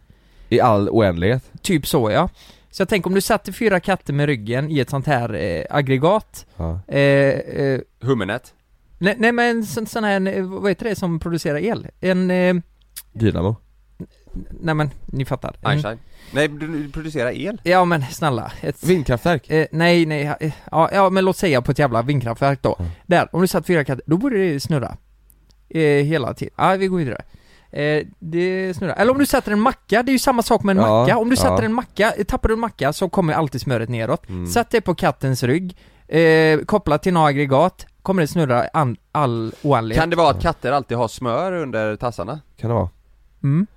[SPEAKER 2] i all oändlighet
[SPEAKER 3] Typ så ja. Så jag tänker om du satte fyra katter med ryggen i ett sånt här eh, aggregat
[SPEAKER 2] Ja,
[SPEAKER 3] eh, eh,
[SPEAKER 1] Hummernet
[SPEAKER 3] nej, nej men en sån, sån här, eh, vad heter det som producerar el? En, eh,
[SPEAKER 2] dynamo
[SPEAKER 3] nej men ni fattar. En,
[SPEAKER 1] Einstein Nej, du du producerar el?
[SPEAKER 3] ja men snälla. Ett,
[SPEAKER 2] Vindkraftverk?
[SPEAKER 3] Eh, nej, nej, eh, ja, ja men låt säga på ett jävla vindkraftverk då.
[SPEAKER 2] Mm.
[SPEAKER 3] Där, om du satt fyra katter, då borde det snurra. Eh, hela tiden. Ja, vi går vidare. Eh, det snurrar. Eller om du sätter en macka, det är ju samma sak med en
[SPEAKER 2] Ja,
[SPEAKER 3] macka. Om du
[SPEAKER 2] ja.
[SPEAKER 3] sätter en macka, eh, tappar du en macka så kommer alltid smöret neråt.
[SPEAKER 2] Mm.
[SPEAKER 3] Sätt det på kattens rygg, eh, kopplat till några aggregat, kommer det snurra an, all oändlighet.
[SPEAKER 1] Kan det vara att katter alltid har smör under tassarna?
[SPEAKER 2] Kan det vara?
[SPEAKER 3] Mm.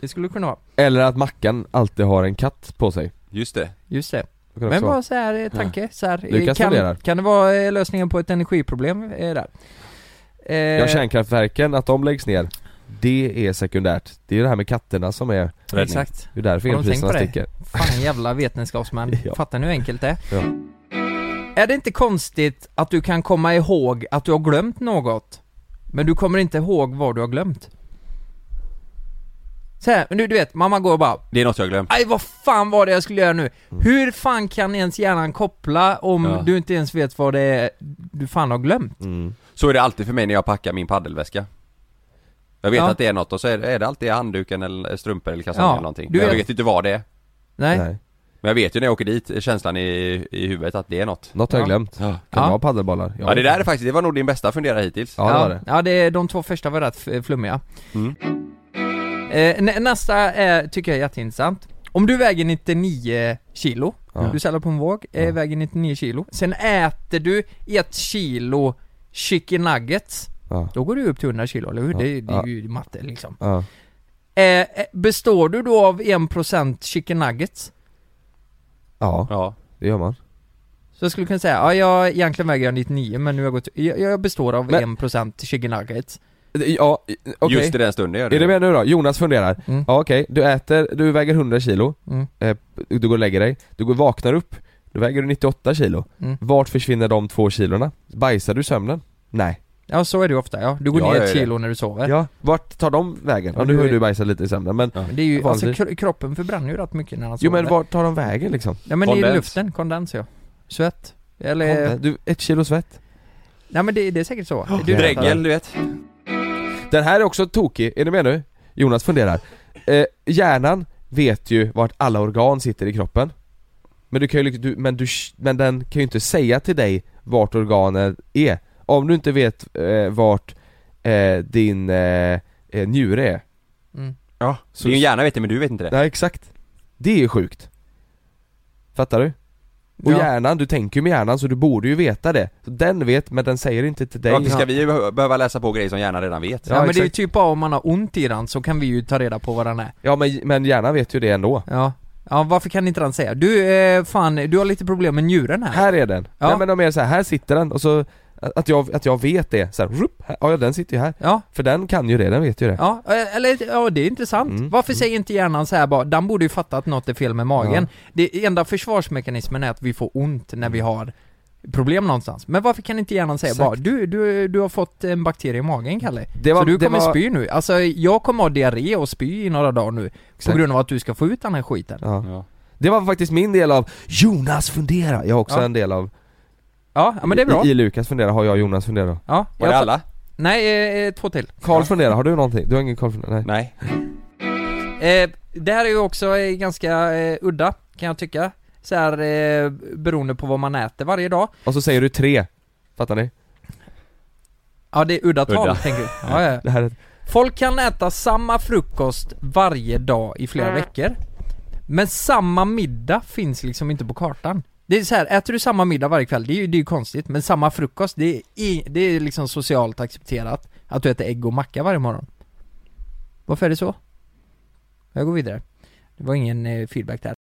[SPEAKER 3] Det skulle kunna vara.
[SPEAKER 2] Eller att mackan alltid har en katt på sig
[SPEAKER 1] Just det
[SPEAKER 3] Just det.
[SPEAKER 2] Det kan
[SPEAKER 3] Men
[SPEAKER 2] också vara.
[SPEAKER 3] bara så här eh, tanke, så här, eh,
[SPEAKER 2] Lukas funderar.
[SPEAKER 3] kan, kan det vara eh, lösningen på ett energiproblem eh, där? Eh,
[SPEAKER 2] Ja kärnkraftverken, att de läggs ner Det är sekundärt, det är det här med katterna som är,
[SPEAKER 3] Exakt.
[SPEAKER 2] det är därför
[SPEAKER 3] Har de tänkt
[SPEAKER 2] elpriserna
[SPEAKER 3] på det?
[SPEAKER 2] sticker
[SPEAKER 3] Fan jävla vetenskapsmän,
[SPEAKER 2] Ja.
[SPEAKER 3] fattar ni hur enkelt det är?
[SPEAKER 2] Ja.
[SPEAKER 3] Är det inte konstigt att du kan komma ihåg att du har glömt något? Men du kommer inte ihåg vad du har glömt? Så här, men du, du vet, mamma går och bara
[SPEAKER 1] Det är något jag har glömt.
[SPEAKER 3] Aj vad fan var det jag skulle göra nu? Hur fan kan ens hjärnan koppla om
[SPEAKER 1] Ja.
[SPEAKER 3] du inte ens vet vad det är du fan har glömt?
[SPEAKER 1] Så är det alltid för mig när jag packar min paddelväska Jag vet
[SPEAKER 3] Ja.
[SPEAKER 1] att det är något och så är det, är det alltid handduken eller strumpor eller kastanjer
[SPEAKER 3] Ja,
[SPEAKER 1] eller någonting
[SPEAKER 3] du
[SPEAKER 1] Men jag
[SPEAKER 3] vet.
[SPEAKER 1] vet inte vad det är
[SPEAKER 3] Nej?
[SPEAKER 1] Men jag vet ju när jag åker dit, känslan i, i huvudet att det är något
[SPEAKER 2] Något har jag
[SPEAKER 3] Ja.
[SPEAKER 2] glömt. Kan
[SPEAKER 1] Ja.
[SPEAKER 2] det vara paddelbollar?
[SPEAKER 1] Ja
[SPEAKER 2] Jag
[SPEAKER 1] det
[SPEAKER 2] vet
[SPEAKER 1] där
[SPEAKER 2] inte.
[SPEAKER 1] är faktiskt, det var nog din bästa fundera hittills
[SPEAKER 2] Ja det var det.
[SPEAKER 3] Ja, det, de två första var rätt f- flummiga.
[SPEAKER 1] Mm.
[SPEAKER 3] Eh, nä- nästa är, tycker jag är jätteintressant. Om du väger 99 kilo,
[SPEAKER 2] Ja.
[SPEAKER 3] du säljer på en våg, eh, väger 99 kilo. Sen äter du ett kilo chicken nuggets,
[SPEAKER 2] Ja.
[SPEAKER 3] då går du upp till 100 kilo, eller hur?
[SPEAKER 2] Ja.
[SPEAKER 3] Det, det
[SPEAKER 2] Ja.
[SPEAKER 3] är ju matte liksom.
[SPEAKER 2] Ja.
[SPEAKER 3] Eh, eh, består du då av 1% chicken nuggets?
[SPEAKER 2] ja,
[SPEAKER 1] Ja,
[SPEAKER 2] det gör man.
[SPEAKER 3] Så jag skulle kunna säga, ja jag egentligen väger jag 99 men nu har jag gått, jag, jag består av
[SPEAKER 2] Men-
[SPEAKER 3] 1% chicken nuggets.
[SPEAKER 2] Ja, i- okej.
[SPEAKER 1] just i den stunden gör det
[SPEAKER 2] Är du med nu då? Jonas funderar.
[SPEAKER 3] Mm.
[SPEAKER 2] Ja okej, du äter, du väger 100 kilo,
[SPEAKER 3] Mm.
[SPEAKER 2] eh, du går och lägger dig, du går och vaknar upp, då väger du 98 kilo.
[SPEAKER 3] Mm.
[SPEAKER 2] Vart försvinner de två kilorna? Bajsar du i sömnen? Nej.
[SPEAKER 3] Ja så är det ju ofta ja, du går
[SPEAKER 1] Ja,
[SPEAKER 3] ner
[SPEAKER 1] jag
[SPEAKER 3] ett
[SPEAKER 1] gör det.
[SPEAKER 3] kilo när du sover.
[SPEAKER 2] Ja, vart tar de vägen? Ja nu har ju du bajsat lite i sömnen men,
[SPEAKER 3] Men Det är ju, alltså,
[SPEAKER 2] Vanligt.
[SPEAKER 3] kro- kroppen förbränner ju rätt mycket när han sover.
[SPEAKER 2] jo men vart tar de vägen liksom?
[SPEAKER 3] Ja men det är
[SPEAKER 1] Kondens.
[SPEAKER 3] luften, kondens ja. Svett. Eller,
[SPEAKER 2] eh, Du, ett kilo svett.
[SPEAKER 3] nej men det, det är säkert så. Du
[SPEAKER 1] Du
[SPEAKER 3] vet
[SPEAKER 1] Dregel du vet
[SPEAKER 2] Den här är också tokig, är ni med nu? Jonas funderar. Eh, hjärnan vet ju vart alla organ sitter i kroppen. Men du kan ju, lyck- du, men du, men den kan ju inte säga till dig vart organen är. Om du inte vet eh, vart eh, din eh, eh, njure är.
[SPEAKER 3] att- Mm.
[SPEAKER 1] Ja, din hjärna vet det men du vet inte det
[SPEAKER 2] Nej exakt. Det är ju sjukt. Fattar du? Och
[SPEAKER 3] Ja.
[SPEAKER 2] hjärnan, du tänker ju med hjärnan så du borde ju veta det. Så den vet men den säger inte till dig.
[SPEAKER 1] Varför ska vi behö- behöva läsa på grejer som hjärnan redan vet?
[SPEAKER 3] Ja,
[SPEAKER 2] Ja,
[SPEAKER 3] men det är ju
[SPEAKER 2] exakt.
[SPEAKER 3] typ bara om man har ont i den så kan vi ju ta reda på vad den är.
[SPEAKER 2] Ja men, men hjärnan vet ju det ändå.
[SPEAKER 3] Ja. Ja varför kan inte den säga? Du, eh, fan, du har lite problem med njuren här.
[SPEAKER 2] Här är den!
[SPEAKER 3] Ja.
[SPEAKER 2] Nej men de är så här, här sitter den och så att jag, att jag vet det, så här, rup, här, ja den sitter ju här.
[SPEAKER 3] Ja,
[SPEAKER 2] För den kan ju det, den vet ju det.
[SPEAKER 3] Ja, eh, eller ja, det är intressant.
[SPEAKER 2] Mm.
[SPEAKER 3] Varför säger inte hjärnan så här bara, den borde ju fatta att något är fel med magen. Det enda försvarsmekanismen är att vi får ont när vi har problem någonstans. Men varför kan inte hjärnan säga
[SPEAKER 2] Mm. Exakt.
[SPEAKER 3] bara, du, du, du har fått en bakterie i magen Kalle.
[SPEAKER 2] Det var-
[SPEAKER 3] så du
[SPEAKER 2] det
[SPEAKER 3] kommer
[SPEAKER 2] var-
[SPEAKER 3] spy nu. Alltså jag kommer ha diarré och spy i några dagar nu.
[SPEAKER 2] Exakt.
[SPEAKER 3] På grund av att du ska få ut den här skiten. Ja,
[SPEAKER 2] Ja. Det var faktiskt min del av Jonas fundera, jag har också
[SPEAKER 3] Ja.
[SPEAKER 2] en del av
[SPEAKER 3] ja men det är bra.
[SPEAKER 2] I, I Lukas fundera har jag Jonas fundera.
[SPEAKER 3] ja,
[SPEAKER 1] Var det
[SPEAKER 3] jag-
[SPEAKER 1] alla?
[SPEAKER 3] Nej, eh, två till.
[SPEAKER 2] Karl fundera, har du någonting? Du har ingen Karl fundera? Nej.
[SPEAKER 1] Nej
[SPEAKER 3] Eh, det här är ju också eh, ganska eh, udda, kan jag tycka. Så här, eh, beroende på vad man äter varje dag.
[SPEAKER 2] Och så säger du tre. Fattar ni?
[SPEAKER 3] Ja det är udda tal
[SPEAKER 1] Udda.
[SPEAKER 3] tänker du. Ja, ja.
[SPEAKER 2] Det här är...
[SPEAKER 3] Folk kan äta samma frukost varje dag i flera veckor. Men samma middag finns liksom inte på kartan. Det är så här, äter du samma middag varje kväll, det är ju, det är ju konstigt. Men samma frukost, det är, i, det är liksom socialt accepterat. Att du äter ägg och macka varje morgon. Varför är det så? Jag går vidare. Det var ingen eh, feedback där.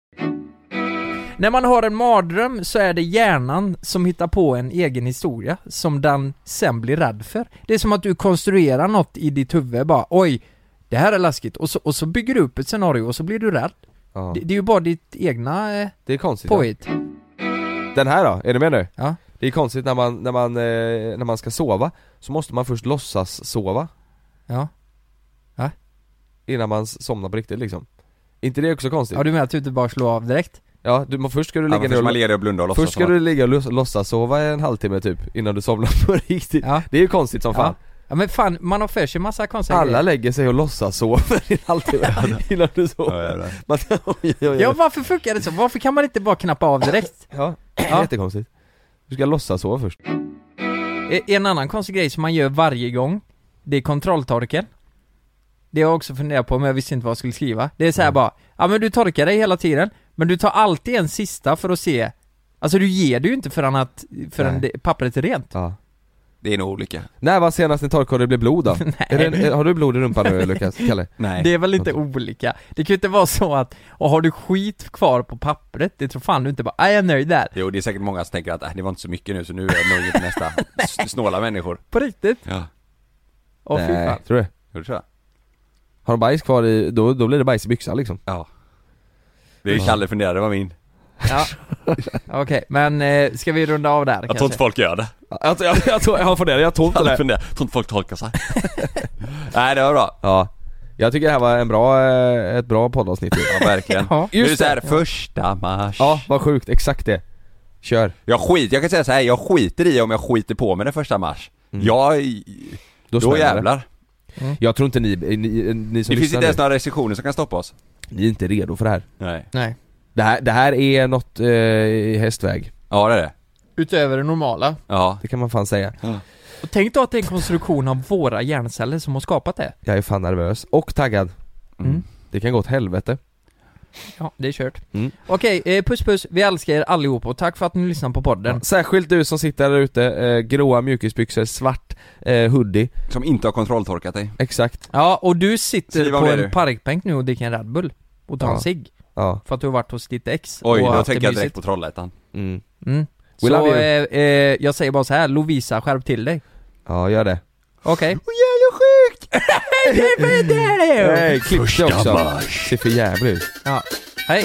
[SPEAKER 3] När man har en mardröm så är det hjärnan som hittar på en egen historia som den sen blir rädd för. Det är som att du konstruerar något i ditt huvud bara oj, det här är läskigt och så, och så bygger du upp ett scenario och så blir du rädd.
[SPEAKER 2] Ja.
[SPEAKER 3] Det, det är ju bara ditt egna eh,
[SPEAKER 2] Det är konstigt. ja.
[SPEAKER 3] påhitt.
[SPEAKER 2] Den här då, är du med nu?
[SPEAKER 3] Ja.
[SPEAKER 2] Det är konstigt när man, när man, eh, när man ska sova, så måste man först låtsas sova
[SPEAKER 3] Ja.
[SPEAKER 2] innan man s- somnar på riktigt liksom. Inte det också konstigt?
[SPEAKER 3] ja, du menar att du inte bara slår av direkt?
[SPEAKER 2] Ja, du, men först ska du
[SPEAKER 1] ja, men
[SPEAKER 2] ligga ner
[SPEAKER 1] Först
[SPEAKER 2] och,
[SPEAKER 1] man ler och blundar och låtsas
[SPEAKER 2] först ska
[SPEAKER 1] som
[SPEAKER 2] du
[SPEAKER 1] att-
[SPEAKER 2] ligga och låts- låtsas sova en halvtimme typ innan du somnar på riktigt.
[SPEAKER 3] Ja.
[SPEAKER 2] Det är ju konstigt som fan.
[SPEAKER 3] Ja. ja men fan, man har för sig massa konstiga
[SPEAKER 2] Alla
[SPEAKER 3] grejer.
[SPEAKER 2] lägger sig och låtsas sover i en
[SPEAKER 3] [LAUGHS]
[SPEAKER 2] halvtimme innan du
[SPEAKER 1] Ja,
[SPEAKER 2] sover.
[SPEAKER 1] jävlar.
[SPEAKER 2] Man, [LAUGHS] oj, oj, oj.
[SPEAKER 3] Ja varför funkar det så? Varför kan man inte bara knappa av direkt?
[SPEAKER 2] ja. Det är jättekonstigt. Du ska låtsas sova först.
[SPEAKER 3] E- En annan konstig grej som man gör varje gång Det är kontrolltorken Det har jag också funderat på men jag visste inte vad jag skulle skriva Det är så här
[SPEAKER 1] Mm.
[SPEAKER 3] bara Ja men du torkar dig hela tiden Men du tar alltid en sista för att se Alltså du ger det ju inte förrän att Förrän
[SPEAKER 2] Nej.
[SPEAKER 3] det, pappret är rent
[SPEAKER 2] Ja.
[SPEAKER 1] Det är nog olika
[SPEAKER 2] När var senast ni torkade och det blev blod
[SPEAKER 3] [LAUGHS]
[SPEAKER 2] då? är det, en- har du blod i rumpan nu Lukas? Kalle?
[SPEAKER 1] Nej
[SPEAKER 3] Det är väl inte olika? Det kan ju inte vara så att Och har du skit kvar på pappret Det tror fan du inte bara "Ah, Jag är nöjd där
[SPEAKER 1] Jo det är säkert många som tänker att äh, det var inte så mycket nu så nu är det nog inte nästa S- Snåla människor
[SPEAKER 3] På riktigt?
[SPEAKER 1] Ja
[SPEAKER 3] Åh fy
[SPEAKER 2] Nej,
[SPEAKER 3] fan
[SPEAKER 2] tror du?
[SPEAKER 1] Det tror jag
[SPEAKER 2] Har de bajs kvar i, då, då blir det bajs i byxan liksom.
[SPEAKER 1] Ja Det är Kalle funderade var min
[SPEAKER 3] Ja. Okej, men eh, ska vi runda av där
[SPEAKER 8] Jag tror inte folk gör det.
[SPEAKER 2] Jag, jag, jag, tror- jag funderar, jag tror
[SPEAKER 8] Jag
[SPEAKER 2] inte
[SPEAKER 8] hade
[SPEAKER 2] det.
[SPEAKER 8] funderat. Jag tror inte folk tolkar sig. Nej, det var bra.
[SPEAKER 2] [LAUGHS] Ja. Jag tycker det här var en bra, eh, ett bra poddavsnitt ju.
[SPEAKER 1] Ja, verkligen.
[SPEAKER 3] Ja.
[SPEAKER 1] Nu är det
[SPEAKER 2] Just
[SPEAKER 1] så här,
[SPEAKER 2] det.
[SPEAKER 1] första mars.
[SPEAKER 2] Ja, vad sjukt, exakt det. Kör.
[SPEAKER 1] Jag skiter, jag kan säga så här, jag skiter i om jag skiter på mig den första mars. Jag,
[SPEAKER 2] Mm. Då,
[SPEAKER 1] då
[SPEAKER 2] smäller det.
[SPEAKER 1] jävlar.
[SPEAKER 2] Jag tror inte ni, ni, ni som
[SPEAKER 1] Det finns
[SPEAKER 2] lyssnar
[SPEAKER 1] inte ens
[SPEAKER 2] nu,
[SPEAKER 1] några restriktioner som kan stoppa oss.
[SPEAKER 2] ni är inte redo för det här.
[SPEAKER 1] Nej.
[SPEAKER 3] Nej.
[SPEAKER 2] Det här, det här är något eh, i hästväg,
[SPEAKER 1] Ja det är det.
[SPEAKER 3] Utöver det normala.
[SPEAKER 1] Ja.
[SPEAKER 2] det kan man fan säga.
[SPEAKER 3] Och tänk då att det är en konstruktion av våra hjärnceller som har skapat det.
[SPEAKER 2] Jag är fan nervös, och taggad.
[SPEAKER 3] Mm.
[SPEAKER 2] Det kan gå åt helvete.
[SPEAKER 3] Ja, det är kört.
[SPEAKER 2] Mm.
[SPEAKER 3] Okej, eh, puss puss. Vi älskar er allihopa och tack för att ni lyssnar på podden.
[SPEAKER 2] Särskilt du som sitter där ute, eh, gråa mjukisbyxor, svart eh, hoodie.
[SPEAKER 1] Som inte har kontrolltorkat dig.
[SPEAKER 2] Exakt.
[SPEAKER 3] Ja, och du sitter
[SPEAKER 1] Skriv om
[SPEAKER 3] på
[SPEAKER 1] det,
[SPEAKER 3] en
[SPEAKER 1] du.
[SPEAKER 3] parkbänk nu och dricker en Red Bull och tar
[SPEAKER 2] Ja.
[SPEAKER 3] en cigg
[SPEAKER 2] Ja.
[SPEAKER 3] för att du har varit hos ditt ex
[SPEAKER 1] Oj,
[SPEAKER 3] och
[SPEAKER 1] då
[SPEAKER 3] haft det
[SPEAKER 1] tänker jag direkt
[SPEAKER 3] mysigt.
[SPEAKER 1] på Trollhättan.
[SPEAKER 2] Mm.
[SPEAKER 3] Mm.
[SPEAKER 2] We love you.
[SPEAKER 3] Så eh, eh, jag säger bara så här, Lovisa skärp till dig.
[SPEAKER 2] Ja, gör det.
[SPEAKER 3] Okej. [LAUGHS]
[SPEAKER 2] Nej, klipp det också. Ser för jävligt ut.
[SPEAKER 3] Ja. Hej.